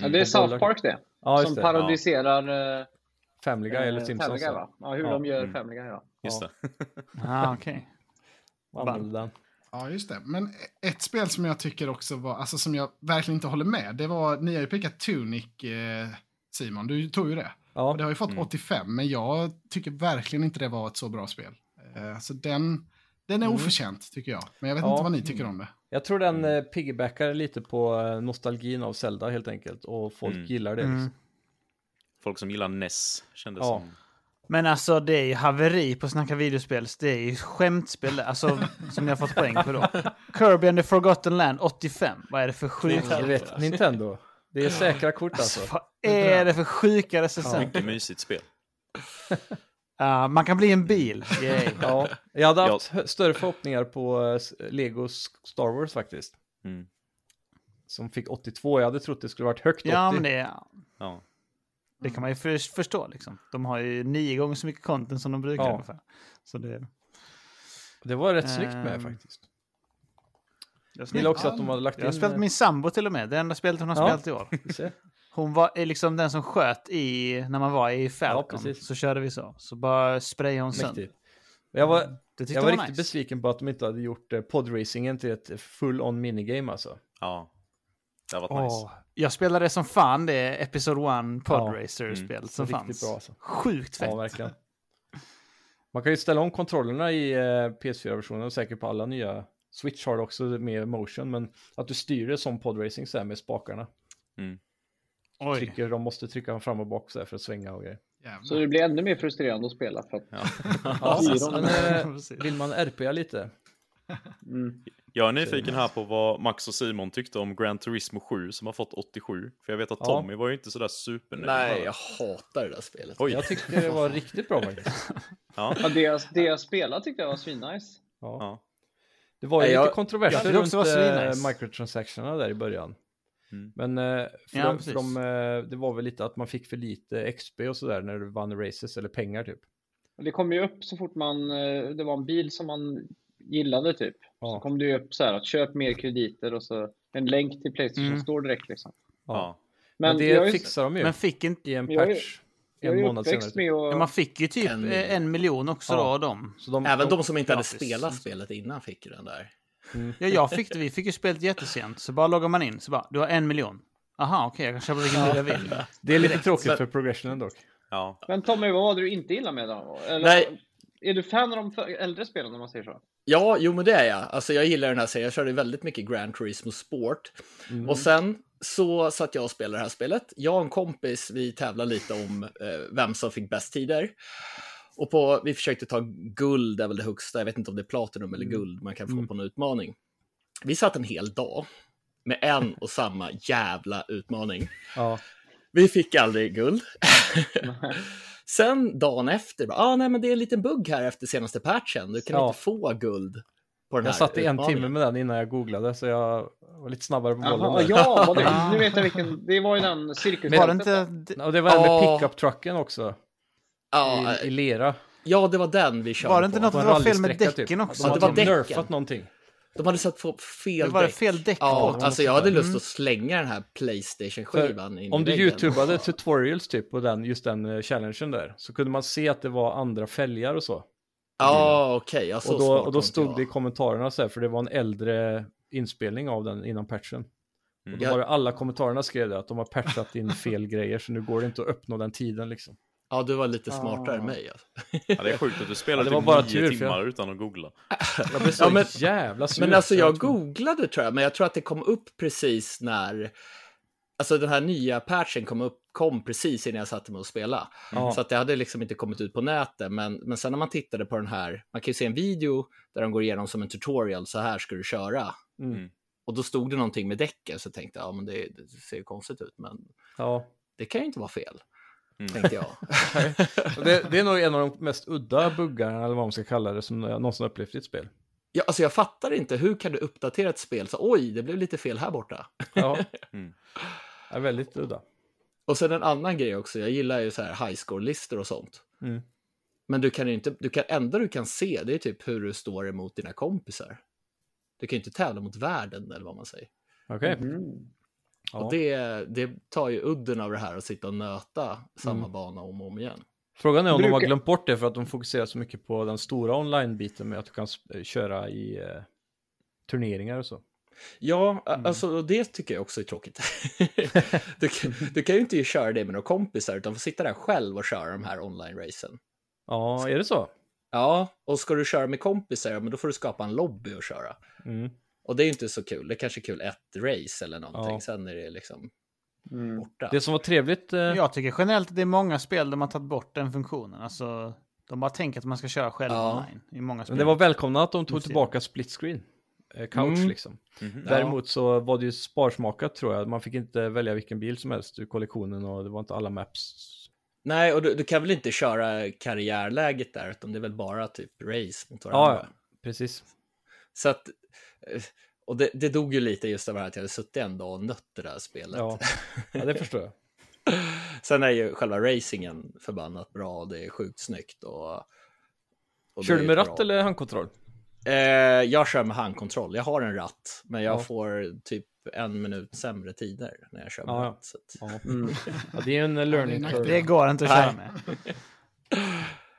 Speaker 4: Ja, det är
Speaker 1: Och
Speaker 4: South
Speaker 1: bollar.
Speaker 4: Park det.
Speaker 1: Ja, just
Speaker 4: som
Speaker 1: det.
Speaker 4: parodiserar eh,
Speaker 1: Family Guy eller
Speaker 4: eh,
Speaker 1: Simpsons.
Speaker 4: Family Guy, va? Ja, hur
Speaker 1: Ja,
Speaker 4: de gör
Speaker 6: mm.
Speaker 4: Family Guy. Då.
Speaker 6: Just det.
Speaker 5: Ah, okej.
Speaker 6: <laughs>
Speaker 1: Och använder den.
Speaker 2: Ja, just det. Men ett spel som jag tycker också var, alltså som jag verkligen inte håller med, det var, ni har ju pickat Tunic, eh, Simon, du tog ju det. Och det
Speaker 1: Ja,
Speaker 2: har ju fått 85, men jag tycker verkligen inte det var ett så bra spel. Eh, så den, den är oförtjänt, tycker jag. Men jag vet
Speaker 1: Ja.
Speaker 2: inte vad ni tycker om det.
Speaker 1: jag tror den eh, piggybackar lite på eh, nostalgin av Zelda helt enkelt och folk
Speaker 6: Mm.
Speaker 1: gillar det.
Speaker 5: Mm.
Speaker 1: Liksom.
Speaker 6: Folk som gillar NES kändes
Speaker 1: Ja.
Speaker 6: som.
Speaker 5: Men alltså det är ju haveri på Snacka videospel. Det är ju skämtspel alltså, som ni har fått poäng
Speaker 6: <laughs>
Speaker 5: på då. Kirby and the Forgotten Land 85. Vad är det för sjukt?
Speaker 1: Du vet, Nintendo. Det är säkra kort alltså.
Speaker 5: Alltså, vad är det för sjuka recensenter?
Speaker 6: Mycket mysigt spel.
Speaker 5: Ah, man kan bli en bil. Yay.
Speaker 1: Ja, jag hade
Speaker 6: Ja.
Speaker 1: haft hö- större förhoppningar på eh, s- Legos Star Wars faktiskt.
Speaker 6: Mm.
Speaker 1: Som fick 82. Jag hade trott det skulle varit högt 80.
Speaker 5: Ja, men det,
Speaker 6: Ja.
Speaker 5: det kan man ju för, förstå liksom. De har ju nio gånger så mycket content som de brukar
Speaker 1: Ja.
Speaker 5: ungefär. Så det,
Speaker 1: det var rätt snyggt med
Speaker 5: Ehm,
Speaker 1: faktiskt.
Speaker 5: det är
Speaker 1: Jag gillar också att de hade lagt in...
Speaker 5: Jag har spelat
Speaker 1: eh,
Speaker 5: med min sambo till och med. Det enda spelet hon har
Speaker 1: Ja.
Speaker 5: spelat i år. <laughs>
Speaker 1: se.
Speaker 5: Hon var är liksom den som sköt i, när man var i Falcon.
Speaker 1: precis.
Speaker 5: så körde vi så. Så bara sprayade hon sönder.
Speaker 1: Mäktigt. Men Jag var,
Speaker 5: Mm. Det tyckte
Speaker 1: jag
Speaker 5: hon
Speaker 1: var
Speaker 5: var
Speaker 1: riktigt
Speaker 5: nice.
Speaker 1: besviken på att de inte hade gjort eh, podracingen till ett full-on minigame alltså.
Speaker 6: ja. Det har varit nice.
Speaker 5: Åh, Jag spelade som fan det Episod 1 Podracer-spel som
Speaker 1: mm. riktigt
Speaker 5: fanns.
Speaker 1: bra alltså.
Speaker 5: Sjukt fett.
Speaker 1: Ja, verkligen. Man kan ju ställa om kontrollerna i eh, PS4-versionen och säkert på alla nya. Switch har det också med motion, men att du styr det som podracing så här med spakarna.
Speaker 5: Oj.
Speaker 1: Trycker, de måste trycka fram och bak så här för att svänga och grejer.
Speaker 4: Så
Speaker 2: Jävlar.
Speaker 4: det blir ännu mer frustrerande att spela. För att,
Speaker 1: Mm. Ja,
Speaker 4: precis.
Speaker 1: men, eh,
Speaker 5: Precis.
Speaker 1: vill man RPa lite?
Speaker 4: mm.
Speaker 6: Jag är nyfiken här på vad Max och Simon tyckte om Gran Turismo 7 som har fått 87. För jag vet att
Speaker 1: Ja.
Speaker 6: Tommy var ju inte sådär supernöjd.
Speaker 7: Nej, jag hatar det där spelet.
Speaker 6: Oj.
Speaker 1: Jag tyckte det var riktigt bra faktiskt.
Speaker 6: Ja.
Speaker 4: ja, det, jag, det jag spelade tyckte jag var svinnice.
Speaker 1: Ja.
Speaker 6: Ja.
Speaker 1: Det var ju
Speaker 7: Nej,
Speaker 1: lite
Speaker 7: jag-
Speaker 5: jag
Speaker 1: kontroverser
Speaker 5: tyckte
Speaker 1: runt
Speaker 5: också det var
Speaker 1: eh,
Speaker 5: svinnice.
Speaker 1: microtransactionerna där i början.
Speaker 6: Mm.
Speaker 1: Men eh, för,
Speaker 5: Ja,
Speaker 1: för
Speaker 5: precis.
Speaker 1: de, eh, det var väl lite att man fick för lite XP och sådär när du vann races eller pengar typ.
Speaker 4: Och det kom ju upp så fort man, eh, det var en bil som man gillade typ. Så
Speaker 1: Ja.
Speaker 4: kom det ju upp så här att köp mer krediter och så en länk till Playstation
Speaker 5: Mm.
Speaker 4: Store direkt liksom.
Speaker 6: Ja.
Speaker 1: Men,
Speaker 4: jag
Speaker 1: det
Speaker 4: är-
Speaker 1: fixar de ju
Speaker 5: Men fick inte...
Speaker 1: i en
Speaker 4: jag är-
Speaker 1: patch
Speaker 4: jag
Speaker 1: en
Speaker 4: är
Speaker 1: månad senare.
Speaker 4: uppväxt
Speaker 1: typ.
Speaker 4: med
Speaker 5: Ja,
Speaker 4: och...
Speaker 5: man fick ju typ
Speaker 7: En
Speaker 5: en,
Speaker 7: miljon.
Speaker 5: en miljon också
Speaker 1: Ja.
Speaker 5: då av dem.
Speaker 1: Så de,
Speaker 7: Även de som inte hade
Speaker 5: Gratis.
Speaker 7: spelat spelet innan fick ju den där.
Speaker 5: Ja, jag fick det. Vi fick ju spelet jättesent. Så bara loggar man in. Så bara, du har en miljon. Aha, okej, jag kan köpa vilken bil jag vill.
Speaker 1: Det är lite tråkigt för progressionen dock.
Speaker 6: ja.
Speaker 4: Men Tommy, vad var det du inte gillade med den? Eller,
Speaker 7: Nej.
Speaker 4: Är du fan av de för- äldre spelen om man säger så?
Speaker 7: Ja, jo men det är jag. Alltså jag gillar den här serien. Jag körde väldigt mycket Gran Turismo Sport. Och sen så satt jag och spelade det här spelet. Jag och en kompis, vi tävlade lite om eh, vem som fick bäst tider. Och på, vi försökte ta guld, är väl det högsta. Jag vet inte om det är platinum eller guld man kan få på en utmaning. Vi satt en hel dag med en och samma jävla utmaning.
Speaker 1: Ja.
Speaker 7: Vi fick aldrig guld. <laughs> Sen dagen efter, bara, ah, nej men det är en liten bugg här efter senaste patchen. Du kan
Speaker 1: Ja.
Speaker 7: inte få guld på den
Speaker 1: Jag
Speaker 7: här
Speaker 1: satt i en
Speaker 7: utmaningen."
Speaker 1: timme med den innan jag googlade så jag var lite snabbare på bollen.
Speaker 4: Jaha,
Speaker 1: där.
Speaker 4: ja, vad det,
Speaker 5: Ah.
Speaker 4: nu vet jag vilken. Det var ju den cirkus.
Speaker 5: Var det inte... d-
Speaker 1: <laughs> Och det var den med
Speaker 7: Ja.
Speaker 1: pickup-trucken också.
Speaker 7: Ja, eh,
Speaker 1: I, I lera.
Speaker 7: ja, det var den vi körde
Speaker 5: Var det inte
Speaker 7: på.
Speaker 5: något-
Speaker 1: På en
Speaker 5: det var fel med
Speaker 1: rallysträcka, typ.
Speaker 5: däcken också.
Speaker 1: De
Speaker 7: Ja,
Speaker 1: hade
Speaker 7: det var däcken.
Speaker 1: nerfat någonting.
Speaker 7: De hade satt på fel
Speaker 5: Var det
Speaker 7: däck.
Speaker 5: fel däck på
Speaker 7: Ja,
Speaker 5: den?
Speaker 7: alltså jag hade lust
Speaker 5: Mm.
Speaker 7: att slänga den här Playstation-skivan in
Speaker 1: Mm. Om
Speaker 7: i
Speaker 1: du
Speaker 7: väggen.
Speaker 1: youtubade tutorials typ på den, just den eh, challengen där så kunde man se att det var andra fälgar och så.
Speaker 7: Ja, okej. ja, så
Speaker 1: och, då,
Speaker 7: smart
Speaker 1: och
Speaker 7: var
Speaker 1: då
Speaker 7: inte
Speaker 1: stod
Speaker 7: jag.
Speaker 1: det i kommentarerna så här, för det var en äldre inspelning av den innan patchen. Och då
Speaker 7: Ja.
Speaker 1: var det alla kommentarerna skrev det, att de har patchat in fel <laughs> grejer så nu går det inte att uppnå den tiden liksom.
Speaker 7: Ja, du var lite smartare
Speaker 1: Ah.
Speaker 7: än mig. alltså.
Speaker 6: ja, det är sjukt att du spelar
Speaker 1: Ja, det
Speaker 6: typ
Speaker 1: var bara
Speaker 6: nio
Speaker 1: tur, för
Speaker 6: timmar
Speaker 1: jag-
Speaker 6: utan att googla.
Speaker 1: Jag blev så
Speaker 7: Ja, men-
Speaker 1: jävla sur.
Speaker 7: Men alltså
Speaker 1: så
Speaker 7: jag
Speaker 1: tror-
Speaker 7: googlade tror jag, men jag tror att det kom upp precis när... Alltså den här nya patchen kom, upp, kom precis innan jag satte mig och spela.
Speaker 1: Ja.
Speaker 7: Så att det hade liksom inte kommit ut på nätet. Men, men sen när man tittade på den här, man kan ju se en video där de går igenom som en tutorial, så här ska du köra.
Speaker 1: Mm.
Speaker 7: Och då stod det någonting med däcken, så tänkte jag, ja men det, det ser ju konstigt ut, men
Speaker 1: Ja.
Speaker 7: det kan ju inte vara fel.
Speaker 6: Mm.
Speaker 7: Tänkte jag.
Speaker 1: Och Det, det är nog en av de mest udda buggarna, eller vad man ska kalla det, som jag någonsin har upplevt i ett spel.
Speaker 7: Ja, alltså jag fattar inte, hur kan du uppdatera ett spel så oj, det blev lite fel här borta?
Speaker 1: Ja.
Speaker 6: Mm.
Speaker 1: Ja, väldigt udda.
Speaker 7: Och sen en annan grej också, jag gillar ju så här high score-listor och sånt.
Speaker 1: Mm.
Speaker 7: Men du kan ju inte, du kan, enda du kan se det är typ hur du står emot dina kompisar. Du kan ju inte tävla mot världen eller vad man säger.
Speaker 1: Okej.
Speaker 4: Mm.
Speaker 1: Ja.
Speaker 7: Och det, det tar ju udden av det här att sitta och nöta samma bana om och om igen.
Speaker 1: Frågan är om de har
Speaker 4: Brukar-
Speaker 1: glömt bort det för att de fokuserar så mycket på den stora online-biten med att du kan sp- köra i eh, turneringar och så.
Speaker 7: Ja, a- alltså och det tycker jag också är <laughs> tråkigt. du, kan, du kan ju inte köra det med några kompisar utan får sitta där själv och köra de här online-racen.
Speaker 1: Ja, är det så?
Speaker 7: Ja, och ska du köra med kompisar, ja, men då får du skapa en lobby och köra.
Speaker 1: Mm.
Speaker 7: Och det är ju inte så kul. Det är kanske är kul ett race eller någonting,
Speaker 1: Ja.
Speaker 7: sen är det liksom
Speaker 4: Mm.
Speaker 7: borta.
Speaker 1: Det som var trevligt, eh,
Speaker 5: Jag tycker generellt att det är många spel där man tagit bort den funktionen. Alltså, de bara tänker att man ska köra själv
Speaker 7: Ja.
Speaker 5: online i många spel.
Speaker 1: men det var välkomna att de tog
Speaker 5: Just det.
Speaker 1: tillbaka split screen. eh, Couch
Speaker 7: Mm.
Speaker 1: liksom.
Speaker 6: Mhm.
Speaker 1: Däremot så var det ju sparsmakat tror jag. Man fick inte välja vilken bil som helst ur kollektionen och det var inte alla maps.
Speaker 7: Nej, och du, du kan väl inte köra karriärläget där, utan det är väl bara typ race mot varandra.
Speaker 1: Ja, ja. precis.
Speaker 7: Så att, eh, och det, det dog ju lite just av det här att jag hade suttit en dag och nött det där spelet.
Speaker 1: Ja. ja, det förstår jag.
Speaker 7: <laughs> Sen är ju själva racingen förbannat bra, det är sjukt snyggt och... och det
Speaker 1: Kör
Speaker 7: är
Speaker 1: du
Speaker 7: ju
Speaker 1: med
Speaker 7: bra.
Speaker 1: ratt eller handkontroll?
Speaker 7: Eh, jag kör med handkontroll, jag har en ratt, men jag
Speaker 1: Ja.
Speaker 7: får typ en minut sämre tider när jag kör med
Speaker 1: Ja, ja.
Speaker 7: ratt. Så att...
Speaker 1: Ja. Mm. ja, det är ju en learning
Speaker 2: en
Speaker 1: curve.
Speaker 5: Det går inte att köra med.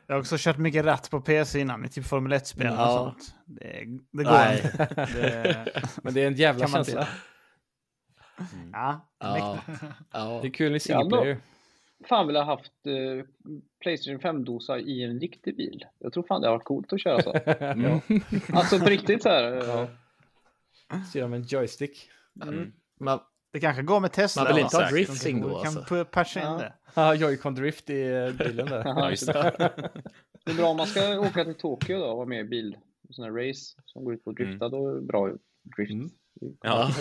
Speaker 5: Jag har också kört mycket ratt på PC innan, i typ Formel 1-spel och
Speaker 7: Ja.
Speaker 5: sånt. Det, det går
Speaker 7: Nej. <laughs>
Speaker 5: inte. Det,
Speaker 1: Men det är en jävla
Speaker 5: Kan man
Speaker 1: känsla.
Speaker 5: ja, det är
Speaker 7: Ja,
Speaker 5: mäktigt.
Speaker 7: ja.
Speaker 1: Det är kul i
Speaker 4: Ja,
Speaker 1: single
Speaker 4: men-
Speaker 1: player.
Speaker 4: Fan vill jag ha haft eh, Playstation 5-dosa i en riktig bil. Jag tror fan det har varit coolt att köra så.
Speaker 1: <laughs>
Speaker 7: Mm.
Speaker 4: Alltså på riktigt så här. eh,
Speaker 1: Styra med en joystick. <laughs>
Speaker 4: Mm.
Speaker 7: Man,
Speaker 5: det kanske går med Tesla.
Speaker 7: man vill inte
Speaker 5: va?
Speaker 7: ha
Speaker 6: säkert.
Speaker 7: drifting då
Speaker 5: Vi kan
Speaker 7: alltså.
Speaker 5: p- patcha in
Speaker 4: Ja.
Speaker 5: det.
Speaker 1: Haha, Joy-Con Drift i eh, bilen där.
Speaker 4: Jaha,
Speaker 6: Ja, just det.
Speaker 4: Det är bra om man ska åka till Tokyo då och vara med i bil. Sådana här race som går ut på att drifta. Då är det bra drift.
Speaker 1: Mm.
Speaker 6: Ja.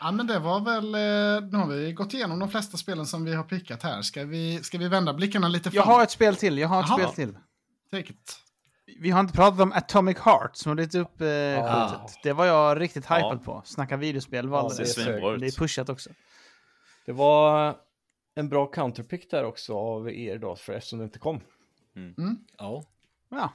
Speaker 2: Ja, men det var väl... eh, Nu har vi gått igenom de flesta spelen som vi har pickat här. Ska vi, ska vi vända blickarna lite
Speaker 5: Jag
Speaker 2: framåt?
Speaker 5: har ett spel till, jag har ett
Speaker 2: Jaha.
Speaker 5: spel till.
Speaker 2: Take it.
Speaker 5: Vi har inte pratat om Atomic Heart som har blivit upp eh, skjutet. Det var jag riktigt
Speaker 6: Ja.
Speaker 5: hypad på. Snacka videospel var
Speaker 1: Ja,
Speaker 6: Det ser
Speaker 1: är
Speaker 5: alldeles.
Speaker 1: svinbra
Speaker 6: svinbra
Speaker 5: det är
Speaker 6: ut.
Speaker 5: pushat också.
Speaker 1: Det var en bra counterpick där också av er då, för eftersom det inte kom.
Speaker 7: Ja.
Speaker 5: Ja.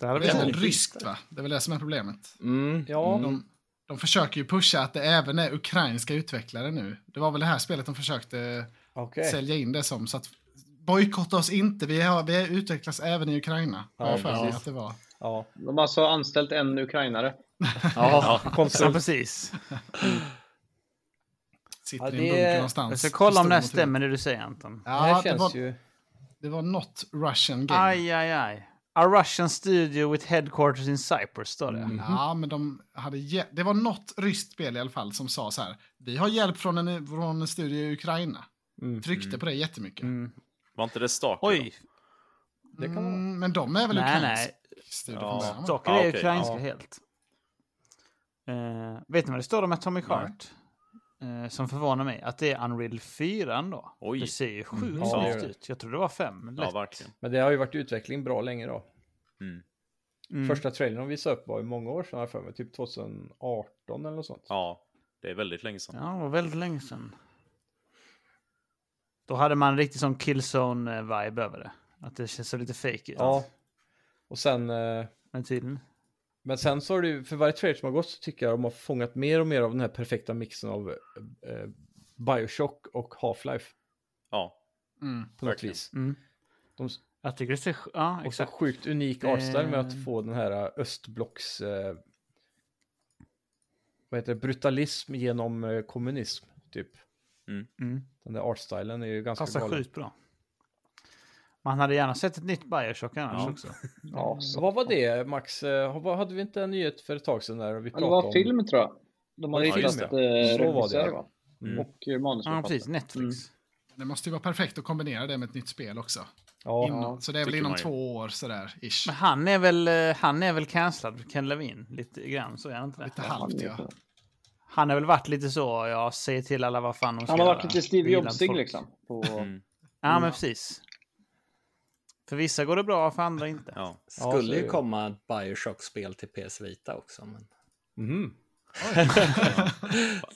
Speaker 5: Det hade
Speaker 2: Det
Speaker 5: vi
Speaker 2: är väl
Speaker 5: ändå.
Speaker 2: ryskt va? Det är väl det som är problemet.
Speaker 7: Mm.
Speaker 1: <laughs> Ja,
Speaker 2: De, de försöker ju pusha att det även är ukrainska utvecklare nu. Det var väl det här spelet de försökte eh,
Speaker 1: okej.
Speaker 2: sälja in det som. Så att bojkotta oss inte, vi, har, vi utvecklas även i Ukraina.
Speaker 1: Ja,
Speaker 2: har jag för mig
Speaker 1: precis.
Speaker 2: att det var.
Speaker 1: Ja,
Speaker 4: De har alltså anställt en ukrainare.
Speaker 7: Ja.
Speaker 5: Ja,
Speaker 1: konsult.
Speaker 5: precis.
Speaker 1: Ja,
Speaker 2: Sitter i
Speaker 1: det-
Speaker 2: en bunker
Speaker 5: Jag
Speaker 2: någonstans.
Speaker 5: ska kolla om det här
Speaker 2: Pistol mot
Speaker 5: stämmer det du säger Anton.
Speaker 1: det här
Speaker 2: huvudet. Ja, det
Speaker 1: känns
Speaker 2: var,
Speaker 1: ju...
Speaker 2: det var något Russian game.
Speaker 5: Aj, aj, aj. A Russian studio with headquarters in Cyprus, står det.
Speaker 2: Ja, men de hade ge- det var något ryskt spel i alla fall som sa så här. Vi har hjälp från en, från en studio i Ukraina.
Speaker 1: Mm.
Speaker 2: Tryckte på det jättemycket.
Speaker 5: Mm.
Speaker 6: Var inte det Stalker? då?
Speaker 5: Oj,
Speaker 1: Det kan vara.
Speaker 2: Mm, men de är väl
Speaker 5: Nej,
Speaker 2: ukrainsk studio från
Speaker 6: Ja.
Speaker 2: början? va?
Speaker 5: Saker
Speaker 6: Ja,
Speaker 5: är
Speaker 6: okej,
Speaker 5: ukrainska
Speaker 1: ja.
Speaker 5: helt. Eh, vet ni vad det står om Atomic
Speaker 6: Nej.
Speaker 5: Heart? Eh, som förvånar mig. Att det är Unreal 4 då.
Speaker 6: Oj.
Speaker 5: Det ser ju sjukt
Speaker 1: Ja, det gör
Speaker 5: snyggt
Speaker 1: det.
Speaker 5: ut. Jag trodde det var fem.
Speaker 6: Ja,
Speaker 5: Lätt.
Speaker 6: verkligen.
Speaker 1: Men det har ju varit i utveckling bra länge då.
Speaker 5: Mm.
Speaker 1: Första trailern de visade upp var ju många år sedan, har jag för mig. Typ 2018 eller något sånt.
Speaker 6: Ja, det är väldigt länge sedan.
Speaker 5: Ja, det var väldigt länge sedan. Då hade man riktigt sån Killzone-vibe över det. Att det känns så lite fake ut.
Speaker 1: Ja. Och sen... eh,
Speaker 5: Men tydligen.
Speaker 1: Men sen så har det ju, för varje trailer som har gått så tycker jag de har fångat mer och mer av den här perfekta mixen av eh, Bioshock och Half-Life
Speaker 6: Ja.
Speaker 2: Mm.
Speaker 1: på något
Speaker 6: Verkligen.
Speaker 1: vis.
Speaker 5: Mm.
Speaker 1: De,
Speaker 5: Jag tycker det ser... sj- Ja,
Speaker 1: och så
Speaker 5: exakt.
Speaker 1: sjukt unik artstyle med
Speaker 5: Eh.
Speaker 1: att få den här östblocks... Eh, vad heter det? Brutalism genom eh, kommunism, typ.
Speaker 5: Mm.
Speaker 1: Den där artstylen är ju ganska
Speaker 5: Passar
Speaker 1: galen.
Speaker 5: sjukt bra. Man hade gärna sett ett nytt Bioshock annars
Speaker 6: Ja.
Speaker 5: också.
Speaker 1: Ja, vad var det, Max? Eh, vad- Hade vi inte en nyhet för ett tag sedan där vi
Speaker 4: Ja, Det
Speaker 1: pratade
Speaker 4: var
Speaker 1: om...
Speaker 4: film tror jag. De hade
Speaker 1: Ja, just
Speaker 4: hittat
Speaker 1: det.
Speaker 4: eh,
Speaker 1: Så var
Speaker 4: regissör
Speaker 1: det.
Speaker 4: va?
Speaker 6: Mm.
Speaker 4: Och eh,
Speaker 5: Ja,
Speaker 4: manusförfattare.
Speaker 5: precis. Netflix.
Speaker 2: Det måste ju vara perfekt att kombinera det med ett nytt spel också.
Speaker 1: Ja,
Speaker 2: Inom, så det är väl
Speaker 6: tycker
Speaker 2: inom
Speaker 6: man ju.
Speaker 2: två år sådär, ish.
Speaker 5: Men han är väl, eh, han är väl cancellad, Ken Levin, lite grann. Så är han inte det?
Speaker 2: Lite halvt
Speaker 4: typ.
Speaker 2: ja.
Speaker 5: Han har väl varit lite så, ja, säg till alla vad fan de ska
Speaker 4: Han har varit
Speaker 5: göra.
Speaker 4: lite Steve
Speaker 5: Vi gillar inte
Speaker 4: Jobsig
Speaker 5: folk.
Speaker 4: liksom. På...
Speaker 6: Mm.
Speaker 5: Ja, men precis. För vissa går det bra, för andra inte.
Speaker 6: Ja.
Speaker 1: Ja, så
Speaker 7: Skulle
Speaker 1: är
Speaker 7: ju
Speaker 1: det.
Speaker 7: komma ett Bioshock-spel till PS Vita också. Men...
Speaker 1: Mhm.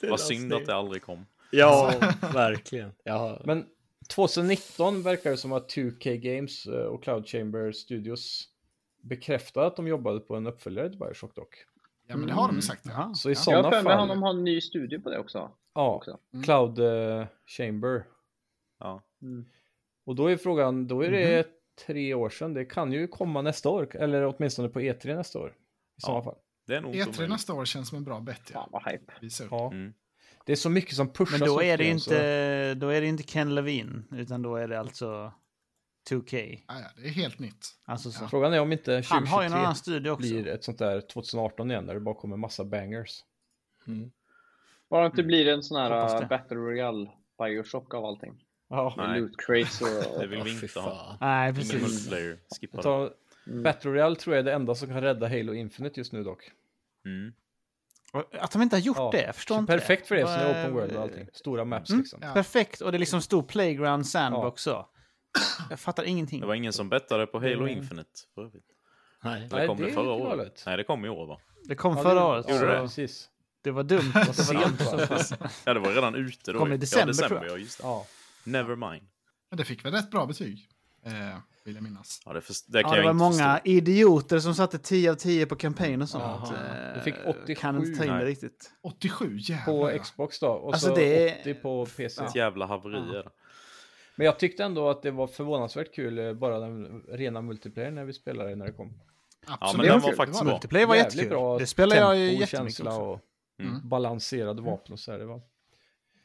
Speaker 6: Vad synd att det aldrig kom.
Speaker 7: Ja, verkligen.
Speaker 5: Alltså.
Speaker 7: Ja.
Speaker 1: Men 2019 verkar det som att 2K Games eh, och Cloud Chamber Studios bekräftade att de jobbade på en uppföljare till Bioshock dock.
Speaker 2: Ja, men det har de ju sagt. Ja.
Speaker 5: Jaha.
Speaker 1: Så i
Speaker 2: Ja.
Speaker 4: Jag har
Speaker 1: sådana
Speaker 4: för mig att de
Speaker 1: fall,
Speaker 4: har en ny studio på det också.
Speaker 1: ja,
Speaker 4: också.
Speaker 2: Mm.
Speaker 1: Cloud eh, Chamber.
Speaker 6: Ja.
Speaker 5: Mm.
Speaker 1: Och då är frågan, då är det
Speaker 5: Mhm.
Speaker 1: tre år sedan, det kan ju komma nästa år, eller åtminstone på E3 nästa år. I sådana
Speaker 6: Ja.
Speaker 1: fall.
Speaker 6: Det är nog inte
Speaker 2: E3
Speaker 6: omöjligt.
Speaker 2: E nästa år känns som en bra bett. Ja.
Speaker 4: Fan vad hype.
Speaker 2: Visa upp.
Speaker 1: Ja.
Speaker 6: Mm.
Speaker 1: Det är så mycket som pushas.
Speaker 5: Men då
Speaker 1: nu
Speaker 5: är,
Speaker 1: för
Speaker 5: det ju
Speaker 1: tiden, så-
Speaker 5: inte, då är det inte Ken Levin, utan då är det alltså 2K.
Speaker 2: Ja, ja, det är helt nytt.
Speaker 5: Alltså så.
Speaker 1: Frågan är om inte
Speaker 5: Han har ju en
Speaker 1: 2023
Speaker 5: annan studio också.
Speaker 1: blir ett sånt där 2018 igen, där det bara kommer massa bangers.
Speaker 4: Bara att det blir en sån
Speaker 5: Hoppas
Speaker 4: här
Speaker 5: det.
Speaker 4: äh, Battle Royale Bioshock av allting.
Speaker 1: Ja.
Speaker 6: Nej.
Speaker 4: Med loot crates och...
Speaker 6: Det vill
Speaker 7: Ja,
Speaker 6: vi
Speaker 7: fy
Speaker 6: inte ha.
Speaker 7: fan.
Speaker 5: Nej,
Speaker 6: Ingen
Speaker 5: precis.
Speaker 1: Mm.
Speaker 6: multiplayer. Skippa det.
Speaker 1: Ta,
Speaker 5: Mm.
Speaker 1: Battle Royale tror jag är det enda som kan rädda Halo Infinite just nu dock.
Speaker 6: Mm.
Speaker 5: Och Att de inte har gjort
Speaker 1: Ja,
Speaker 5: det, jag förstår
Speaker 1: Så
Speaker 5: inte
Speaker 1: perfekt för det som
Speaker 5: Mm. Vad Mm.
Speaker 1: är open world och allting. Stora maps liksom.
Speaker 2: Ja.
Speaker 5: Perfekt, och det är liksom stor playground sandbox så. Jag fattar ingenting.
Speaker 6: Det var ingen som bettade på Halo Infinite. för övrigt.
Speaker 7: Nej.
Speaker 6: Eller
Speaker 1: Nej,
Speaker 6: kom
Speaker 1: det
Speaker 6: det
Speaker 1: är
Speaker 6: förra
Speaker 1: lite
Speaker 6: året?
Speaker 1: galet.
Speaker 6: Nej, det kom i år va?
Speaker 5: Det kom förra året.
Speaker 1: Ja,
Speaker 5: så
Speaker 6: det?
Speaker 1: precis.
Speaker 5: Det var dumt. att Det var
Speaker 1: Sent, alltså.
Speaker 5: dumt.
Speaker 1: va?
Speaker 5: så fast.
Speaker 6: Ja, det var redan ute då.
Speaker 5: Kom i
Speaker 6: ju.
Speaker 5: december,
Speaker 6: ja, december
Speaker 5: tror jag.
Speaker 6: Ja, just det.
Speaker 1: Ja.
Speaker 6: Never mind.
Speaker 2: Men det fick väl rätt bra betyg, eh, vill jag minnas.
Speaker 6: Ja, det, först- det kan
Speaker 5: Ja, det
Speaker 6: jag
Speaker 5: var
Speaker 6: inte
Speaker 5: många
Speaker 6: förstå.
Speaker 5: idioter som satte 10 av 10 på campaign och sånt.
Speaker 1: Jaha.
Speaker 5: Eh,
Speaker 1: Du fick 87.
Speaker 5: Kan inte ta in det
Speaker 6: Nej.
Speaker 5: riktigt.
Speaker 2: 87, jävlar.
Speaker 1: På
Speaker 2: ja.
Speaker 1: Xbox då. Och
Speaker 5: Alltså,
Speaker 1: så
Speaker 5: det är-
Speaker 1: 80 på PC.
Speaker 6: Ett jävla haveri är det.
Speaker 1: Men jag tyckte ändå att det var förvånansvärt kul, eh, bara den rena multiplayer när vi spelade när det kom.
Speaker 6: Ja, men
Speaker 2: Absolut.
Speaker 6: den
Speaker 2: Det
Speaker 6: var faktiskt
Speaker 2: det.
Speaker 6: bra.
Speaker 5: Multiplayer var
Speaker 1: Jävligt
Speaker 5: jättekul.
Speaker 1: bra
Speaker 5: det spelar jag ju
Speaker 1: tempo,
Speaker 5: jättemycket
Speaker 1: känsla
Speaker 5: också. Mm.
Speaker 1: och balanserade vapen och så här. Det, var,
Speaker 2: Det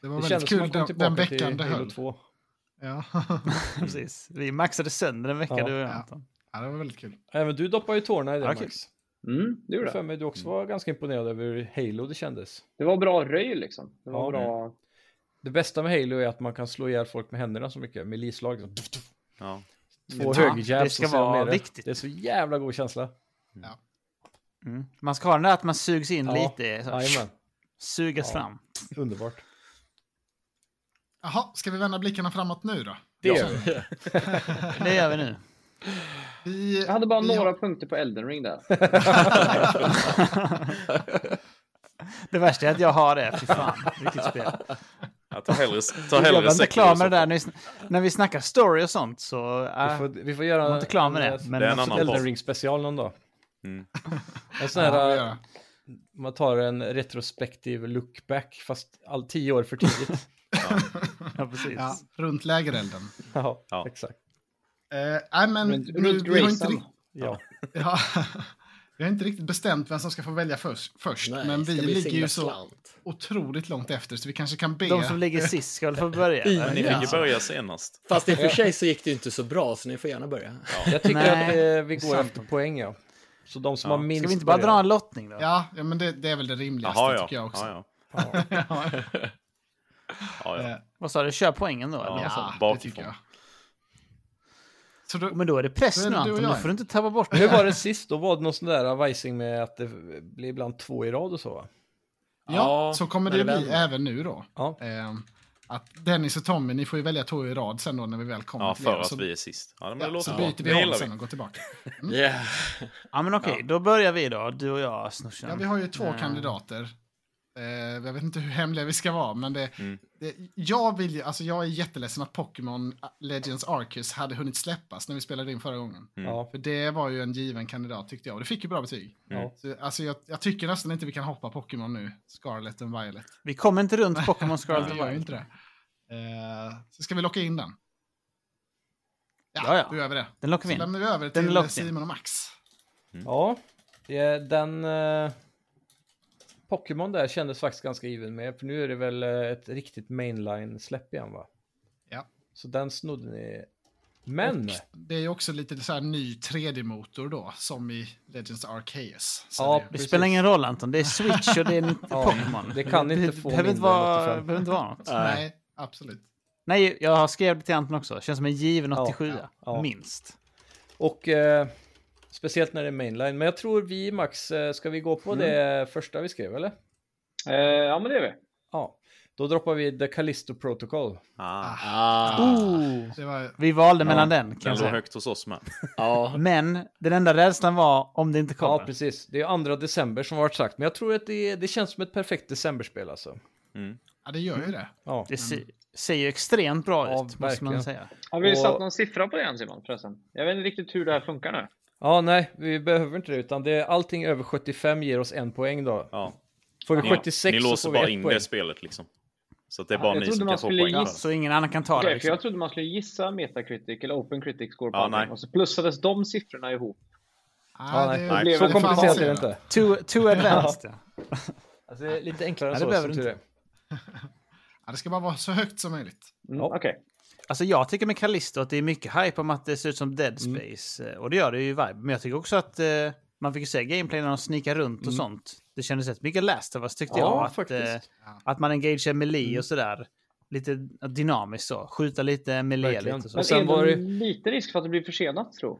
Speaker 1: det,
Speaker 2: var väldigt
Speaker 1: kändes som
Speaker 2: kul
Speaker 1: man kom
Speaker 2: den, den
Speaker 1: tillbaka
Speaker 2: veckan
Speaker 1: till
Speaker 2: det
Speaker 1: Halo
Speaker 2: höll.
Speaker 1: 2.
Speaker 2: Ja.
Speaker 5: <laughs>
Speaker 2: <laughs>
Speaker 5: Precis. Vi maxade sönder en vecka,
Speaker 1: Ja.
Speaker 5: du och jag,
Speaker 2: Ja.
Speaker 5: Anton.
Speaker 2: ja, det var väldigt kul.
Speaker 1: Även du doppar ju tårna i det
Speaker 5: Ja, kul. Mm.
Speaker 1: Max.
Speaker 4: Mm, det gjorde
Speaker 1: För
Speaker 4: det.
Speaker 1: mig du också var ganska imponerad över hur Halo det kändes.
Speaker 4: Det var bra röj liksom. Det var
Speaker 1: Ja.
Speaker 4: bra...
Speaker 1: Det bästa med Halo är att man kan slå ihjäl folk med händerna så mycket, med lislag. liksom.
Speaker 6: Ja.
Speaker 1: Två
Speaker 5: Ja,
Speaker 1: högerjabs
Speaker 5: det ska
Speaker 1: och sen
Speaker 5: vara
Speaker 1: nere.
Speaker 5: viktigt.
Speaker 1: Det är så jävla god känsla.
Speaker 5: Mm. Man ska ha den där att man sugs in
Speaker 1: Ja.
Speaker 5: lite. Så,
Speaker 1: Jajamän,
Speaker 5: sugas fram.
Speaker 1: underbart.
Speaker 2: Jaha, ska vi vända blickarna framåt nu då?
Speaker 1: Det gör vi.
Speaker 5: Det gör vi nu.
Speaker 2: Vi,
Speaker 4: Jag hade bara
Speaker 2: vi
Speaker 4: några punkter på Elden Ring där.
Speaker 5: Det värsta är att jag har det. Fy fan, vilket spel.
Speaker 6: Att ta hellre, ta
Speaker 5: Jag
Speaker 6: hellre
Speaker 5: var inte
Speaker 6: Sekiro
Speaker 5: klar med
Speaker 6: i
Speaker 5: det där. När
Speaker 6: så
Speaker 5: vi, sn- när vi snackar story och sånt så...
Speaker 1: Vi
Speaker 5: Äh,
Speaker 1: får, vi får göra
Speaker 5: var inte klar med det,
Speaker 1: en, eh,
Speaker 5: men-
Speaker 6: Det är en annan
Speaker 1: Elden
Speaker 6: podd.
Speaker 1: Ring special någon dag.
Speaker 6: Mm.
Speaker 1: En sån här, eh,
Speaker 2: Ja, ja.
Speaker 1: man tar en retrospektiv look back, fast all, tio år för
Speaker 5: <laughs>
Speaker 1: tidigt.
Speaker 5: <laughs> ja, precis.
Speaker 2: ja, runt lägerelden.
Speaker 1: ja,
Speaker 6: Ja.
Speaker 1: exakt.
Speaker 2: Eh, nej, men
Speaker 4: Runt-
Speaker 2: vi-
Speaker 4: runt
Speaker 2: vi, har inte
Speaker 4: Grayson.
Speaker 2: rikt-
Speaker 1: Ja.
Speaker 2: <laughs> ja, vi har inte riktigt bestämt vem som ska få välja först, först
Speaker 7: Nej,
Speaker 2: men
Speaker 7: ska
Speaker 2: vi
Speaker 7: bli
Speaker 2: ligger ju
Speaker 7: singla
Speaker 2: så
Speaker 7: slant.
Speaker 2: otroligt långt efter så vi kanske kan be...
Speaker 5: De som ligger sist ska väl få börja? eller?
Speaker 6: Men ni
Speaker 7: Ja.
Speaker 6: fick ju börja senast.
Speaker 7: Fast i och för sig så gick det ju inte så bra, så ni får gärna börja.
Speaker 1: Jag tycker
Speaker 5: Nej,
Speaker 1: att eh, vi går
Speaker 5: sant.
Speaker 1: efter poäng, ja. Så de som
Speaker 6: Ja.
Speaker 1: har minst
Speaker 5: Ska vi inte bara
Speaker 1: börjar.
Speaker 5: dra en lottning då?
Speaker 2: Ja, ja, men det, det är väl det rimligaste
Speaker 6: Jaha, ja.
Speaker 2: tycker jag
Speaker 6: Ja,
Speaker 2: också.
Speaker 6: ja.
Speaker 2: <laughs> Ja,
Speaker 6: ja, ja.
Speaker 2: eh,
Speaker 5: Vad sa du? Kör poängen då? eller?
Speaker 6: Ja.
Speaker 5: Alltså,
Speaker 2: ja, det
Speaker 6: bakifrån.
Speaker 2: tycker jag. Så då,
Speaker 5: Men då är det press
Speaker 2: Men
Speaker 5: nu
Speaker 2: du och
Speaker 5: Anton,
Speaker 2: jag.
Speaker 5: nu får du inte tappa bort
Speaker 1: Hur var det sist? Då var det någon sån där eh, vajsing med att det blir ibland två i rad och så, va?
Speaker 2: ja,
Speaker 7: Ja,
Speaker 2: så kommer det
Speaker 7: när
Speaker 2: ju
Speaker 7: det
Speaker 2: bli
Speaker 7: vänder.
Speaker 2: även nu då.
Speaker 1: Ja.
Speaker 2: Eh, att Dennis och Tommy, ni får ju välja två i rad sen då när vi väl kommer.
Speaker 6: ja,
Speaker 2: till er,
Speaker 6: för att
Speaker 2: så,
Speaker 6: vi är sist. Ja, men det
Speaker 2: alltså- ja,
Speaker 6: låter
Speaker 2: så
Speaker 6: bra.
Speaker 2: byter vi
Speaker 6: Det
Speaker 2: håll
Speaker 6: gillar
Speaker 2: sen och går tillbaka.
Speaker 7: Yeah.
Speaker 5: Ja, men okej, då börjar vi då. Du och jag, Snorsen.
Speaker 2: Ja, vi har ju två
Speaker 6: Ehm.
Speaker 5: Eh.
Speaker 2: kandidater. Eh, jag vet inte hur hemliga vi ska vara, men det,
Speaker 6: Mm.
Speaker 2: det, jag, vill, ju- alltså, jag är jätteledsen att Pokémon äh, Legends Arceus hade hunnit släppas när vi spelade in förra gången.
Speaker 6: Mm.
Speaker 1: Ja.
Speaker 2: För det var ju en given kandidat tyckte jag, och det fick ju bra betyg.
Speaker 1: Ja.
Speaker 2: Så, alltså, jag, jag tycker nästan inte vi kan hoppa Pokémon nu, Scarlet and Violet.
Speaker 5: Vi kommer inte runt Pokémon Scarlet
Speaker 2: Nej,
Speaker 5: and
Speaker 2: vi gör ju
Speaker 5: Violet.
Speaker 2: inte det. Eh, så ska vi locka in den. Ja,
Speaker 5: Ja, ja.
Speaker 2: då gör vi det.
Speaker 5: Den lockar
Speaker 2: Så
Speaker 5: vi in.
Speaker 2: lämnar vi över
Speaker 5: Den
Speaker 2: till
Speaker 5: lockar in.
Speaker 2: Simon och Max.
Speaker 1: Ja, eh, den... Eh, Pokémon där kändes faktiskt ganska given med, för nu är det väl eh, ett riktigt mainline-släpp igen, va?
Speaker 2: Ja.
Speaker 1: Så den snodde ni. Men!
Speaker 2: Det är ju också lite så här ny 3D-motor då, som i Legends Arceus. Så
Speaker 1: Ja,
Speaker 2: det är ju-
Speaker 5: Det
Speaker 1: precis.
Speaker 5: spelar ingen roll Anton, det är Switch och det är en <laughs>
Speaker 1: Ja,
Speaker 5: Pokémon.
Speaker 1: det kan inte
Speaker 5: Det
Speaker 1: få
Speaker 5: behöver inte
Speaker 1: mindre än
Speaker 5: vara,
Speaker 1: 85.
Speaker 5: behöver inte vara något.
Speaker 2: Nej, absolut.
Speaker 5: Nej, jag har skrivit det till Anton också. Känns som en given
Speaker 1: Ja,
Speaker 5: 87
Speaker 1: ja, ja.
Speaker 5: minst.
Speaker 1: Och eh, speciellt när det är mainline. Men jag tror vi, Max, eh, ska vi gå på det första vi skrev, eller?
Speaker 4: Eh, ja, men det är vi.
Speaker 1: Ja. Då droppar vi The Callisto Protocol.
Speaker 6: Ah,
Speaker 7: Ah.
Speaker 5: Oh,
Speaker 2: Det var,
Speaker 5: vi valde mellan den kan
Speaker 6: den
Speaker 5: jag
Speaker 6: låg
Speaker 5: säga.
Speaker 6: högt hos oss med.
Speaker 7: Ja.
Speaker 5: Men den enda rädslan var om det inte
Speaker 1: Ja,
Speaker 5: kommer.
Speaker 1: precis. Det är andra december som har varit sagt, men jag tror att det, det känns som ett perfekt decemberspel alltså.
Speaker 2: ja, det gör ju det.
Speaker 1: Ja.
Speaker 5: det ser, ser ju extremt bra
Speaker 1: Ja,
Speaker 5: ut, måste man
Speaker 1: verkligen.
Speaker 5: säga.
Speaker 4: Har vi
Speaker 1: Och-
Speaker 4: satt någon siffra på det än Simon förresten? Jag vet inte riktigt hur det här funkar nu.
Speaker 1: ja, nej, vi behöver inte det, utan det, allting över 75 ger oss en poäng då.
Speaker 6: Ja.
Speaker 1: Får vi
Speaker 6: Ni,
Speaker 1: 76
Speaker 6: ni
Speaker 1: så
Speaker 6: låser
Speaker 1: får
Speaker 6: bara
Speaker 1: vi
Speaker 6: in
Speaker 1: ett poäng.
Speaker 6: det spelet liksom. Så att det är
Speaker 4: Ja,
Speaker 6: bara
Speaker 4: jag
Speaker 6: ni
Speaker 4: trodde
Speaker 6: som
Speaker 4: man
Speaker 6: kan få
Speaker 4: skulle
Speaker 6: poäng.
Speaker 4: gissa.
Speaker 6: för
Speaker 5: Så ingen annan kan ta
Speaker 4: Okej,
Speaker 5: det.
Speaker 4: för
Speaker 5: Liksom.
Speaker 4: jag trodde man skulle gissa Metacritic eller Open Critic score på
Speaker 6: Ja,
Speaker 4: allting
Speaker 6: nej.
Speaker 4: och så plussades de siffrorna ihop.
Speaker 2: Ah,
Speaker 1: Ja, nej.
Speaker 2: det-
Speaker 6: Nej,
Speaker 2: det
Speaker 1: Så
Speaker 2: är fan
Speaker 1: komplicerat är det
Speaker 2: avancerat.
Speaker 1: inte.
Speaker 5: Too, too advanced. ja.
Speaker 1: Alltså, det är lite enklare än
Speaker 5: Nej,
Speaker 1: så,
Speaker 5: det behöver
Speaker 1: som
Speaker 5: det
Speaker 1: tur är.
Speaker 5: inte.
Speaker 2: Ja, det ska bara vara så högt som möjligt.
Speaker 4: Mm,
Speaker 1: Ja.
Speaker 4: Okej.
Speaker 5: Alltså jag tycker med Callisto att det är mycket hype om att det ser ut som Dead Space. eh, Och det gör det ju i vibe. Men jag tycker också att eh, man fick ju se gameplay när de sneakar runt och sånt. Det kändes rätt mycket Last of Us tyckte
Speaker 1: Ja,
Speaker 5: jag. Att, eh,
Speaker 1: faktiskt.
Speaker 5: att man engagerar melee och sådär. Lite dynamiskt så. Skjuta lite melee
Speaker 1: Verkligen.
Speaker 5: lite. och Så.
Speaker 4: Men
Speaker 1: sen
Speaker 4: är det
Speaker 1: var det-
Speaker 4: lite risk för att det blir försenat tror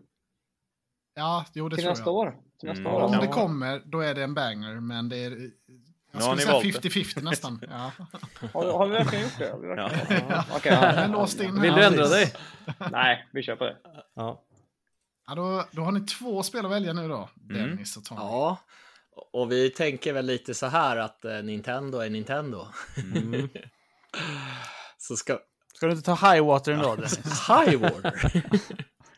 Speaker 2: Ja, jo, det
Speaker 4: Till
Speaker 2: tror
Speaker 4: nästa
Speaker 2: jag.
Speaker 4: år. Till nästa
Speaker 6: Mm.
Speaker 4: år.
Speaker 2: Om
Speaker 6: Ja.
Speaker 2: det kommer, då är det en banger, men det är... Jag
Speaker 6: har
Speaker 2: skulle
Speaker 6: ni
Speaker 2: säga
Speaker 6: valt det.
Speaker 2: 50-50 nästan. Ja.
Speaker 4: Har, har vi verkligen gjort det? Har vi verkligen...
Speaker 6: Ja.
Speaker 4: ja. Okej,
Speaker 2: Men
Speaker 4: ja.
Speaker 2: låst in
Speaker 1: Vill
Speaker 2: här.
Speaker 1: du ändra dig?
Speaker 4: Nej, vi kör på det.
Speaker 1: Ja.
Speaker 2: Ja, då, då har ni två spel att välja nu då,
Speaker 6: Mm.
Speaker 2: Dennis och Tommy.
Speaker 7: ja. Och vi tänker väl lite så här att eh, Nintendo är Nintendo.
Speaker 6: Mm.
Speaker 7: <laughs> så ska...
Speaker 5: Ska du inte ta Highwater ändå Dennis?
Speaker 7: High Water?
Speaker 6: det.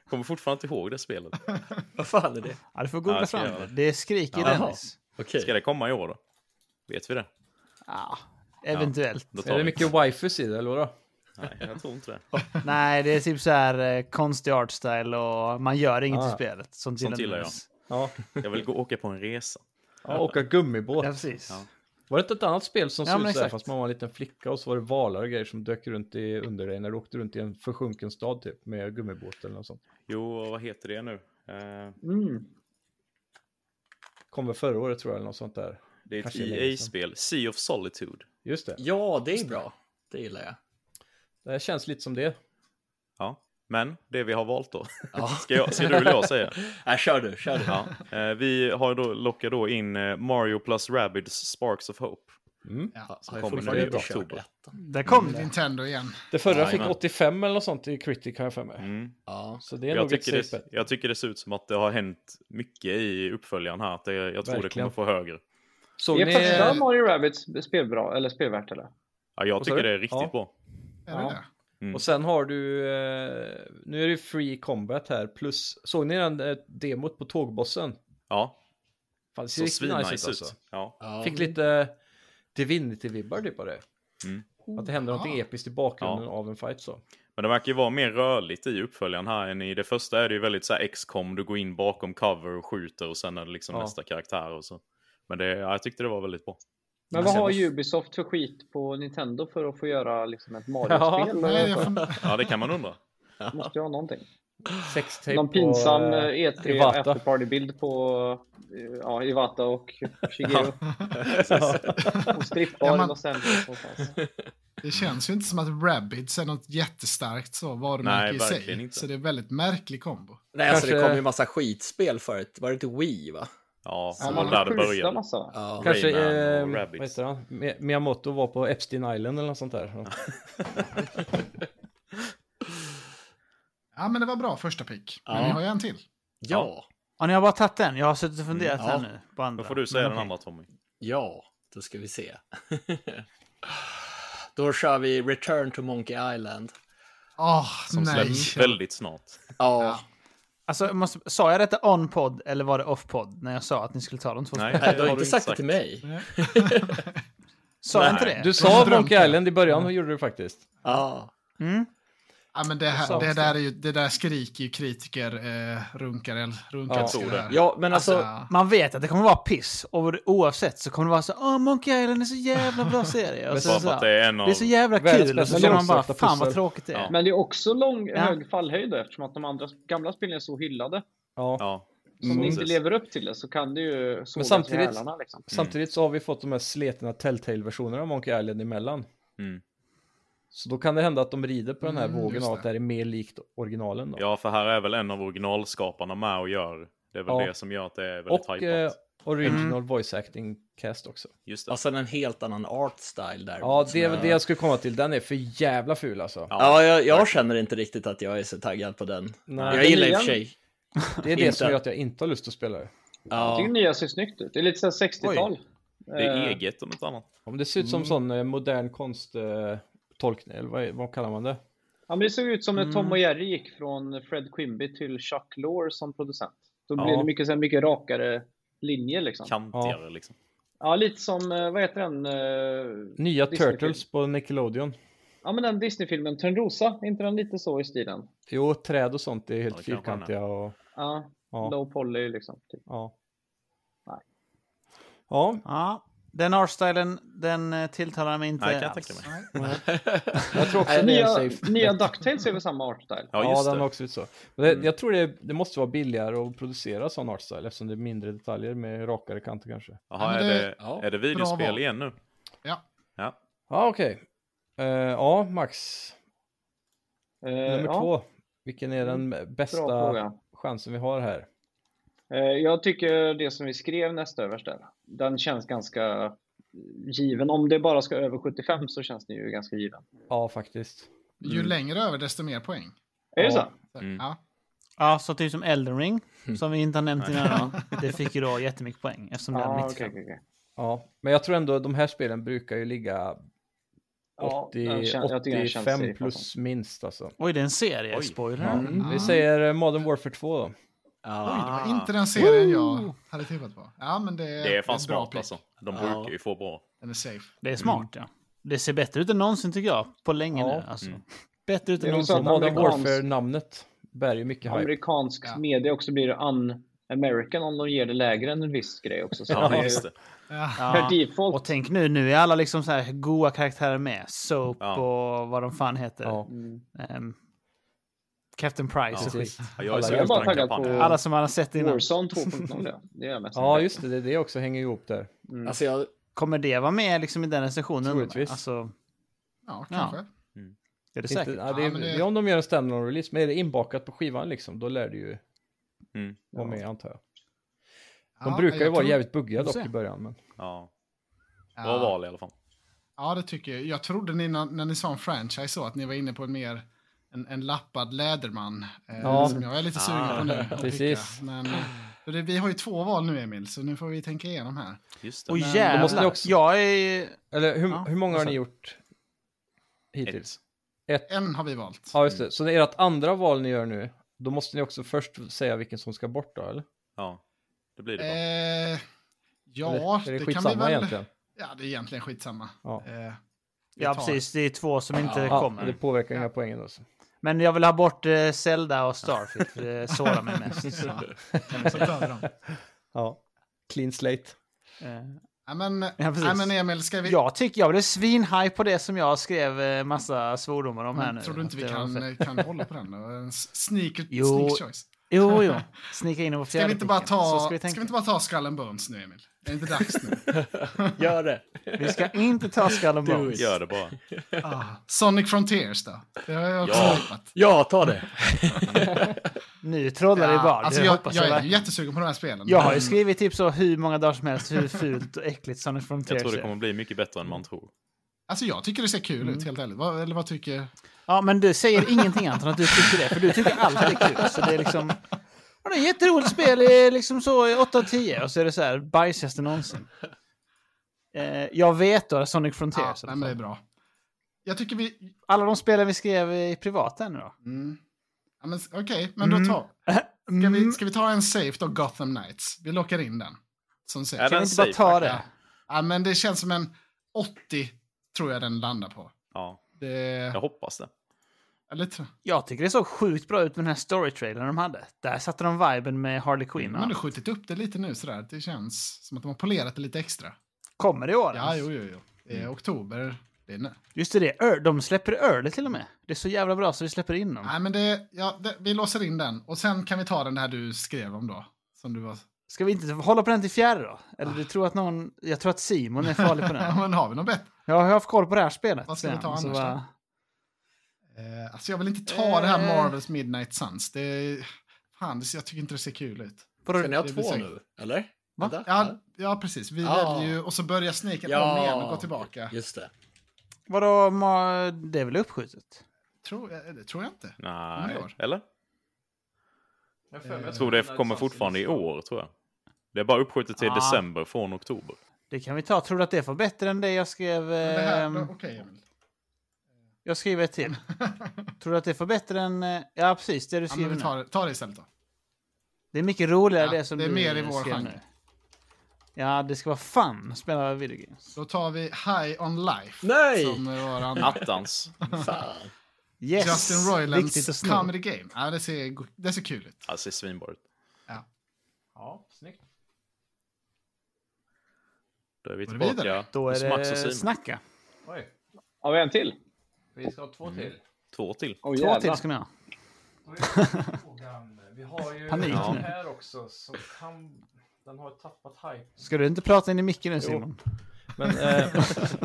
Speaker 6: Kommer fortfarande inte ihåg det spelet.
Speaker 7: <laughs> Vad fan är det?
Speaker 5: Ja, du får googla
Speaker 6: Ja, jag ska
Speaker 5: fram
Speaker 6: göra
Speaker 5: det.
Speaker 6: det.
Speaker 5: Det skriker
Speaker 7: Jaha.
Speaker 5: Dennis.
Speaker 7: Okej.
Speaker 6: Ska det komma i år då? Vet vi det?
Speaker 5: Ja, eventuellt.
Speaker 6: Då tar
Speaker 1: Är det
Speaker 6: vi
Speaker 1: mycket wifus i det, eller vadå?
Speaker 6: Nej, jag tror inte det.
Speaker 5: Nej, det är typ så här eh, konstig art style och man gör inget
Speaker 1: Ah.
Speaker 5: i spelet. Sånt
Speaker 6: Sånt gillar jag.
Speaker 5: Dennis.
Speaker 1: Ja.
Speaker 6: Jag vill gå åka på en resa.
Speaker 1: ja, åka gummibåt.
Speaker 5: Ja, precis.
Speaker 6: Ja.
Speaker 1: Var det inte ett annat spel som
Speaker 5: Ja,
Speaker 1: såg
Speaker 5: men
Speaker 1: ut sådär
Speaker 5: exakt.
Speaker 1: fast man var en liten flicka och så var det valar och grejer som dök runt i, under dig när du åkte runt i en försjunken stad typ med gummibåt eller något sånt.
Speaker 6: Jo, och vad heter det nu? Eh,
Speaker 4: Mm.
Speaker 1: Kommer förra året tror jag eller något sånt där.
Speaker 6: det är ett
Speaker 1: Kanske länge sedan.
Speaker 6: EA-spel. Sea of Solitude.
Speaker 1: Just det.
Speaker 7: Ja, det är bra. Det gillar <laughs> jag.
Speaker 1: Det här känns lite som det.
Speaker 6: Ja, men det vi har valt då. <laughs>
Speaker 7: Ja.
Speaker 6: Ska, jag, ska
Speaker 1: <laughs>
Speaker 6: du eller jag säga?
Speaker 7: Nej, kör du, kör du.
Speaker 6: Ja. Eh, vi har då, lockar då in eh, Mario plus Rabbids Sparks of Hope.
Speaker 2: Ja.
Speaker 7: Har
Speaker 6: kommer
Speaker 7: jag fortfarande
Speaker 1: nu i
Speaker 7: inte kört
Speaker 6: oktober.
Speaker 7: ettan?
Speaker 5: Där kom det.
Speaker 2: Nintendo igen.
Speaker 1: Det förra
Speaker 6: Ja,
Speaker 1: fick
Speaker 6: jajamän.
Speaker 1: 85 eller något sånt i Critic har jag för mig.
Speaker 6: Mm.
Speaker 7: Ja.
Speaker 1: Så det är
Speaker 6: Jag,
Speaker 1: nog ett
Speaker 6: tycker
Speaker 1: safe
Speaker 6: det,
Speaker 1: bet.
Speaker 6: jag tycker det ser ut som att det har hänt mycket i uppföljaren här. Att det, jag tror det
Speaker 1: Verkligen.
Speaker 6: kommer få högre.
Speaker 1: Såg
Speaker 4: är
Speaker 1: ni... eh,
Speaker 4: första Mario Rabbit spelbra, eller spelvärt eller?
Speaker 6: Ja, jag
Speaker 1: Vad sa
Speaker 6: tycker
Speaker 1: du?
Speaker 6: det är riktigt
Speaker 1: Ja.
Speaker 6: bra.
Speaker 2: Är det
Speaker 1: Ja.
Speaker 2: det?
Speaker 6: Mm.
Speaker 1: Och sen har du, eh, nu är det free combat här, plus, såg ni den eh, demot på tågbossen?
Speaker 6: Ja,
Speaker 1: Fan, det ser
Speaker 6: så
Speaker 1: riktigt nice
Speaker 6: svinnice
Speaker 1: ut
Speaker 6: ut.
Speaker 1: alltså.
Speaker 6: Ja.
Speaker 7: Ja.
Speaker 1: Fick lite Divinity-vibbar typ av det.
Speaker 6: Mm.
Speaker 1: Att det händer någonting episkt i bakgrunden
Speaker 6: Ja.
Speaker 1: av en fight så.
Speaker 6: Men det verkar ju vara mer rörligt i uppföljaren här än i det första är det ju väldigt så här XCOM, du går in bakom cover och skjuter och sen är det liksom
Speaker 1: Ja.
Speaker 6: nästa karaktär och så. Men det, ja, jag tyckte det var väldigt bra.
Speaker 4: Men vad har Ubisoft för skit på Nintendo för att få göra liksom ett Mario-spel?
Speaker 2: Nej, jag
Speaker 4: Ja.
Speaker 2: får...
Speaker 6: Ja, det kan man undra.
Speaker 4: Måste ju ha någonting.
Speaker 1: Sextape
Speaker 4: Någon pinsam
Speaker 1: och, Typ eh,
Speaker 4: eh, E3
Speaker 1: Iwata.
Speaker 4: afterparty-bild på eh, ja, Iwata och Shigeru. <laughs> och strippbar
Speaker 2: Ja,
Speaker 4: i
Speaker 2: man-
Speaker 4: Los Angeles någonstans.
Speaker 2: Det känns ju inte som att Rabbids är något jättestarkt så varumärke
Speaker 6: Nej,
Speaker 2: i
Speaker 6: verkligen
Speaker 2: sig.
Speaker 6: inte.
Speaker 2: Så det är väldigt märklig kombo.
Speaker 7: <laughs> Nej, alltså det
Speaker 1: Kanske-
Speaker 7: kom ju massa skitspel förut. Var det inte Wii, va?
Speaker 6: Ja,
Speaker 4: Ja,
Speaker 6: det
Speaker 4: man
Speaker 6: var där det
Speaker 4: har
Speaker 6: började.
Speaker 4: massa va?
Speaker 7: Ja.
Speaker 1: Kanske,
Speaker 6: Rayman
Speaker 1: eh,
Speaker 6: och
Speaker 1: vad
Speaker 6: Rabbids.
Speaker 1: heter han? Mi- Miyamoto var på Epstein Island eller något sånt där.
Speaker 2: Ja, men det var bra första pick. Men
Speaker 7: Ja.
Speaker 2: vi har ju en till.
Speaker 7: <laughs> Ja.
Speaker 5: Ja, ni har bara tagit den. Jag har suttit och funderat
Speaker 7: Mm,
Speaker 5: här
Speaker 7: ja.
Speaker 5: nu på andra. Mm.
Speaker 6: Då får du säga
Speaker 5: Men
Speaker 6: den
Speaker 5: okej.
Speaker 6: andra Tommy.
Speaker 7: Ja, då ska vi se. <laughs> Då kör vi Return to Monkey Island.
Speaker 2: Åh,
Speaker 6: Som
Speaker 2: Ah, nej.
Speaker 6: släpps väldigt snart.
Speaker 7: Ja,
Speaker 5: Alltså, jag måste, sa jag detta on-podd eller var det off-podd när jag sa att ni skulle ta de två
Speaker 6: Nej,
Speaker 5: spelen?
Speaker 7: Nej, du har
Speaker 6: har
Speaker 7: inte sagt det till mig.
Speaker 5: Sa jag
Speaker 6: nej.
Speaker 5: inte det?
Speaker 1: Du
Speaker 2: Jag
Speaker 1: sa
Speaker 2: drömde.
Speaker 1: Monkey Island i början, och gjorde du faktiskt.
Speaker 7: Ja,
Speaker 5: Mm?
Speaker 2: Ja, men det,
Speaker 5: Jag sa
Speaker 2: här, det,
Speaker 5: också
Speaker 2: där är ju, det där skriker ju kritiker eh, runkar eller runkar.
Speaker 1: Ja.
Speaker 2: älskar
Speaker 6: Jag tror
Speaker 2: det
Speaker 6: det.
Speaker 2: här.
Speaker 7: ja men alltså,
Speaker 2: Ja.
Speaker 5: Man vet att det kommer vara piss. Och oavsett så kommer det vara så Åh, Monkey Island är så jävla
Speaker 6: <laughs>
Speaker 5: bra serie. Och
Speaker 1: Men
Speaker 5: så,
Speaker 6: Bara
Speaker 5: så,
Speaker 6: för att det är en av...
Speaker 5: det är så jävla
Speaker 1: Världens
Speaker 5: kul. Och så
Speaker 1: bästa
Speaker 5: känner man bara,
Speaker 1: långsökta
Speaker 5: fan vad
Speaker 1: pussel."
Speaker 5: tråkigt det är.
Speaker 6: Ja.
Speaker 4: Men det är också lång,
Speaker 5: Ja.
Speaker 4: hög fallhöjd då, eftersom att de andra gamla spelen är så hyllade.
Speaker 1: Ja.
Speaker 6: Ja.
Speaker 4: Så om
Speaker 6: Mm.
Speaker 4: de inte
Speaker 6: Precis.
Speaker 4: lever upp till det så kan det ju sågas i
Speaker 1: samtidigt-
Speaker 4: hälarna liksom.
Speaker 6: Mm.
Speaker 1: Samtidigt så har vi fått de här sletna Telltale-versionerna av Monkey Island emellan.
Speaker 6: Mm.
Speaker 1: Så då kan det hända att de rider på den här
Speaker 2: Mm,
Speaker 1: vågen
Speaker 2: just
Speaker 1: av
Speaker 2: det.
Speaker 1: att det här är mer likt originalen. Då.
Speaker 6: ja, för här är väl en av originalskaparna med och gör. Det är väl
Speaker 1: Ja.
Speaker 6: det som gör att det är väldigt
Speaker 1: och eh,
Speaker 6: hajpat.
Speaker 1: original
Speaker 5: Mm.
Speaker 1: voice acting cast också.
Speaker 6: Just det.
Speaker 7: och sen alltså, en helt annan art style där.
Speaker 1: Ja,
Speaker 7: Som
Speaker 1: det är
Speaker 7: jag-
Speaker 1: väl det jag skulle komma till. Den är för jävla ful alltså.
Speaker 7: Ja, jag, jag känner inte riktigt att jag är så taggad på den.
Speaker 1: Nej.
Speaker 7: jag gillar i och
Speaker 4: Den
Speaker 7: för sig.
Speaker 1: Det är det som
Speaker 7: inte.
Speaker 1: gör att jag inte har lust att spela det.
Speaker 4: Jag
Speaker 7: Ja,
Speaker 4: tycker nya ser snyggt ut. Det är lite såhär 60-tal.
Speaker 6: det är
Speaker 4: Eh,
Speaker 6: eget om inte annat.
Speaker 1: Om det ser
Speaker 2: Mm.
Speaker 1: ut som sån eh, modern konst... Eh, tolkning, eller vad, är- vad kallar man det?
Speaker 4: Ja, men det såg ut som när
Speaker 1: Mm.
Speaker 4: Tom och Jerry gick från Fred Quimby till Chuck Lorre som producent. Då
Speaker 1: Ja.
Speaker 4: blev det mycket, så här, mycket rakare linjer liksom.
Speaker 6: Kantigare liksom.
Speaker 4: Ja, lite som, eh, vad heter den? eh,
Speaker 1: Nya
Speaker 4: Disney-film?
Speaker 1: Turtles på Nickelodeon.
Speaker 4: Ja, men den Disney-filmen Törnrosa. Är inte den lite så i stilen?
Speaker 1: Jo, träd och sånt är helt
Speaker 6: Ja, det kanske han är.
Speaker 1: fyrkantiga och...
Speaker 4: Ja,
Speaker 1: Ja,
Speaker 4: low poly liksom. Typ.
Speaker 1: ja.
Speaker 4: Nej.
Speaker 1: Ja,
Speaker 5: Ja, den artstylen, den eh, tilltalar mig inte
Speaker 6: Nej, kan jag
Speaker 5: alls.
Speaker 6: tänka mig. <laughs>
Speaker 1: jag tror också
Speaker 7: Nej,
Speaker 1: det är
Speaker 4: Eh, Nya,
Speaker 1: en safe.
Speaker 4: nya DuckTales är väl samma artstyle?
Speaker 1: Ja, Mm.
Speaker 6: Ja, just
Speaker 1: den
Speaker 6: det.
Speaker 1: har också ut så. Men det, Jag tror det, det måste vara billigare att producera sån artstyle eftersom det är mindre detaljer med rakare kanter kanske.
Speaker 2: Ja,
Speaker 6: Jaha,
Speaker 2: men
Speaker 6: är,
Speaker 2: det-
Speaker 6: det,
Speaker 7: ja,
Speaker 6: är det
Speaker 2: bra val.
Speaker 6: videospel igen nu?
Speaker 2: Ja.
Speaker 6: Ja.
Speaker 1: Ja, okej. Eh, ja, Max.
Speaker 4: Eh,
Speaker 1: Nummer
Speaker 4: ja, Mm,
Speaker 1: två. Vilken är den
Speaker 4: Bra
Speaker 1: bästa
Speaker 4: fråga.
Speaker 1: chansen vi har här?
Speaker 4: Eh, Jag tycker det som vi skrev näst överst där, den känns ganska given. Om det bara ska över 75 så känns det ju ganska given.
Speaker 1: Ja, faktiskt.
Speaker 2: Ju längre över desto mer poäng.
Speaker 4: Är det
Speaker 1: Ja.
Speaker 4: så?
Speaker 2: Så,
Speaker 6: Mm.
Speaker 2: Ja.
Speaker 5: Ja, så typ som Elden Ring,
Speaker 1: Mm.
Speaker 5: som vi inte har nämnt innan.
Speaker 1: <laughs>
Speaker 5: Det fick ju då jättemycket poäng eftersom det hade
Speaker 4: Ja,
Speaker 5: 95.
Speaker 4: okej, okej, okej.
Speaker 1: Ja, men jag tror ändå de här spelen brukar ju ligga
Speaker 4: Ja,
Speaker 1: 80,
Speaker 4: den kän- jag tycker den känns
Speaker 1: 85
Speaker 4: safe,
Speaker 1: plus
Speaker 4: alltså.
Speaker 1: minst alltså.
Speaker 5: Oj, det är en serie.
Speaker 6: Oj.
Speaker 5: Spoiler.
Speaker 1: Ja.
Speaker 5: Mm.
Speaker 1: Vi säger eh, Modern Warfare 2 då.
Speaker 2: Oj, det
Speaker 7: ja.
Speaker 2: var inte den serien jag hade tippat på. Ja, men det,
Speaker 6: Ah. Det är
Speaker 2: ett bra
Speaker 6: fan smart
Speaker 2: pick.
Speaker 6: alltså. De
Speaker 7: Ja.
Speaker 6: brukar ju få bra.
Speaker 2: Den är safe.
Speaker 5: Det är smart, ja. Det ser bättre ut än någonsin tycker jag. På länge
Speaker 1: Ja. Mm.
Speaker 5: nu. Alltså. Bättre ut
Speaker 4: Det
Speaker 5: än
Speaker 4: är väl så
Speaker 5: någonsin.
Speaker 1: Och
Speaker 4: att
Speaker 1: Modern
Speaker 4: amerikansk-
Speaker 1: Warfare-namnet bär ju mycket hype.
Speaker 4: Amerikansk
Speaker 2: Ja.
Speaker 4: media också blir un-American om de ger det lägre än en viss grej också. Så det
Speaker 6: Ja,
Speaker 4: är-
Speaker 6: just det.
Speaker 2: Ja.
Speaker 5: Ja.
Speaker 4: Per default.
Speaker 5: Och tänk nu, nu är alla liksom så här goa karaktärer med. Soap
Speaker 6: Ja.
Speaker 5: och vad de fan heter.
Speaker 1: Ja.
Speaker 4: Mm.
Speaker 5: Ehm, Captain Price och skit.
Speaker 1: Precis.
Speaker 6: Ja, jag är
Speaker 1: Alla
Speaker 6: så
Speaker 1: är
Speaker 6: på
Speaker 4: bara
Speaker 6: den
Speaker 4: taggad
Speaker 6: kampanjen.
Speaker 4: på-
Speaker 5: Alla som man har sett innan.
Speaker 4: Warzone 2.0 ja. Det är jag mest
Speaker 1: Ja,
Speaker 4: inne
Speaker 1: just det. Det, det också hänger ihop där.
Speaker 4: på. Mm.
Speaker 7: Alltså jag,
Speaker 5: Kommer det vara med liksom i den recensionen?
Speaker 1: Troligtvis.
Speaker 5: Alltså,
Speaker 2: ja, kanske.
Speaker 5: det är
Speaker 1: Inte,
Speaker 5: det
Speaker 1: Alltså,
Speaker 5: säkert.
Speaker 1: ja, det,
Speaker 2: Ja,
Speaker 1: är,
Speaker 2: men
Speaker 1: det...
Speaker 2: det-
Speaker 1: är om de gör en standalone release men är det inbakat på skivan liksom, då lär det ju
Speaker 6: Mm.
Speaker 1: vara med antar jag. De
Speaker 2: Ja,
Speaker 1: brukar ju
Speaker 2: jag
Speaker 1: vara
Speaker 2: tror-
Speaker 1: jävligt buggiga
Speaker 5: får
Speaker 1: dock i
Speaker 5: se.
Speaker 1: början. Men...
Speaker 6: Ja. Bra
Speaker 2: Ja,
Speaker 6: val i alla fall.
Speaker 2: ja, det tycker jag. Jag trodde ni, när, när ni sa en franchise så att ni var inne på en mer en, en lappad läderman. Eh,
Speaker 1: Ja.
Speaker 2: Som jag är lite sugen på nu. att
Speaker 1: Precis.
Speaker 2: picka. Men, eh, för det, vi har ju två val nu, Emil, så nu får vi tänka igenom här.
Speaker 6: Just det.
Speaker 5: Och
Speaker 2: Men-
Speaker 5: jävlar!
Speaker 1: Då måste ni också-
Speaker 5: Jag är...
Speaker 1: Eller hur,
Speaker 5: Ja,
Speaker 1: hur många har ni gjort? hittills? Ett.
Speaker 2: En har vi valt.
Speaker 1: Ja, just det. Så det är ert andra val ni gör nu. Då måste ni också först säga vilken som ska bort då, eller?
Speaker 6: Ja, det blir det bara.
Speaker 2: Eh, ja,
Speaker 1: eller är
Speaker 2: det,
Speaker 1: det
Speaker 2: kan vi
Speaker 1: skitsamma
Speaker 2: väl...
Speaker 1: egentligen?
Speaker 2: Ja, det är egentligen skitsamma.
Speaker 1: Ja. <laughs>
Speaker 2: Eh, vi
Speaker 5: Ja,
Speaker 2: tar-
Speaker 5: precis. Det är två som inte
Speaker 1: Ja,
Speaker 5: kommer.
Speaker 1: det påverkar inga
Speaker 2: Ja.
Speaker 1: poängen då. så.
Speaker 5: Men jag vill ha bort eh, Zelda och Starfield, för det sårar mig mest. Så,
Speaker 2: Så tar vi dem.
Speaker 1: <laughs> Ja. Clean slate.
Speaker 5: eh,
Speaker 2: Ja, men, ja,
Speaker 5: precis.
Speaker 2: men Emil, ska vi...
Speaker 5: jag tycker jag blev svinhaj på det som jag skrev eh, massa svordomar om här nu.
Speaker 2: Tror du inte
Speaker 5: Att eh,
Speaker 2: vi
Speaker 5: det var
Speaker 2: kan, eh,
Speaker 5: fett.
Speaker 2: kan hålla på den? då? En s- sneaker,
Speaker 5: Jo.
Speaker 2: sneak choice.
Speaker 5: Jo, jo. Snicka in på
Speaker 2: eh, Ska vi, inte bara
Speaker 5: fjärdepicken. Så
Speaker 2: ta,
Speaker 5: Ska
Speaker 2: ska,
Speaker 5: vi,
Speaker 2: vi
Speaker 5: tänka.
Speaker 2: inte bara ta Skull and Bones nu, Emil? Är det inte dags nu?
Speaker 5: <laughs>
Speaker 7: Gör det.
Speaker 5: vi ska inte
Speaker 2: <laughs>
Speaker 5: ta Skull and Bones.
Speaker 6: Gör det bara.
Speaker 2: ah, Sonic Frontiers då? Det har jag också
Speaker 6: Ja.
Speaker 2: hoppat.
Speaker 7: Ja, ta det.
Speaker 5: Nu trollar vi bara.
Speaker 2: alltså,
Speaker 5: det
Speaker 2: jag,
Speaker 5: hoppas
Speaker 2: jag
Speaker 5: jag,
Speaker 2: är
Speaker 5: verkligen.
Speaker 2: jättesugen på de här spelen.
Speaker 5: jag har ju
Speaker 2: men-
Speaker 5: skrivit typ så hur många dagar som helst hur fult och äckligt Sonic
Speaker 6: Jag
Speaker 5: Frontiers
Speaker 6: tror det
Speaker 5: är.
Speaker 6: kommer bli mycket bättre än man tror.
Speaker 2: Alltså, jag tycker det ser kul
Speaker 5: Mm.
Speaker 2: ut, helt ärligt. Vad, eller vad tycker...
Speaker 5: Ja, men du säger ingenting Anton att du tycker det, för du tycker allt är kul. Så det är liksom... Ja, det är ett jätteroligt spel, det är liksom så 8 av 10 och så är det så här bajsigaste någonsin. Eh, jag vet då Sonic
Speaker 2: Ja,
Speaker 5: Frontiers. i
Speaker 2: nej,
Speaker 5: alla
Speaker 2: men det är
Speaker 5: fall.
Speaker 2: bra. Jag tycker vi...
Speaker 5: Alla de spelen vi skrev i privat ännu då.
Speaker 2: Mm. Ja, men, Okej, men då tar... Ska
Speaker 5: Mm.
Speaker 2: vi, ska vi ta en safe då, Gotham Knights? Vi lockar in den. Som safe.
Speaker 6: Är
Speaker 5: Kan
Speaker 6: den
Speaker 5: vi inte bara
Speaker 6: safe,
Speaker 5: ta
Speaker 2: Ja.
Speaker 5: det?
Speaker 2: Ja, men det känns som en 80 tror jag den landar på.
Speaker 6: Ja,
Speaker 2: Det,
Speaker 6: jag hoppas det.
Speaker 2: eller, tr-
Speaker 5: Jag tycker det såg sjukt bra ut med den här storytrailern de hade. Där satte de viben med Harley Quinn.
Speaker 2: de
Speaker 5: och
Speaker 2: har ändå
Speaker 5: allt.
Speaker 2: skjutit upp det lite nu sådär. Det känns som att de har polerat det lite extra.
Speaker 5: Kommer det i år?
Speaker 2: Ja, jo, jo, jo. Det är
Speaker 5: Mm.
Speaker 2: oktober. Det är nu.
Speaker 5: Just det, det, är Ear- de släpper early till och med. Det är så jävla bra så vi släpper in dem.
Speaker 2: Nej, men det, ja, det, vi låser in den och sen kan vi ta den här du skrev om då. Som du var...
Speaker 5: Ska vi inte hålla på den till fjärde då? Eller
Speaker 2: Ah.
Speaker 5: du tror att någon... Jag tror att Simon är
Speaker 2: <laughs>
Speaker 5: farlig på den.
Speaker 2: men har vi något bättre?
Speaker 5: Jag har haft koll på det här spelet.
Speaker 2: Vad ska vi ta
Speaker 5: Så
Speaker 2: annars
Speaker 5: bara-
Speaker 2: då? Eh, alltså jag vill inte ta det här
Speaker 5: Eh.
Speaker 2: Marvels Midnight Suns. Det, fan, det, jag tycker inte det ser kul ut.
Speaker 5: Vadå?
Speaker 7: Ska ni ha
Speaker 2: Det blir
Speaker 7: två
Speaker 2: säkert.
Speaker 7: nu, eller?
Speaker 5: Va? Ah.
Speaker 7: Vänta.
Speaker 2: Ja, ja precis. Vi
Speaker 7: Ja.
Speaker 2: väljer ju och så börjar sniken om igen och går tillbaka.
Speaker 7: Just det.
Speaker 5: Vadå, ma- det är väl uppskjutet?
Speaker 2: Tror, eh, det tror jag inte. Kommer
Speaker 6: Nej,
Speaker 2: i år.
Speaker 6: eller? Jag tror det kommer fortfarande i år, tror jag. Det är bara uppskjutet till
Speaker 5: Ah.
Speaker 6: december från oktober.
Speaker 5: Det kan vi ta. Tror du att det var bättre än det jag skrev?
Speaker 2: Men Det här,
Speaker 5: ehm,
Speaker 2: då- okej, Emil.
Speaker 5: jag skriver
Speaker 2: <laughs>
Speaker 5: ett till. Tror du att det var bättre än... eh, Ja, precis. Det du
Speaker 2: Ja, men
Speaker 5: skriver
Speaker 2: vi
Speaker 5: nu.
Speaker 2: tar, det- ta det istället då.
Speaker 5: Det är mycket roligare
Speaker 2: Ja,
Speaker 5: det som
Speaker 2: det är
Speaker 5: du
Speaker 2: mer i vår
Speaker 5: skrev
Speaker 2: genre.
Speaker 5: nu. Ja, det ska vara fun att spela video games.
Speaker 2: Då tar vi High on Life.
Speaker 7: Nej!
Speaker 2: Som är vår andra.
Speaker 6: Attans!
Speaker 7: Fan.
Speaker 5: Yes!
Speaker 2: Justin
Speaker 5: Viktigt att
Speaker 2: Roilands
Speaker 5: sno.
Speaker 2: comedy game. Ja, det, ser, go- det ser kul ut.
Speaker 6: Alltså, det är svinbra ut.
Speaker 1: Ja, snyggt.
Speaker 6: Då är vi
Speaker 2: Går det vidare?
Speaker 6: tillbaka
Speaker 5: Då
Speaker 6: hos
Speaker 5: är
Speaker 6: Max och
Speaker 5: det
Speaker 6: Simon.
Speaker 5: snacka.
Speaker 1: Oj,
Speaker 4: Har vi en till?
Speaker 1: vi ska ha två till.
Speaker 6: Två till.
Speaker 4: Åh
Speaker 5: Två till
Speaker 4: jävlar.
Speaker 5: ska ni ha.
Speaker 1: Vi har ju
Speaker 5: Panik
Speaker 1: den
Speaker 5: nu.
Speaker 1: här också som kan... Den har tappat hype.
Speaker 5: Ska du inte prata in i micken nu Simon?
Speaker 1: Men <laughs> eh,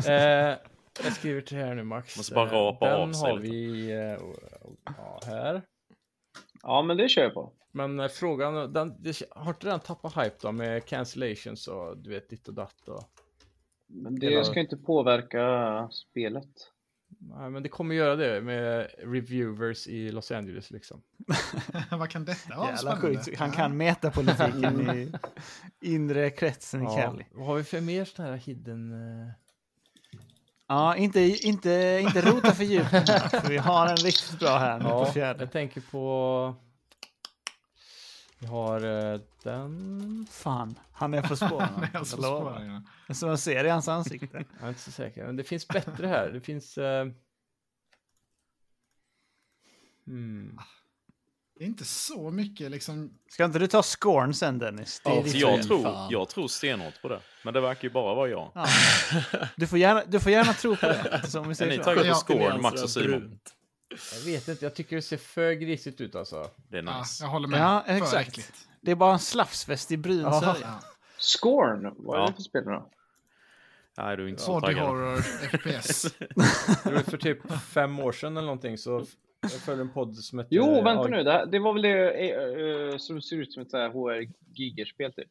Speaker 1: eh, jag skriver till här nu Max.
Speaker 6: Måste bara
Speaker 1: Eh,
Speaker 6: rapa
Speaker 1: den
Speaker 6: av sig
Speaker 1: har
Speaker 6: lite.
Speaker 1: vi eh, och- ja, här.
Speaker 4: Ja, men det kör jag på.
Speaker 1: Men eh, frågan, den, det, har inte den tappat hype då med cancellations och du vet ditt och datt och...
Speaker 4: Men det
Speaker 1: Hela-
Speaker 4: ska ju inte påverka spelet.
Speaker 1: Nej men det kommer göra det med reviewers i Los Angeles liksom.
Speaker 2: <laughs> Vad kan detta vara?
Speaker 5: Jävla
Speaker 2: Spännande.
Speaker 5: sjukt. Han kan metapolitiken i inre kretsen i Cali.
Speaker 1: Vad har vi för mer sådana här hidden... eh,
Speaker 5: Ja, inte, inte, inte rota för djupt med den här, för vi har en riktigt bra här nu på
Speaker 1: Ja,
Speaker 5: fjärde.
Speaker 1: jag tänker på... Vi har eh, den...
Speaker 5: Fan, han är
Speaker 2: <laughs>
Speaker 5: på <laughs> spåren.
Speaker 2: Ja, så
Speaker 5: jag lovar.
Speaker 2: spårar jag.
Speaker 5: Som man ser i hans ansikte.
Speaker 1: Jag är inte så säker. Men det finns bättre här. Det finns... eh, Hmm.
Speaker 2: Det är inte så mycket liksom.
Speaker 5: Ska inte du ta scorn sen Dennis? Det är
Speaker 7: Ja,
Speaker 5: ditt
Speaker 7: Fan.
Speaker 5: fel.
Speaker 6: Så jag tror, jag tror stenhårt på det. Men det verkar ju bara vara jag.
Speaker 5: Ja. Du, får gärna, du får gärna tro på det. Som vi
Speaker 6: Är
Speaker 5: säger
Speaker 6: ni
Speaker 5: så.
Speaker 6: taggade
Speaker 2: Ja,
Speaker 6: på scoren, Max och Simon?
Speaker 7: Alltså, Brunt.
Speaker 1: Jag vet inte. Jag tycker det ser för grisigt ut alltså.
Speaker 6: Det är
Speaker 2: Ja,
Speaker 6: nice.
Speaker 2: jag håller med.
Speaker 5: Ja,
Speaker 2: För
Speaker 5: exakt.
Speaker 2: äckligt.
Speaker 5: Det är bara en slafsfest i brun
Speaker 2: Ja.
Speaker 5: sörja.
Speaker 4: Scorn, vad är
Speaker 6: Ja.
Speaker 4: det för spel då?
Speaker 6: Nej, du är inte så
Speaker 2: Body
Speaker 6: taggad.
Speaker 2: horror FPS.
Speaker 1: Det var För typ fem år sedan eller någonting så f- jag följde en podd som hette...
Speaker 4: Jo,
Speaker 1: eh,
Speaker 4: vänta
Speaker 1: Al-
Speaker 4: nu. Det, här, det var väl det eh, eh, som ser ut som ett så här HR Giger-spel typ?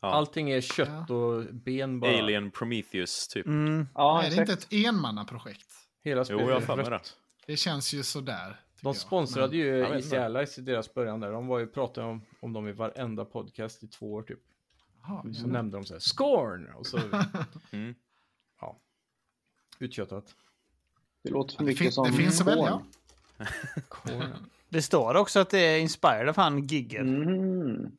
Speaker 6: Ja.
Speaker 1: Allting är kött och ben bara.
Speaker 6: Alien Prometheus, typ.
Speaker 5: Mm.
Speaker 4: Ja,
Speaker 2: Nej, det är inte ett enmannaprojekt.
Speaker 1: Hela
Speaker 6: Jo,
Speaker 1: spelet
Speaker 6: jag
Speaker 1: är
Speaker 6: har för mig det.
Speaker 1: rött.
Speaker 2: Det känns ju sådär. tycker
Speaker 1: De
Speaker 2: jag.
Speaker 1: sponsrade ju
Speaker 6: Jag vet
Speaker 1: Easy
Speaker 6: inte.
Speaker 1: Allies i deras början där. De var ju, pratade om, om dem i varenda podcast i två år typ.
Speaker 2: Jaha,
Speaker 1: Så
Speaker 2: ja.
Speaker 1: nämnde de så här <laughs> Scorn! Och så...
Speaker 6: Mm.
Speaker 1: Ja. Utköttat.
Speaker 4: Det låter för
Speaker 2: Det, fin,
Speaker 4: mycket som
Speaker 2: det finns att välja.
Speaker 4: Korn.
Speaker 5: Det står också att det är inspired av han Giger,
Speaker 4: Mhm.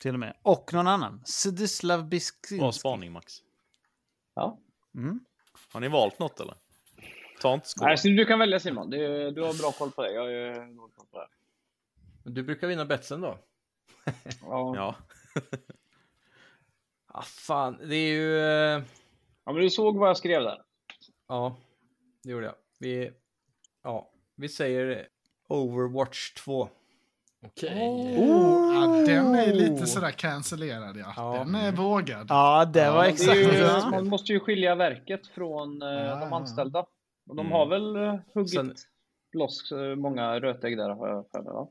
Speaker 5: till och med. Och någon annan. Zdislav
Speaker 6: Bra
Speaker 5: Biskinski.
Speaker 6: spaning Max.
Speaker 4: Ja.
Speaker 5: Mm.
Speaker 6: Har ni valt något eller? Ta inte skål.
Speaker 4: Nej, så du kan välja Simon. Du, du har bra koll på det. Jag har ju dålig koll på det.
Speaker 1: Men du brukar vinna betsen då?
Speaker 4: Ja. Ja.
Speaker 6: Ja.
Speaker 1: Ah, fan, det är ju... eh,
Speaker 4: men du såg vad jag skrev där.
Speaker 1: Ja, det gjorde jag. Vi, ja, vi säger Overwatch 2.
Speaker 7: Okej.
Speaker 2: Ja, den är lite sådär cancellerad, ja.
Speaker 1: Ja.
Speaker 2: Den är vågad.
Speaker 5: Ja, det var
Speaker 4: Men
Speaker 5: exakt
Speaker 4: det
Speaker 5: vad
Speaker 4: är
Speaker 5: jag
Speaker 4: ju, man måste ju skilja verket från eh,
Speaker 2: Ja,
Speaker 4: de
Speaker 2: ja.
Speaker 4: anställda. Och de
Speaker 6: Mm.
Speaker 4: har väl eh, huggit
Speaker 1: Sen-
Speaker 4: loss eh, många rötägg där har jag för mig, va?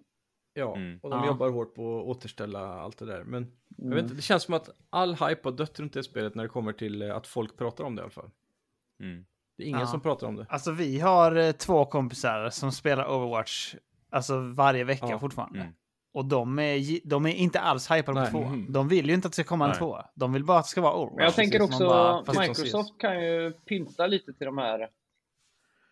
Speaker 1: Ja,
Speaker 6: Mm.
Speaker 1: och de
Speaker 5: Ja.
Speaker 1: jobbar hårt på att återställa allt det där. Men jag vet
Speaker 4: Mm.
Speaker 1: inte, det känns som att all hype har dött runt det spelet när det kommer till eh, att folk pratar om det i alla fall.
Speaker 6: Mm.
Speaker 1: Det är ingen
Speaker 5: Ja.
Speaker 1: som pratar om det.
Speaker 5: Alltså vi har eh, två kompisar som spelar Overwatch alltså varje vecka
Speaker 1: Ja.
Speaker 5: fortfarande.
Speaker 6: Mm.
Speaker 5: Och de är, gi- de är inte alls hypade på
Speaker 1: Nej.
Speaker 5: två.
Speaker 7: Mhm.
Speaker 5: De vill ju inte att det ska komma en
Speaker 6: Nej.
Speaker 5: två. De vill bara att det ska vara Overwatch.
Speaker 4: Men jag tänker
Speaker 5: Precis,
Speaker 4: också
Speaker 5: man bara- fast-
Speaker 4: Microsoft kan ju pynta lite till de här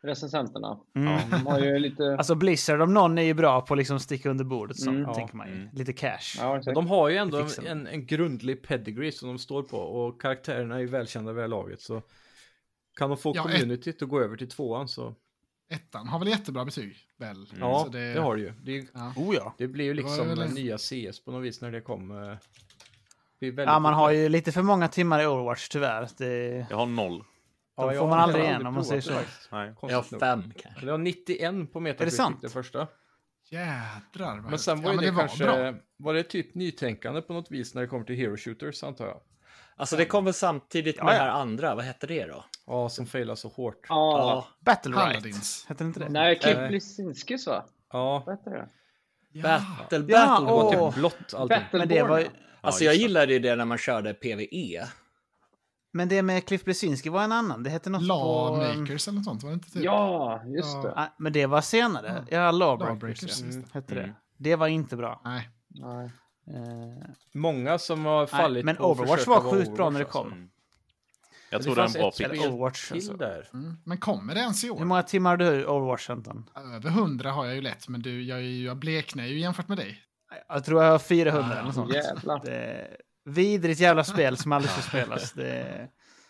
Speaker 4: recensenterna.
Speaker 5: Mm.
Speaker 4: De har ju lite...
Speaker 5: Alltså Blizzard om någon är ju bra på att liksom sticka under bordet så,
Speaker 4: Mm.
Speaker 5: tänker man ju.
Speaker 6: Mm.
Speaker 5: Lite cash.
Speaker 4: Ja,
Speaker 1: Men
Speaker 4: exakt.
Speaker 1: de har ju ändå
Speaker 5: Det
Speaker 1: en,
Speaker 5: fixar de.
Speaker 1: en, en grundlig pedigree som de står på och karaktärerna är ju välkända vid det här laget. Så kan de få
Speaker 2: Ja, eh. ett-
Speaker 1: communityt att gå över till tvåan så
Speaker 2: Ettan har väl jättebra betyg? Väl?
Speaker 5: Mm.
Speaker 1: ja,
Speaker 2: Så
Speaker 1: det... har det ju. Det, är-
Speaker 5: Oh ja.
Speaker 1: det blir ju
Speaker 2: Det var
Speaker 1: liksom
Speaker 2: väl en-
Speaker 1: nya CS på något vis när det kom. eh, det är väldigt
Speaker 5: Ja, man har ju lite för många timmar i Overwatch tyvär. Det...
Speaker 6: Jag har noll.
Speaker 1: Ja,
Speaker 5: de
Speaker 1: jag
Speaker 5: får man
Speaker 1: har
Speaker 5: aldrig igen, om man
Speaker 1: provat
Speaker 5: säger
Speaker 1: det
Speaker 5: så.
Speaker 1: faktiskt,
Speaker 6: Nej.
Speaker 1: konstigt
Speaker 7: Jag har
Speaker 1: nog.
Speaker 7: fem kanske.
Speaker 1: Det var 91 på Metacritic
Speaker 5: sant?
Speaker 1: det första.
Speaker 2: Jädrar vad
Speaker 1: Men sen
Speaker 2: häftigt.
Speaker 1: var ju
Speaker 2: ja, men
Speaker 1: det,
Speaker 2: det var
Speaker 1: kanske,
Speaker 2: bra.
Speaker 1: var det typ nytänkande på något vis när det kommer till Hero Shooters antar jag?
Speaker 7: Alltså det kom väl samtidigt med
Speaker 5: Ja,
Speaker 7: det
Speaker 5: ja.
Speaker 7: här andra, vad hette det då?
Speaker 1: Ja, som failar så hårt. Ja,
Speaker 4: Ja.
Speaker 7: Ja,
Speaker 5: Battle Right.
Speaker 2: Paladins.
Speaker 5: Hette det inte det?
Speaker 4: Nej,
Speaker 1: Nej.
Speaker 4: Kip Lisinskis va? Vad heter det?
Speaker 2: Ja.
Speaker 7: Battle,
Speaker 5: Ja,
Speaker 7: Battle
Speaker 5: åh.
Speaker 7: Royale.
Speaker 1: typ blått allting.
Speaker 5: Men det,
Speaker 4: Battleborn.
Speaker 5: var, ju-
Speaker 7: Alltså
Speaker 6: Ja,
Speaker 7: jag
Speaker 6: just det.
Speaker 7: gillade ju det när man körde E. PVE.
Speaker 5: men det med Cliff Blesinski var en annan. Det hette något på... ehm,
Speaker 2: Lawmakers eller något sånt, var det inte? Typ?
Speaker 4: Ja, just
Speaker 2: Ja.
Speaker 4: det.
Speaker 5: ah, Men det var senare. Ja, Lawbreakers.
Speaker 2: Lawbreakers. just det.
Speaker 5: hette
Speaker 6: Mm.
Speaker 5: det. Det var inte bra.
Speaker 7: Mm.
Speaker 2: Nej.
Speaker 4: Nej.
Speaker 5: Eh,
Speaker 1: Många som har fallit
Speaker 5: men
Speaker 1: på att
Speaker 5: Overwatch
Speaker 1: försöka
Speaker 5: var
Speaker 1: vara
Speaker 5: sjukt bra
Speaker 1: Overwatch,
Speaker 5: när det
Speaker 1: alltså.
Speaker 5: kom.
Speaker 6: Mm. Jag
Speaker 1: Men
Speaker 6: tror det är en
Speaker 1: fanns
Speaker 6: bra
Speaker 1: ett spel
Speaker 6: pick.
Speaker 5: pick. Overwatch,
Speaker 1: till
Speaker 5: alltså.
Speaker 1: där.
Speaker 2: Mm. Men kommer det ens i
Speaker 5: hur
Speaker 2: år?
Speaker 5: många timmar har du i Overwatch, Anton?
Speaker 2: Över hundra har jag ju lätt, men du, jag, är ju- jag bleknar ju jämfört med dig.
Speaker 5: Jag tror jag har 400 eller något sånt.
Speaker 4: Jävlar.
Speaker 5: Det är vidrigt jävla spel som aldrig ska spelas. Det är,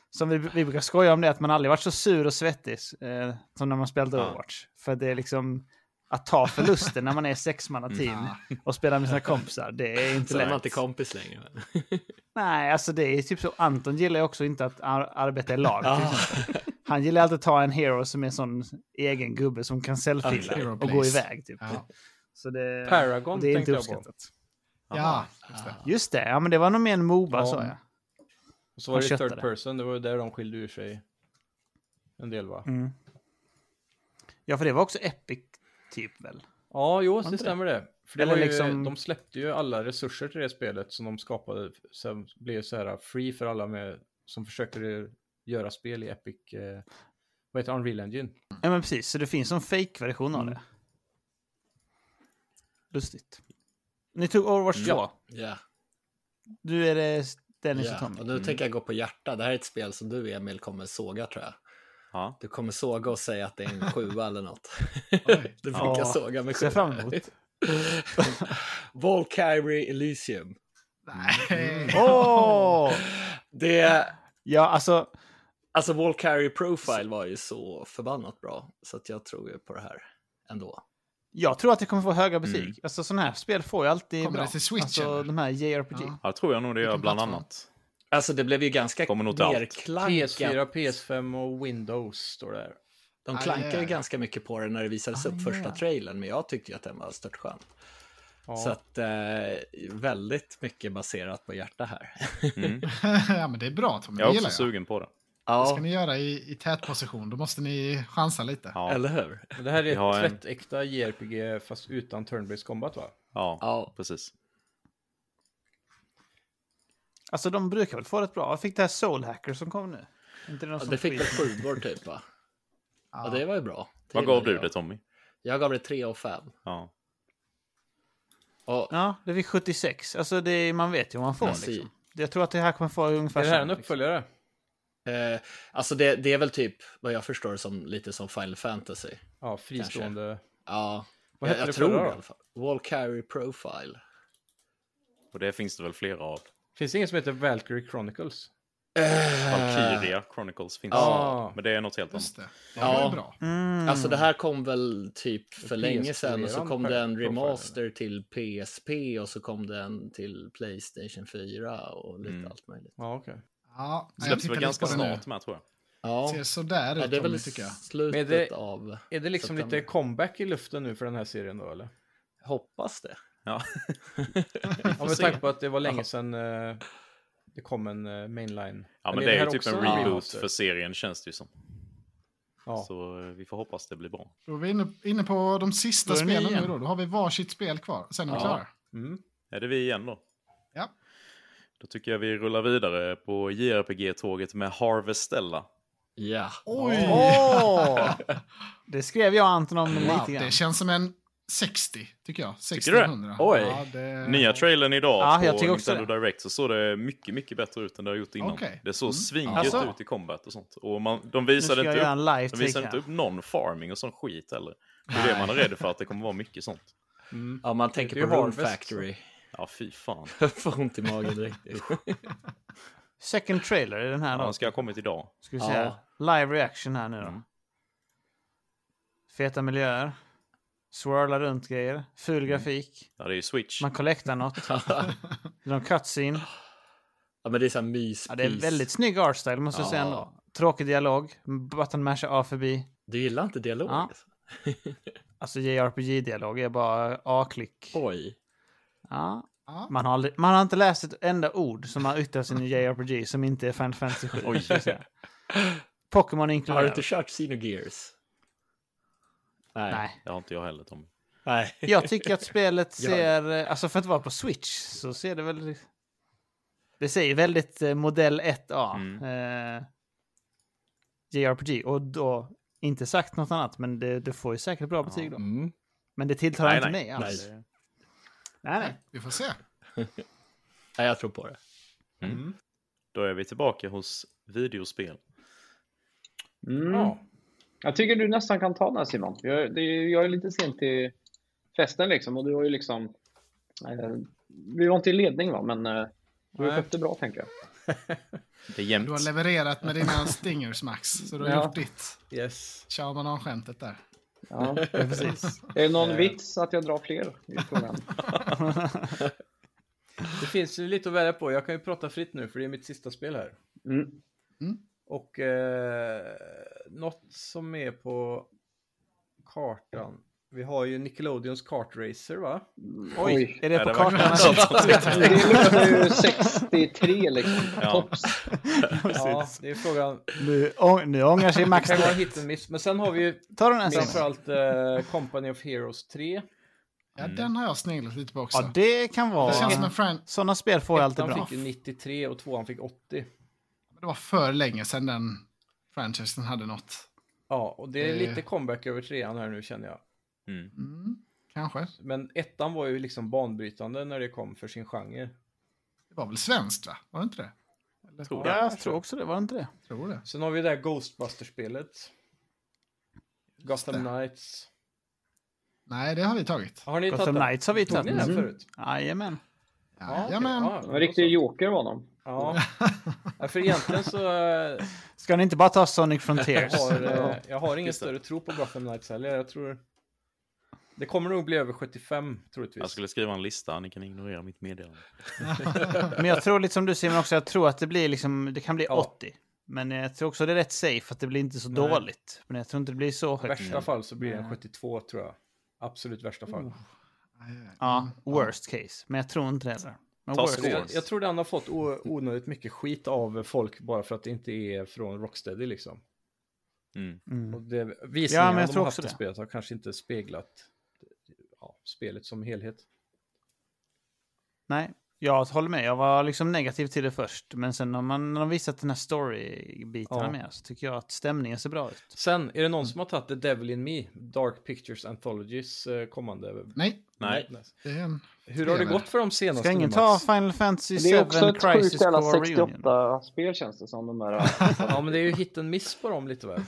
Speaker 5: som vi, vi brukar skoja om det, att man aldrig varit så sur och svettig eh, som när man spelade
Speaker 6: Ja.
Speaker 5: Overwatch. För det är liksom att ta förlusten när man är sexmannateam och spelar med sina kompisar. Det är inte
Speaker 7: Så är man
Speaker 5: lätt.
Speaker 7: inte kompis längre. men-
Speaker 5: Nej, alltså det är typ så. Anton gillar ju också inte att ar- arbeta i lag. till
Speaker 7: Ja,
Speaker 5: exempel. Han gillar alltid att ta en hero som är en sån egen gubbe som kan
Speaker 2: Hero
Speaker 5: selfie och gå
Speaker 2: please.
Speaker 5: iväg. Typ.
Speaker 2: Ja,
Speaker 5: Så det,
Speaker 1: Paragon
Speaker 5: det är
Speaker 1: tänkte
Speaker 5: inte
Speaker 1: jag på.
Speaker 5: uppskattat.
Speaker 2: ja just det.
Speaker 5: Just det, ja, men det var nog mer en Moba
Speaker 1: Ja.
Speaker 5: sa jag.
Speaker 1: Och så var
Speaker 5: Han
Speaker 1: det ju third
Speaker 5: köttade.
Speaker 1: person, det var ju där de skilde ur sig en del va?
Speaker 5: Mm. Ja, för det var också Epic, typ väl?
Speaker 1: Ja, jo, det
Speaker 5: inte det?
Speaker 1: stämmer det. För det
Speaker 5: Eller
Speaker 1: var ju,
Speaker 5: liksom-
Speaker 1: De släppte ju alla resurser till det spelet som de skapade. Sen blev det så här free för alla med, som försöker göra spel i Epic, eh, vad heter det, Unreal Engine.
Speaker 6: Mm.
Speaker 5: Ja, men precis. Så det finns en fake-version
Speaker 2: Mm.
Speaker 5: av det. Lustigt. Ni tog Overwatch 2.
Speaker 1: Ja.
Speaker 7: <laughs> ja,
Speaker 5: Du är det Dennis och
Speaker 7: ja.
Speaker 5: Tommy.
Speaker 7: Och nu tänker jag gå på hjärta. Det här är ett spel som du Emil kommer såga tror jag.
Speaker 6: Ja.
Speaker 7: Du kommer såga och säga att det är en sjua eller något.
Speaker 2: Oj.
Speaker 7: <laughs> Du brukar
Speaker 5: Ja,
Speaker 7: såga med
Speaker 5: Ser jag
Speaker 7: sjua.
Speaker 5: fram emot.
Speaker 7: Volkyrie Elysium.
Speaker 2: Nej.
Speaker 7: Mm.
Speaker 5: Åh!
Speaker 7: Det,
Speaker 5: Ja, alltså.
Speaker 7: alltså Volkyrie Profile var ju så förbannat bra. Så att jag tror ju på det här ändå.
Speaker 5: Jag tror att det kommer få höga betyg.
Speaker 6: Mm.
Speaker 5: Alltså sådana här spel får ju alltid
Speaker 2: Kommer
Speaker 5: bra.
Speaker 2: det till Switch,
Speaker 5: alltså
Speaker 2: eller?
Speaker 5: de här JRPG.
Speaker 2: Ja.
Speaker 6: Ja, tror jag nog det gör
Speaker 2: Vilken
Speaker 6: bland
Speaker 2: plattform?
Speaker 6: annat.
Speaker 7: Alltså det blev ju ganska
Speaker 6: Kommer nog till allt.
Speaker 1: PS4,
Speaker 7: nerklankat.
Speaker 1: PS5 och Windows står där.
Speaker 5: Ah,
Speaker 7: De
Speaker 2: Aj,
Speaker 7: klankade
Speaker 2: aj.
Speaker 7: ju ganska mycket på det när det visades upp första trailern, men jag tyckte ju att den var störtskön.
Speaker 1: Ja.
Speaker 7: Så att eh, väldigt mycket baserat på hjärta här.
Speaker 2: <laughs> ja, men det är bra Tommy, det
Speaker 6: Jag är också
Speaker 2: gillar jag.
Speaker 6: sugen på det.
Speaker 2: Det ska
Speaker 7: ja,
Speaker 2: ni göra i, i tätposition, då måste ni chansa lite.
Speaker 6: Ja,
Speaker 7: eller hur?
Speaker 1: Men det här är
Speaker 6: Vi har
Speaker 1: ett
Speaker 6: en- Alltså-
Speaker 1: tvättäkta JRPG fast utan turn-based combat va?
Speaker 6: ja,
Speaker 7: Ja.
Speaker 6: precis.
Speaker 5: Alltså de brukar väl få rätt bra. Jag fick det här Soul Hacker som kom nu. Inte någon
Speaker 7: Ja,
Speaker 5: som
Speaker 7: Det fick väl
Speaker 5: skiter.
Speaker 7: sjuvor
Speaker 1: <laughs>
Speaker 7: typ va? Ja, det var ju bra. Det
Speaker 6: Vad gav
Speaker 7: gillade
Speaker 6: du
Speaker 7: jag.
Speaker 6: det Tommy?
Speaker 7: Jag gav det 3 av 5.
Speaker 6: Ja.
Speaker 7: Och,
Speaker 5: Ja, det fick 76. Alltså det, är- man vet ju vad man får
Speaker 7: Precis.
Speaker 5: liksom. Jag tror att det här kommer få ungefär
Speaker 1: Är det här en
Speaker 5: samma, liksom.
Speaker 1: uppföljare?
Speaker 7: Eh, alltså det, det är väl typ vad jag förstår som lite som Final Fantasy.
Speaker 1: Ja, fristående.
Speaker 7: Ja,
Speaker 1: Vad
Speaker 7: jag,
Speaker 1: hette
Speaker 7: jag
Speaker 1: det
Speaker 7: tror
Speaker 1: förra
Speaker 7: det i
Speaker 1: då?
Speaker 7: alla fall. Wall Carry Profile.
Speaker 6: Och det finns det väl flera av.
Speaker 1: Finns det ingen som heter Valkyrie Chronicles?
Speaker 6: Valkyria Chronicles finns.
Speaker 1: Ja.
Speaker 6: Men det är något helt annat.
Speaker 2: Just det. Det
Speaker 7: Ja.
Speaker 2: var ju bra.
Speaker 7: Alltså det här kom väl typ för
Speaker 1: Mm. PS4
Speaker 7: länge sedan och så
Speaker 1: eran
Speaker 7: kom det en
Speaker 1: profil, eller?
Speaker 7: remaster till PSP och så kom den till Playstation 4 och lite
Speaker 6: Mm.
Speaker 7: allt möjligt.
Speaker 1: Ja, okej.
Speaker 2: Ja,
Speaker 6: Det
Speaker 2: jag
Speaker 6: Släpps
Speaker 2: tittar
Speaker 6: väl
Speaker 2: lite
Speaker 6: ganska
Speaker 2: på den nu.
Speaker 6: snart med tror jag.
Speaker 7: Ja,
Speaker 2: Ser sådär
Speaker 7: ja
Speaker 2: ut
Speaker 7: det är
Speaker 2: om
Speaker 7: väl
Speaker 2: det tycker jag.
Speaker 7: slutet
Speaker 1: Men är det-
Speaker 7: av...
Speaker 1: Är det liksom
Speaker 7: September.
Speaker 1: lite comeback i luften nu för den här serien då eller?
Speaker 7: Hoppas det.
Speaker 6: Ja.
Speaker 1: Ja, med tanke på att det var länge sedan eh, det kom en eh, mainline.
Speaker 6: ja,
Speaker 1: Eller
Speaker 6: men det är
Speaker 1: här
Speaker 6: ju typ
Speaker 1: också
Speaker 6: en reboot
Speaker 1: remaster?
Speaker 6: för serien känns det ju som.
Speaker 1: Ja.
Speaker 6: Så eh, vi får hoppas det blir bra.
Speaker 2: Då är vi inne, inne på de sista
Speaker 5: Då är det ni
Speaker 2: spelen nu
Speaker 5: igen.
Speaker 2: då. Då har vi varsitt spel kvar. Sen är vi
Speaker 6: Ja.
Speaker 2: klara.
Speaker 1: Mm.
Speaker 6: Är det vi igen då?
Speaker 2: Ja.
Speaker 6: Då tycker jag vi rullar vidare på JRPG-tåget med Harvestella.
Speaker 7: Ja.
Speaker 2: Oj!
Speaker 5: Åh! liksom. <laughs> Det skrev jag och Anton om
Speaker 2: Wow,
Speaker 5: lite
Speaker 2: det
Speaker 5: grann.
Speaker 2: känns som en 60, tycker jag. 60
Speaker 6: du det?
Speaker 2: 100.
Speaker 7: Oj.
Speaker 2: Ja, det...
Speaker 6: Nya trailern idag
Speaker 5: Ja,
Speaker 6: på
Speaker 5: jag tycker också
Speaker 6: Nintendo Direct så såg det mycket, mycket bättre ut än det har gjort innan.
Speaker 2: Okej.
Speaker 6: Det såg
Speaker 2: Mm.
Speaker 6: svingött
Speaker 5: Alltså.
Speaker 6: ut i combat och sånt. Och man,
Speaker 5: Nu
Speaker 6: de
Speaker 5: ska
Speaker 6: visade
Speaker 5: jag
Speaker 6: inte
Speaker 5: göra
Speaker 6: upp,
Speaker 5: en live
Speaker 6: de
Speaker 5: take
Speaker 6: visade inte
Speaker 5: här.
Speaker 6: upp någon farming och sån skit heller. Det är det man är rädd för, att det kommer vara mycket sånt.
Speaker 1: Mm.
Speaker 7: Ja, man tänker
Speaker 1: Det är
Speaker 7: på
Speaker 1: ju
Speaker 7: Rune
Speaker 1: Harvest,
Speaker 7: Factory.
Speaker 6: Ja, fy fan.
Speaker 7: Jag får ont i magen direkt.
Speaker 5: Second trailer i den här
Speaker 6: Ja,
Speaker 5: då.
Speaker 6: den ska ha kommit idag.
Speaker 5: Ska vi
Speaker 7: Ja.
Speaker 5: säga. Live reaction här nu då.
Speaker 6: Mm.
Speaker 5: Feta miljöer. Swirla runt grejer. Ful grafik.
Speaker 6: Ja, det är ju Switch.
Speaker 5: Man collectar något. Det är någon cutscene.
Speaker 7: ja, men det är så här mys
Speaker 5: Ja, det är väldigt snygg artstyle måste jag säga
Speaker 7: Ja.
Speaker 5: ändå. Tråkig dialog. Button masha A förbi.
Speaker 7: Du gillar inte dialog?
Speaker 5: Ja.
Speaker 7: alltså?
Speaker 5: Alltså JRPG-dialog är bara A-klick.
Speaker 7: Oj.
Speaker 5: Ja.
Speaker 2: Ja.
Speaker 5: Man, har aldrig, man har inte läst ett enda ord som har yttrats i en JRPG som inte är Final Fantasy 7.
Speaker 6: Oj.
Speaker 5: ska jag säga. Pokémon
Speaker 7: Har du
Speaker 5: inkluderat.
Speaker 7: inte kört Xenogears? Nej. Nej.
Speaker 5: Nej.
Speaker 6: Det har inte jag heller Tom.
Speaker 5: Jag tycker att spelet
Speaker 7: Ja.
Speaker 5: ser, eh, alltså för att vara på Switch så ser det väl... Det ser ju väldigt eh, modell 1A.
Speaker 6: Mm.
Speaker 5: Eh, JRPG. Och då, inte sagt något annat, men det, det får ju säkert bra betyg då.
Speaker 7: Mm.
Speaker 5: Men det tilltalar
Speaker 6: Nej,
Speaker 5: inte
Speaker 6: nej,
Speaker 5: mig alls. Nej, nej.
Speaker 2: Vi får se.
Speaker 7: Nej, jag tror på det.
Speaker 6: Då är vi tillbaka hos videospel.
Speaker 4: Mm.
Speaker 1: Ja.
Speaker 4: Jag tycker du nästan kan ta den här Simon. Jag, det, jag är lite sent till festen liksom och du har ju liksom... Eh, vi var inte i ledning va, men eh, du har
Speaker 1: Nej.
Speaker 4: skött det bra tänker jag.
Speaker 6: Det är jämnt.
Speaker 2: Du har levererat med
Speaker 5: <laughs>
Speaker 2: dina stingers, Max. Så du har
Speaker 4: Ja.
Speaker 2: gjort ditt.
Speaker 1: Yes.
Speaker 2: Kör man av skämtet där.
Speaker 5: <laughs>
Speaker 4: Ja.
Speaker 5: precis. Eh.
Speaker 4: Är det någon vits att jag drar fler i frågan?
Speaker 1: Det finns ju lite att välja på. Jag kan ju prata fritt nu för det är mitt sista spel här.
Speaker 4: Mm.
Speaker 1: Och eh, något som är på kartan. Vi har ju Nickelodeons kartracer va?
Speaker 5: Oj, är det
Speaker 6: Ja,
Speaker 5: på
Speaker 6: det var
Speaker 5: kartan? <laughs>
Speaker 6: knappt
Speaker 2: <laughs>
Speaker 6: något som täckte.
Speaker 4: Det luktar ju 63 liksom.
Speaker 6: Ja.
Speaker 4: Tops.
Speaker 1: Ja, det är frågan.
Speaker 5: Nu, å- nu ångrar sig Max
Speaker 1: Kan vara
Speaker 5: direkt.
Speaker 1: hit and miss. Men sen har vi ju
Speaker 5: Ta den här sen.
Speaker 1: framförallt eh, Company of Heroes 3.
Speaker 2: Ja, den har jag sneglat lite på också.
Speaker 5: Mm. Ja, det kan
Speaker 2: det känns som
Speaker 5: vara...
Speaker 2: en fran...
Speaker 5: Sådana spel får jag alltid
Speaker 1: Han
Speaker 5: bra.
Speaker 1: fick ju 93 och tvåan fick 80.
Speaker 2: Det var för länge sedan den franchisen hade något.
Speaker 1: Ja, och det är
Speaker 2: Eh.
Speaker 1: lite comeback över trean här nu känner jag.
Speaker 6: Mm.
Speaker 2: Mm, kanske.
Speaker 1: Men ettan var ju liksom banbrytande när det kom för sin genre.
Speaker 2: Det var väl svenskt, va? Var det inte det?
Speaker 6: Tror
Speaker 5: Ja,
Speaker 6: jag.
Speaker 5: jag tror också det. Var det inte det?
Speaker 2: Tror det.
Speaker 1: Sen har vi det här Ghostbusters-spelet. Gotham
Speaker 2: det.
Speaker 1: Knights.
Speaker 2: Nej, det har vi tagit.
Speaker 1: Har ni
Speaker 5: Gotham
Speaker 1: tagit den?
Speaker 5: Knights har vi
Speaker 1: Tog ni
Speaker 5: tagit.
Speaker 1: den förut?
Speaker 5: Jajamän.
Speaker 1: okej.
Speaker 2: Jajamän.
Speaker 1: Ja,
Speaker 4: En riktig joker var de.
Speaker 1: Ja. ja, för egentligen så eh,
Speaker 5: Ska ni inte bara ta Sonic
Speaker 1: jag
Speaker 5: Frontiers?
Speaker 1: har eh, jag har ingen
Speaker 6: Just det.
Speaker 1: större tro på Gotham Knights heller. Jag tror... Det kommer nog bli över 75
Speaker 6: Jag
Speaker 1: troligtvis.
Speaker 6: skulle skriva en lista, ni kan ignorera mitt meddelande.
Speaker 5: Men jag tror lite som du Simon också, jag tror att det blir liksom, det kan bli
Speaker 1: Ja.
Speaker 5: 80. Men jag tror också det är rätt safe att det blir inte så
Speaker 1: Nej.
Speaker 5: dåligt. Men jag tror inte det blir så
Speaker 1: I
Speaker 5: högt.
Speaker 1: värsta fall så blir det en 72 tror jag. Absolut värsta fall.
Speaker 5: Oh,
Speaker 2: Aj, aj.
Speaker 4: Mm.
Speaker 5: Ja, worst case. Men jag tror inte det heller. Men
Speaker 6: Ta
Speaker 5: worst
Speaker 1: Så jag,
Speaker 6: scores.
Speaker 1: jag tror den har fått o- onödigt mycket skit av folk bara för att det inte är från Rocksteady liksom.
Speaker 6: Mm.
Speaker 5: Mm.
Speaker 1: Och det, visningarna
Speaker 5: men jag
Speaker 1: de
Speaker 5: tror
Speaker 1: har haft
Speaker 5: också
Speaker 1: i
Speaker 5: det.
Speaker 1: spelet har kanske inte speglat ja, spelet som helhet.
Speaker 5: Nej, Jag håller med, jag var liksom negativ till det först. Men sen när man har visat den här story-bitarna
Speaker 1: Ja.
Speaker 5: med så tycker jag att stämningen ser bra ut.
Speaker 1: Sen, är det
Speaker 5: Mm.
Speaker 1: någon som har tagit The Devil in Me, Dark Pictures Anthologies eh, kommande?
Speaker 2: Nej,
Speaker 6: Nej.
Speaker 2: det är en...
Speaker 1: Hur har det
Speaker 2: Spelar.
Speaker 1: gått för de senaste?
Speaker 5: Ska ingen
Speaker 1: nu,
Speaker 5: ta
Speaker 1: Mats?
Speaker 5: Final Fantasy
Speaker 4: Men det är också
Speaker 5: 7
Speaker 4: ett sjukt
Speaker 5: Crisis
Speaker 4: jävla
Speaker 5: Core Reunion?
Speaker 4: 68-spel känns det
Speaker 5: <laughs>
Speaker 4: som. De här,
Speaker 1: Ja, men det är ju hit and miss på dem lite väl?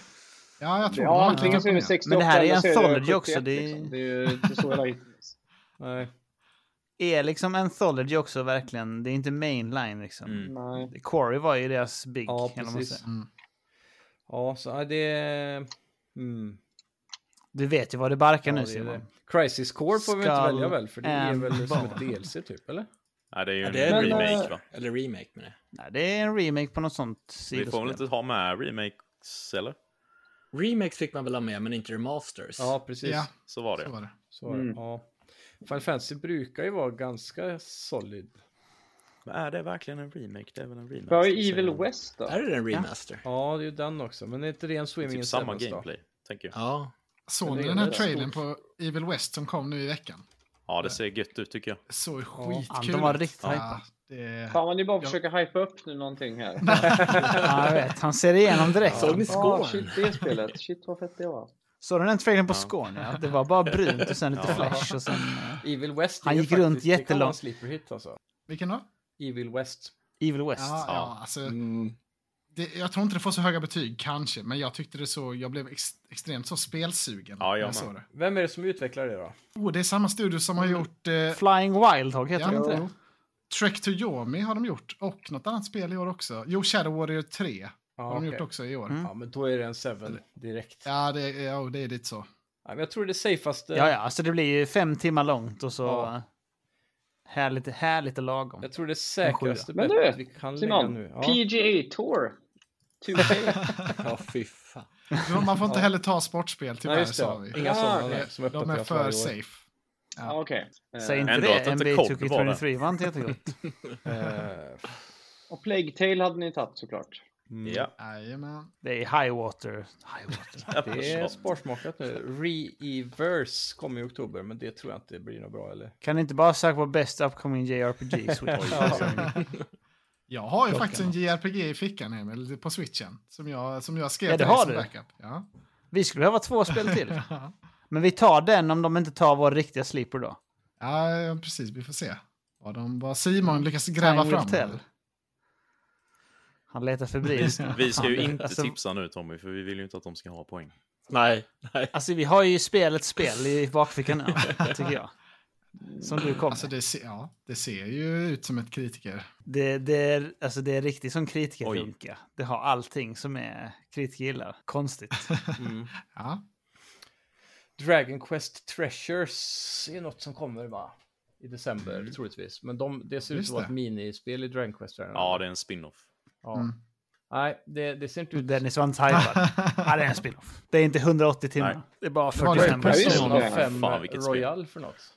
Speaker 2: Ja, jag tror
Speaker 4: ja,
Speaker 2: har
Speaker 4: antingen
Speaker 2: tagit
Speaker 4: så är
Speaker 2: med.
Speaker 4: det 68
Speaker 5: Men det här är
Speaker 4: eller så
Speaker 5: Anthology
Speaker 4: 71,
Speaker 5: också, det är-
Speaker 4: Liksom. Det är ju inte så jävla hittills.
Speaker 1: Nej.
Speaker 5: Är liksom Anthology också verkligen, det är inte mainline liksom.
Speaker 6: Mm.
Speaker 4: <laughs> Nej.
Speaker 5: Quarry var ju deras big.
Speaker 1: Ja,
Speaker 5: eller vad man
Speaker 1: precis.
Speaker 5: säger. Mm.
Speaker 1: Ja, så ja, det... Mm.
Speaker 5: Du vet ju vad det barkar
Speaker 1: Ja,
Speaker 5: nu
Speaker 1: det är det.
Speaker 5: Simon.
Speaker 1: Crisis Core får vi inte
Speaker 5: Skull
Speaker 1: välja väl? För det är
Speaker 5: and
Speaker 1: väl som ett
Speaker 5: Bone.
Speaker 1: DLC typ, eller?
Speaker 6: Nej, det är ju
Speaker 7: Ja,
Speaker 6: en
Speaker 7: det är eh,
Speaker 4: en
Speaker 6: remake
Speaker 4: remake.
Speaker 6: va?
Speaker 7: Eller remake med det.
Speaker 5: Nej, det är en remake på något sånt
Speaker 6: Vi får väl
Speaker 5: sidospel.
Speaker 6: inte ha med remakes eller?
Speaker 7: Remakes fick man väl ha med, men inte remasters.
Speaker 1: Ja, precis.
Speaker 2: Ja,
Speaker 6: Så var det.
Speaker 2: så var det.
Speaker 1: Så, var det.
Speaker 4: Mm.
Speaker 1: ja. Final Fantasy brukar ju vara ganska solid.
Speaker 6: Men är det verkligen en remake? Det är väl en remake?
Speaker 4: Vad är Evil West då?
Speaker 7: Här är det en remaster. Ja.
Speaker 1: Ja, det är ju den också. Men det är inte ren
Speaker 6: Det är
Speaker 1: Swimming
Speaker 6: typ
Speaker 1: in
Speaker 6: samma
Speaker 1: Sevens då?
Speaker 6: gameplay, tänker jag.
Speaker 2: Såg
Speaker 1: Men
Speaker 2: ni
Speaker 1: det är
Speaker 2: den här
Speaker 1: väl
Speaker 2: trailern på Evil West som kom nu i veckan?
Speaker 6: Ja, det ser gött ut tycker jag.
Speaker 2: Det såg ju skitkul
Speaker 5: de var
Speaker 2: ut.
Speaker 5: riktigt hypade.
Speaker 2: det...
Speaker 4: Fan, man ju bara
Speaker 2: Ja.
Speaker 4: försöka hypa upp nu
Speaker 5: <laughs>
Speaker 4: någonting här.
Speaker 5: <laughs> Ja, jag vet. Han ser igenom direkt.
Speaker 7: Såg ni
Speaker 4: Ja,
Speaker 7: skål?
Speaker 4: shit, det spelet. Shit, vad fett det var.
Speaker 5: Såg du den trailern på Skåne? Ja, det var bara brunt och sen lite
Speaker 6: Ja.
Speaker 5: flash och sen... eh,
Speaker 1: Evil West
Speaker 5: Han
Speaker 1: är ju
Speaker 5: gick runt
Speaker 1: faktiskt- Det kan vara en
Speaker 5: jättelångt.
Speaker 1: sleeper hit alltså.
Speaker 2: Vilken då?
Speaker 1: Evil West.
Speaker 5: Evil
Speaker 2: Ja,
Speaker 5: West.
Speaker 2: ja, alltså, det, jag tror inte det får så höga betyg, kanske. Men jag tyckte det så, jag blev ex, extremt så spelsugen.
Speaker 6: Ja, jag
Speaker 2: när
Speaker 6: med.
Speaker 2: såg det.
Speaker 1: Vem är det som utvecklar det då?
Speaker 2: Oh, det är samma studio som har gjort... Eh,
Speaker 5: Flying Wildhog heter
Speaker 2: Ja,
Speaker 5: de inte det?
Speaker 2: jo. Trek to Yomi har de gjort, och något annat spel i år också. Jo, Shadow Warrior 3
Speaker 1: Ja,
Speaker 2: har de
Speaker 1: okej. Mm.
Speaker 2: gjort också i år.
Speaker 1: Ja, men då är det en Seven direkt.
Speaker 2: Ja, det, är- ja, det är lite så.
Speaker 1: Ja, men jag tror det är eh, safeaste.
Speaker 5: Ja, ja, alltså det blir ju fem timmar långt och så...
Speaker 1: Ja.
Speaker 5: eh, Härligt, härligt och lagom.
Speaker 6: Eh,
Speaker 1: Jag tror det är säkraste
Speaker 4: Men
Speaker 1: bettet
Speaker 4: du,
Speaker 1: vi kan lägga
Speaker 4: Simon,
Speaker 1: nu. Ja.
Speaker 4: PGA Tour
Speaker 5: <laughs>
Speaker 4: 2K.
Speaker 7: Ja, fy fan.
Speaker 2: Man får inte heller ta sportspel,
Speaker 1: Nej,
Speaker 2: tyvärr,
Speaker 1: just det.
Speaker 2: sa
Speaker 1: ja.
Speaker 2: vi.
Speaker 1: Inga
Speaker 4: Ah,
Speaker 1: sådana
Speaker 4: okej.
Speaker 1: nej, som
Speaker 2: De är
Speaker 1: uppdateras varje
Speaker 2: för
Speaker 1: år.
Speaker 2: safe.
Speaker 4: Ja, Okej.
Speaker 5: Säg
Speaker 4: Eh,
Speaker 5: inte
Speaker 6: Ändå att
Speaker 5: det,
Speaker 6: inte
Speaker 5: NBA
Speaker 6: Kod var
Speaker 5: 2K23 var inte
Speaker 6: <laughs>
Speaker 5: jättegott.
Speaker 1: Eh,
Speaker 4: Och Plague Tale hade ni tagit såklart.
Speaker 6: Ja,
Speaker 2: Jajamän.
Speaker 5: Det är high water. High water.
Speaker 1: Det är
Speaker 6: Alltså.
Speaker 1: sparsmakat nu. Re-Everse kommer i oktober, men det tror jag inte blir något bra eller?
Speaker 5: Kan ni inte bara söka på best upcoming JRPG Switch?
Speaker 2: Jag har ju faktiskt en JRPG i fickan, Emil, på switchen. Som jag, som jag skrev
Speaker 5: Ja, det
Speaker 2: till
Speaker 5: har
Speaker 2: dig som
Speaker 5: du.
Speaker 2: backup.
Speaker 5: <laughs>
Speaker 2: Ja.
Speaker 5: Vi skulle behöva två spel till. Men vi tar den om de inte tar vår riktiga sleeper då.
Speaker 2: ja, precis. Vi får se vad, de, vad Simon lyckas gräva
Speaker 5: Time will
Speaker 2: fram.
Speaker 5: <laughs> tell. Han letar febrilt.
Speaker 6: vi ska ju
Speaker 5: Fan,
Speaker 6: inte
Speaker 5: alltså,
Speaker 6: tipsa nu Tommy, för vi vill ju inte att de ska ha poäng.
Speaker 7: Nej, nej.
Speaker 5: Alltså vi har ju spelet spel i bakfickan nu, tycker jag. Som du kom.
Speaker 2: Alltså, det, ser, ja, det ser ju ut som ett kritiker.
Speaker 5: det, det, är, alltså, det är riktigt som kritikerrunka.
Speaker 6: Oj.
Speaker 5: Det har allting som är kritiker gillar. Konstigt. <laughs>
Speaker 2: Ja.
Speaker 1: Dragon Quest Treasures är något som kommer va? I december
Speaker 6: Mm.
Speaker 1: troligtvis. Men de, det ser ut
Speaker 2: Just
Speaker 1: att vara ett
Speaker 2: det.
Speaker 1: minispel i Dragon Quest.
Speaker 6: Ja, det är en spin-off.
Speaker 1: Ja. Nej, det, det ser inte ut...
Speaker 5: Dennis var inte hajpad. Ja, det är en spin-off. Det är inte 180 timmar.
Speaker 6: Nej.
Speaker 5: Det är bara
Speaker 2: var det
Speaker 5: 45
Speaker 2: Persona
Speaker 5: minuter.
Speaker 1: Persona
Speaker 4: Ja,
Speaker 1: 5
Speaker 6: fan, vilket spel.
Speaker 1: Royal för något.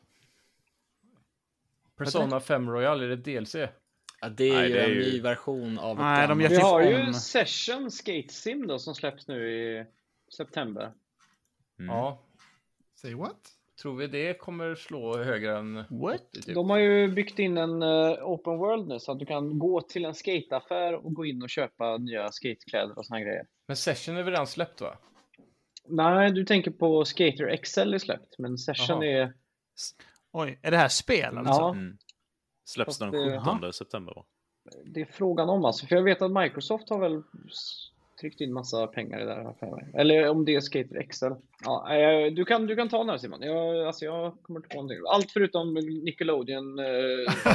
Speaker 1: Persona 5 Royal, är det DLC?
Speaker 6: Mm.
Speaker 7: Ja, det är
Speaker 6: Nej,
Speaker 7: ju
Speaker 6: det är
Speaker 7: en
Speaker 6: ju-
Speaker 7: ny version av ett
Speaker 5: Nej, de gör
Speaker 7: gammalt.
Speaker 4: Vi
Speaker 5: typ
Speaker 4: har
Speaker 5: om-
Speaker 4: ju Session Skate Sim då som släpps nu i september.
Speaker 1: Ja.
Speaker 2: Say what?
Speaker 1: Tror vi det kommer slå högre än...
Speaker 5: What?
Speaker 1: Typ.
Speaker 4: De har ju byggt in en eh, open world nu så att du kan gå till en skateaffär och gå in och köpa nya skatekläder och såna här grejer.
Speaker 1: Men Session är väl redan släppt va?
Speaker 4: Nej, du tänker på Skater XL är släppt, men Session
Speaker 1: Jaha.
Speaker 4: är...
Speaker 5: Oj, är det här spel alltså?
Speaker 4: Ja,
Speaker 6: Mm. Släpps den
Speaker 4: Fast det-
Speaker 6: 17 september va?
Speaker 4: det är frågan om alltså. För jag vet att Microsoft har väl s- tryckt in massa pengar i det här. har jag för mig. Eller om det är Skater XL. Ja, eh, du, kan, du kan ta den här Simon. Jag, alltså, jag kommer inte på någonting. Allt förutom Nickelodeon. Eh,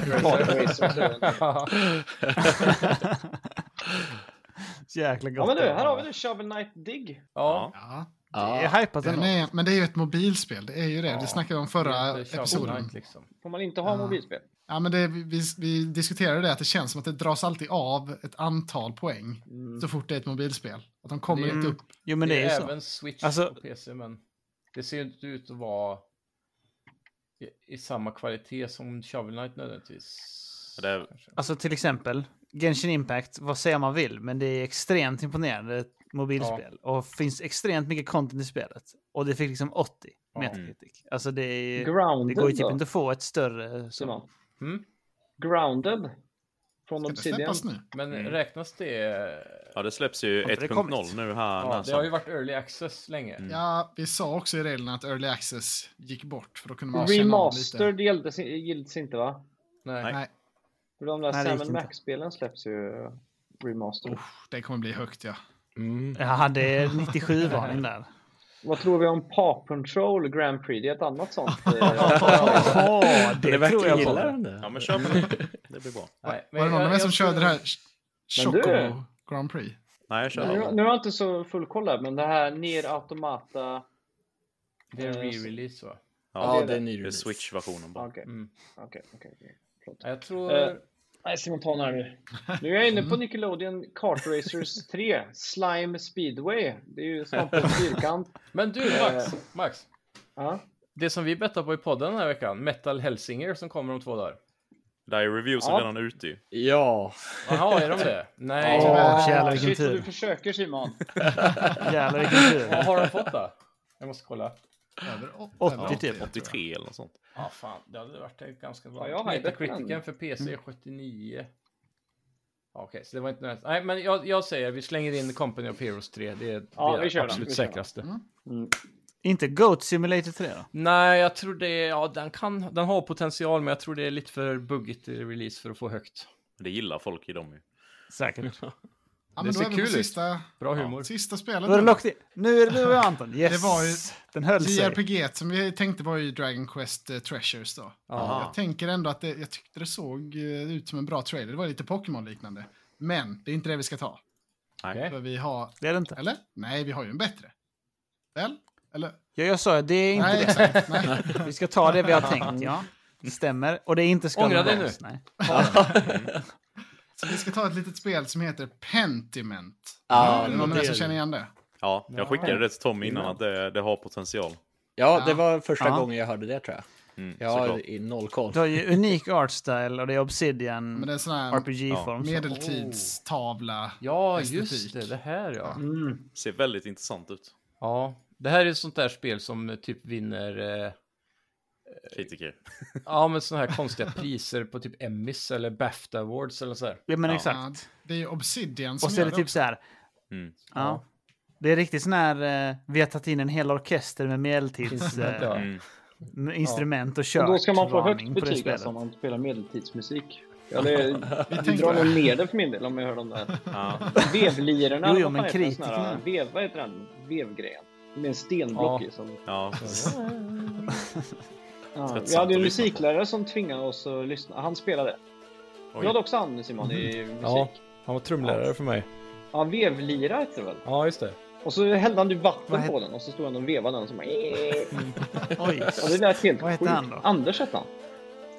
Speaker 4: Racer, Racer.
Speaker 1: <laughs>
Speaker 5: Jäkla gott.
Speaker 4: ja men du, här har vi det. Shovel Knight Dig.
Speaker 1: Ja.
Speaker 2: Ja,
Speaker 5: Det
Speaker 7: Ja,
Speaker 5: är hajpat
Speaker 2: den
Speaker 5: ändå.
Speaker 2: är, men det är ju ett mobilspel. Det är ju det. det snackade vi om förra
Speaker 1: Det är Shovel
Speaker 2: episoden.
Speaker 1: Knight, liksom.
Speaker 4: Får man inte ha mobilspel?
Speaker 2: Ja, men det, vi- vi, vi diskuterade det, att det känns som att det dras alltid av ett antal poäng så fort det är ett mobilspel. Att de kommer
Speaker 1: Det-
Speaker 2: inte upp.
Speaker 5: Jo, men
Speaker 1: det är,
Speaker 5: Mm. ju så.
Speaker 1: även Switch
Speaker 5: Alltså-
Speaker 1: och PC, men det ser ju inte ut att vara i, i samma kvalitet som Shovel Knight nödvändigtvis.
Speaker 6: Ja, det är-
Speaker 1: kanske.
Speaker 5: Alltså till exempel, Genshin Impact, vad säger man vill, men det är extremt imponerande ett mobilspel. Och finns extremt mycket content i spelet. Och det fick liksom 80
Speaker 1: Ja.
Speaker 5: Metacritic. Alltså det är ju... Det
Speaker 4: Grounded
Speaker 5: går ju typ
Speaker 4: då,
Speaker 5: inte att få ett större... Så.
Speaker 4: Simon.
Speaker 1: Mm.
Speaker 4: Grounded från
Speaker 2: Ska det
Speaker 4: Obsidian.
Speaker 2: släppas nu?
Speaker 1: Men räknas det?
Speaker 6: Mm. Ja, det släpps ju
Speaker 5: Har inte det
Speaker 6: 1.0
Speaker 5: kommit?
Speaker 6: nu här.
Speaker 1: Ja,
Speaker 6: när
Speaker 1: det har
Speaker 6: som-
Speaker 1: ju varit early access länge.
Speaker 6: Mm.
Speaker 2: Ja, vi sa också i reglerna att Early Access gick bort. För då kunde man känna av lite.
Speaker 4: Remastered gälldes, gills inte va?
Speaker 1: Nej.
Speaker 6: Nej.
Speaker 2: Nej,
Speaker 4: För de där
Speaker 5: Nej, det gick
Speaker 4: Sam
Speaker 5: inte.
Speaker 4: Max-spelen släpps ju eh, remastered.
Speaker 2: det kommer bli högt ja.
Speaker 5: Ja, det är 97-varning där.
Speaker 4: Vad tror vi om Paw Patrol Grand Prix? Det är ett
Speaker 5: <laughs>
Speaker 4: annat sånt. eh,
Speaker 5: Åh,
Speaker 3: Det
Speaker 5: det tror
Speaker 3: verkar
Speaker 5: jag
Speaker 3: gillar
Speaker 5: kommer.
Speaker 3: han det.
Speaker 6: Ja, men köp den. Det blir bra.
Speaker 1: Nej, men
Speaker 2: Var det någon
Speaker 1: jag-
Speaker 2: av er
Speaker 1: jag
Speaker 2: som
Speaker 1: skulle-
Speaker 2: körde det här Ch-
Speaker 4: Men du-
Speaker 2: Choco Grand Prix?
Speaker 6: Nej, jag kör
Speaker 4: nu,
Speaker 6: den.
Speaker 4: nu har jag inte så full koll här, men det här Nier Automata...
Speaker 1: Det är en re-release va?
Speaker 3: Ja,
Speaker 6: Ja,
Speaker 3: det är
Speaker 6: det är
Speaker 3: ny
Speaker 6: Switch-versionen bara.
Speaker 4: Ah, Okej,
Speaker 1: Mm.
Speaker 4: okej, okej, okej. Förlåt.
Speaker 1: Ja, Jag tror...
Speaker 4: Eh, Nej, Simon, ta den här nu. Nu är jag inne
Speaker 5: Mm.
Speaker 4: på Nickelodeon Kart Racers 3, Slime Speedway. Det är ju svamp på en fyrkant.
Speaker 5: <laughs>
Speaker 1: Men du Max, Max.
Speaker 4: Ja.
Speaker 1: Det som vi bettar på i podden den här veckan, Metal Hellsinger som kommer om två dagar.
Speaker 6: Där är reviewsen
Speaker 4: Ja.
Speaker 6: redan ute ju.
Speaker 3: Ja,
Speaker 1: Jaha, är de
Speaker 2: <laughs>
Speaker 1: det? Nej.
Speaker 5: Åh,
Speaker 4: Ah,
Speaker 5: jävlar vilken
Speaker 4: Shit vad du
Speaker 5: tur.
Speaker 4: försöker Simon.
Speaker 5: Jävlar vilken
Speaker 1: Vad
Speaker 5: tur.
Speaker 1: har de fått då? Jag måste kolla.
Speaker 2: Över å-
Speaker 5: 80
Speaker 2: över
Speaker 5: typ.
Speaker 2: tror jag.
Speaker 6: 83 eller något sånt.
Speaker 1: Ja, fan. Det hade varit ett ganska bra.
Speaker 4: Ja, jag har ju Mm. bett
Speaker 1: Metacriticen
Speaker 4: den.
Speaker 1: för PC är 79. Ja, Okej, så det var inte nödvändigt. Nej, men jag, jag säger vi slänger in Company of Heroes 3. Det är
Speaker 4: Ja,
Speaker 1: det
Speaker 4: vi kör
Speaker 1: är
Speaker 4: den.
Speaker 1: absolut
Speaker 4: Vi kör den.
Speaker 1: säkraste.
Speaker 5: Inte Goat Simulator 3 då?
Speaker 1: Nej, jag tror det är, ja, den kan, den har potential, men jag tror det är lite för buggigt i release för att få högt.
Speaker 6: Det gillar folk i dem ju.
Speaker 5: Säkert.
Speaker 2: Ja,
Speaker 1: Det
Speaker 2: men då
Speaker 1: ser
Speaker 2: är vi
Speaker 1: kul
Speaker 2: på
Speaker 1: ut.
Speaker 2: sista,
Speaker 1: Bra humor.
Speaker 2: sista spelet.
Speaker 5: Då är det
Speaker 2: nu.
Speaker 5: lockt in. Nu är det du och jag Anton. Yes!
Speaker 2: Det var ju-
Speaker 5: Den höll sig.
Speaker 2: JRPG som vi tänkte var ju Dragon Quest eh, Treasures då. Jag tänker ändå att det, jag tyckte det såg eh, ut som en bra trailer. Det var lite Pokémon-liknande. Men det är inte det vi ska ta.
Speaker 1: Okej.
Speaker 2: För vi har...
Speaker 5: Det är det inte.
Speaker 2: Eller? Nej, vi har ju en bättre. Väl? Eller?
Speaker 5: Ja, jag sa ju det är inte
Speaker 2: Nej,
Speaker 5: det.
Speaker 2: exakt. Nej.
Speaker 5: Vi ska ta det vi har tänkt, ja. Det stämmer. Och det är inte Skull
Speaker 1: Ångra dig
Speaker 5: Bones, Nej.
Speaker 2: Så vi ska ta ett litet spel som heter Pentiment.
Speaker 3: Ja,
Speaker 2: är det någon
Speaker 3: men
Speaker 2: av
Speaker 3: det
Speaker 2: er som
Speaker 3: är-
Speaker 2: känner igen det?
Speaker 6: Ja, jag skickade det till Tommy innan att det, det har potential.
Speaker 3: ja det var första
Speaker 5: Ja.
Speaker 3: gången jag hörde det tror jag.
Speaker 6: Mm,
Speaker 3: Jag har
Speaker 6: såklart.
Speaker 3: i noll koll.
Speaker 5: Du har ju unik art style och det är Obsidian
Speaker 2: Men det är en sån här
Speaker 5: RPG-form. så-
Speaker 2: medeltidstavla.
Speaker 1: Ja,
Speaker 2: Estetik.
Speaker 1: just det. Det här ja.
Speaker 6: Ser väldigt intressant ut.
Speaker 1: Ja, det här är ett sånt där spel som eh, typ vinner, eh,
Speaker 6: Kritiker.
Speaker 1: ja men såna här konstiga priser på typ Emmys eller Bafta Awards eller så här.
Speaker 5: Ja, men
Speaker 6: Ja.
Speaker 2: Ja,
Speaker 5: exakt.
Speaker 2: det är ju Obsidian som
Speaker 5: Och så är
Speaker 2: gör
Speaker 5: det typ så här.
Speaker 6: Mm.
Speaker 5: Ja. Det är riktigt sån här, eh, vi har tagit in en hel orkester med medeltids
Speaker 1: Instrument, ja.
Speaker 5: eh,
Speaker 6: Mm.
Speaker 5: med instrument och kök.
Speaker 4: Då ska man få
Speaker 5: varning
Speaker 4: högt
Speaker 5: på det
Speaker 4: betyg
Speaker 5: spelet.
Speaker 4: alltså om man spelar medeltidsmusik.
Speaker 5: <laughs>
Speaker 4: Ja, det, vi
Speaker 2: tänkte
Speaker 4: drar
Speaker 2: det.
Speaker 4: nog ner det för min del om jag hör de där
Speaker 6: Ja.
Speaker 4: vevlirorna.
Speaker 5: Jo, jo,
Speaker 4: eller vad
Speaker 5: men
Speaker 4: fan heter den sån här,
Speaker 5: kritikerna.
Speaker 4: Vev, vad heter den? Vevgrejen. Med en stenblock
Speaker 1: Ja.
Speaker 4: i. Som,
Speaker 6: Ja.
Speaker 4: ja. Vi
Speaker 6: Tröttsamt
Speaker 4: hade ju en
Speaker 6: att lyssna på.
Speaker 4: musiklärare som tvingade oss att lyssna. Han spelade. Du
Speaker 6: Oj.
Speaker 4: hade också han Simon
Speaker 5: Mm.
Speaker 4: i musik.
Speaker 1: Ja,
Speaker 4: Ja,
Speaker 1: han var trumlärare för mig.
Speaker 4: vevlira hette det väl?
Speaker 1: Ja, just det.
Speaker 4: Och så hällde han du
Speaker 5: Vad
Speaker 4: vatten
Speaker 5: het-
Speaker 4: på den och så stod han och vevade den och så bara... Ja,
Speaker 5: Oj.
Speaker 4: det lät helt
Speaker 5: Vad hette
Speaker 4: sjukt.
Speaker 5: han då?
Speaker 4: Anders hette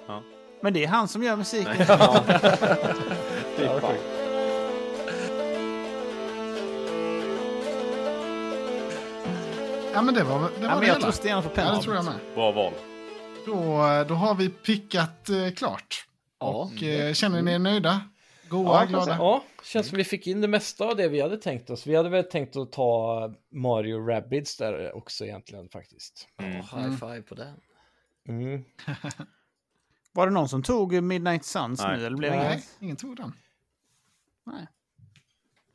Speaker 4: han.
Speaker 5: Men det är han som gör musiken.
Speaker 4: Fy fan.
Speaker 2: Ja, men det var det, var
Speaker 5: Ja,
Speaker 2: det
Speaker 5: men jag
Speaker 2: hela.
Speaker 5: tror stenarna på
Speaker 2: Ja, det
Speaker 5: pennan.
Speaker 2: tror jag med.
Speaker 6: Bra val.
Speaker 2: Då, då har vi pickat eh, klart.
Speaker 3: Ja.
Speaker 2: Och,
Speaker 5: Mm.
Speaker 2: eh, känner ni er nöjda? Goa,
Speaker 4: Ja,
Speaker 2: glada?
Speaker 1: Ja, känns som vi fick in det mesta av det vi hade tänkt oss. Vi hade väl tänkt att ta Mario Rabbids där också egentligen faktiskt.
Speaker 6: Mm.
Speaker 3: Ja, High five på den.
Speaker 1: Mm.
Speaker 5: Var det någon som tog Midnight Suns
Speaker 6: Nej.
Speaker 5: nu? Eller blev det
Speaker 2: Nej,
Speaker 5: inget?
Speaker 2: ingen tog den.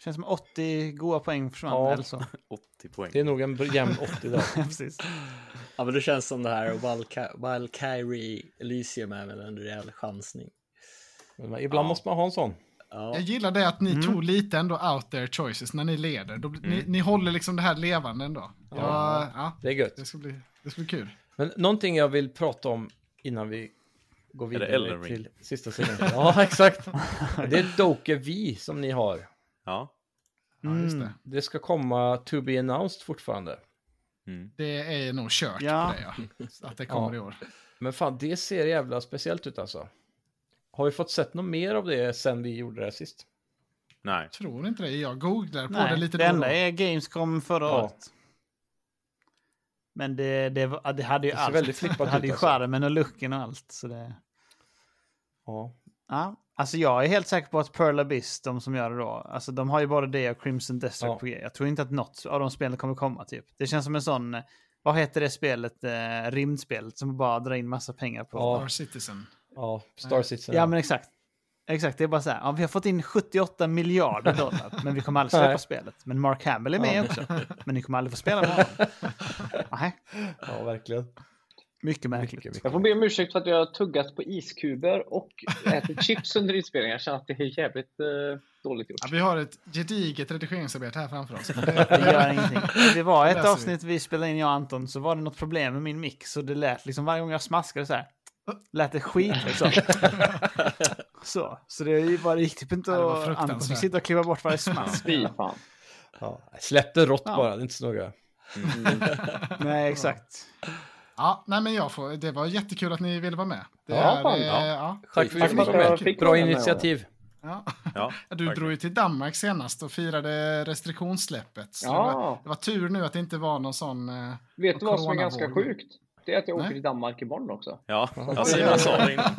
Speaker 5: Känns som 80 goda poäng försvann.
Speaker 1: Ja.
Speaker 5: Eller så. <laughs>
Speaker 6: 80 poäng.
Speaker 1: Det är nog en br- jämn 80 där.
Speaker 5: Precis.
Speaker 3: Ja, men det känns som det här Valka- Valkyrie Elysium är väl en rejäl chansning.
Speaker 1: Men ibland måste man ha en sån.
Speaker 3: Ja,
Speaker 2: Jag gillar det att ni tog lite ändå out there choices när ni leder. Då, ni, ni håller liksom det här levande ändå. Ja. Ja,
Speaker 1: Det är gött.
Speaker 2: det, ska bli, det ska bli kul.
Speaker 1: Men någonting jag vill prata om innan vi går
Speaker 6: Är det Elden
Speaker 1: vidare
Speaker 6: Ring?
Speaker 1: till sista sidan.
Speaker 6: <laughs>
Speaker 1: Ja, exakt. Det är Doke V som ni har.
Speaker 6: Ja.
Speaker 2: Ja, just det.
Speaker 1: Det ska komma to be announced fortfarande.
Speaker 2: det är nog kört
Speaker 5: Ja.
Speaker 2: på det, ja. Att det kommer
Speaker 1: Ja.
Speaker 2: i år.
Speaker 1: Men fan, det ser jävla speciellt ut alltså. Har vi fått sett något mer av det sen vi gjorde det här sist?
Speaker 6: Nej.
Speaker 2: Tror inte det. Jag googlar på det
Speaker 5: Nej,
Speaker 2: lite
Speaker 5: det
Speaker 2: då och då.
Speaker 5: enda är Gamescom förra
Speaker 1: Ja.
Speaker 5: året. Men det, det, var- det hade ju
Speaker 1: Det ser
Speaker 5: allt.
Speaker 1: väldigt flippat
Speaker 5: <laughs> det hade
Speaker 1: ut,
Speaker 5: ju
Speaker 1: alltså.
Speaker 5: charmen och looken och allt. Så det...
Speaker 1: Ja.
Speaker 5: Ja, alltså jag är helt säker på att Pearl Abyss, de som gör det då, alltså de har ju både det och Crimson Desert
Speaker 1: Ja.
Speaker 5: på G. Jag tror inte att något av de spelen kommer komma typ. Det känns som en sån, eh, vad heter det spelet, eh, rymdspelet som bara drar in massa pengar på?
Speaker 1: Ja.
Speaker 2: Star Citizen.
Speaker 1: Ja, Star Citizen.
Speaker 5: Ja, men exakt. Exakt, det är bara så här. Ja, vi har fått in 78 miljarder dollar, men vi kommer aldrig släppa
Speaker 1: Nej.
Speaker 5: spelet. Men Mark Hamill är med
Speaker 1: Ja.
Speaker 5: också, men ni kommer aldrig
Speaker 2: <laughs>
Speaker 5: få spela med honom. Nej,
Speaker 1: ja verkligen.
Speaker 5: mycket märkligt.
Speaker 1: Mycket, mycket.
Speaker 4: Jag får be om ursäkt för att jag har tuggat på iskuber och ätit chips under inspelningen. Jag känner att det är jävligt eh, dåligt gjort.
Speaker 2: Ja, vi har ett gediget redigeringsarbete här framför oss.
Speaker 5: <laughs> Det gör ingenting. Det var ett
Speaker 2: Läser vi.
Speaker 5: avsnitt vi spelade in, jag och Anton, så var det något problem med min mick. Så det lät liksom varje gång jag smaskade så här. Lät det
Speaker 2: <laughs>
Speaker 5: skit liksom. Så, så det var det gick typ inte
Speaker 2: Ja, det var
Speaker 5: att... Anton fick
Speaker 2: fruktansvärt.
Speaker 5: sitta och kliva bort
Speaker 2: <laughs>
Speaker 5: varje smask.
Speaker 4: Fy fan.
Speaker 1: Ja. Släpp det rått
Speaker 5: Ja.
Speaker 1: bara, det är inte så noga.
Speaker 5: Nej, exakt.
Speaker 2: Ja, nej, men jag får, det var jättekul att ni ville vara med. Det
Speaker 1: Ja,
Speaker 2: är,
Speaker 4: fan,
Speaker 2: eh,
Speaker 6: ja.
Speaker 2: ja.
Speaker 6: Tack för
Speaker 4: Tack för att jag fick
Speaker 1: Bra
Speaker 4: vara med den här
Speaker 1: initiativ.
Speaker 2: Ja.
Speaker 6: Ja,
Speaker 2: Du
Speaker 6: verkligen.
Speaker 2: drog ju till Danmark senast och firade restriktionssläppet. Så
Speaker 4: Ja.
Speaker 2: Det, var, det var tur nu att det inte var någon sån... eh,
Speaker 4: gången. Vet
Speaker 2: Och
Speaker 4: du vad som är ganska
Speaker 2: coronavågen.
Speaker 4: sjukt? Det är att jag åker
Speaker 2: Nej.
Speaker 4: till Danmark imorgon också.
Speaker 6: Ja, jag ser jag sa det <laughs> innan.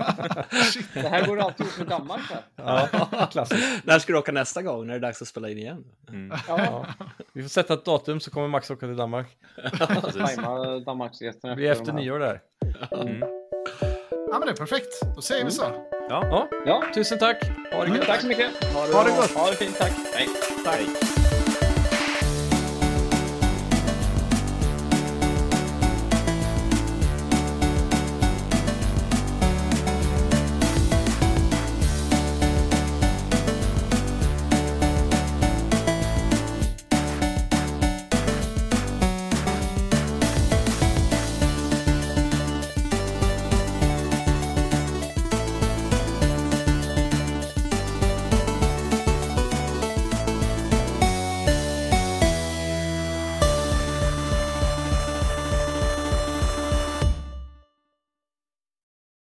Speaker 4: Det här går alltid ihop med Danmark här.
Speaker 1: Ja, klassiskt.
Speaker 7: När ska du åka nästa gång när det är dags att spela in igen?
Speaker 4: Ja,
Speaker 1: Ja. Vi får sätta ett datum så kommer Max åka till Danmark.
Speaker 6: Precis.
Speaker 4: tajma Danmarksresan
Speaker 1: Vi är
Speaker 4: de
Speaker 1: efter
Speaker 4: här.
Speaker 1: nyår där.
Speaker 2: Ja, men det är perfekt. Då säger vi så.
Speaker 1: Ja,
Speaker 4: Ja,
Speaker 1: tusen tack. Ha det gött.
Speaker 4: tack så mycket.
Speaker 1: Ha det gott.
Speaker 4: Ha det fint, tack. Hej.
Speaker 1: Tack.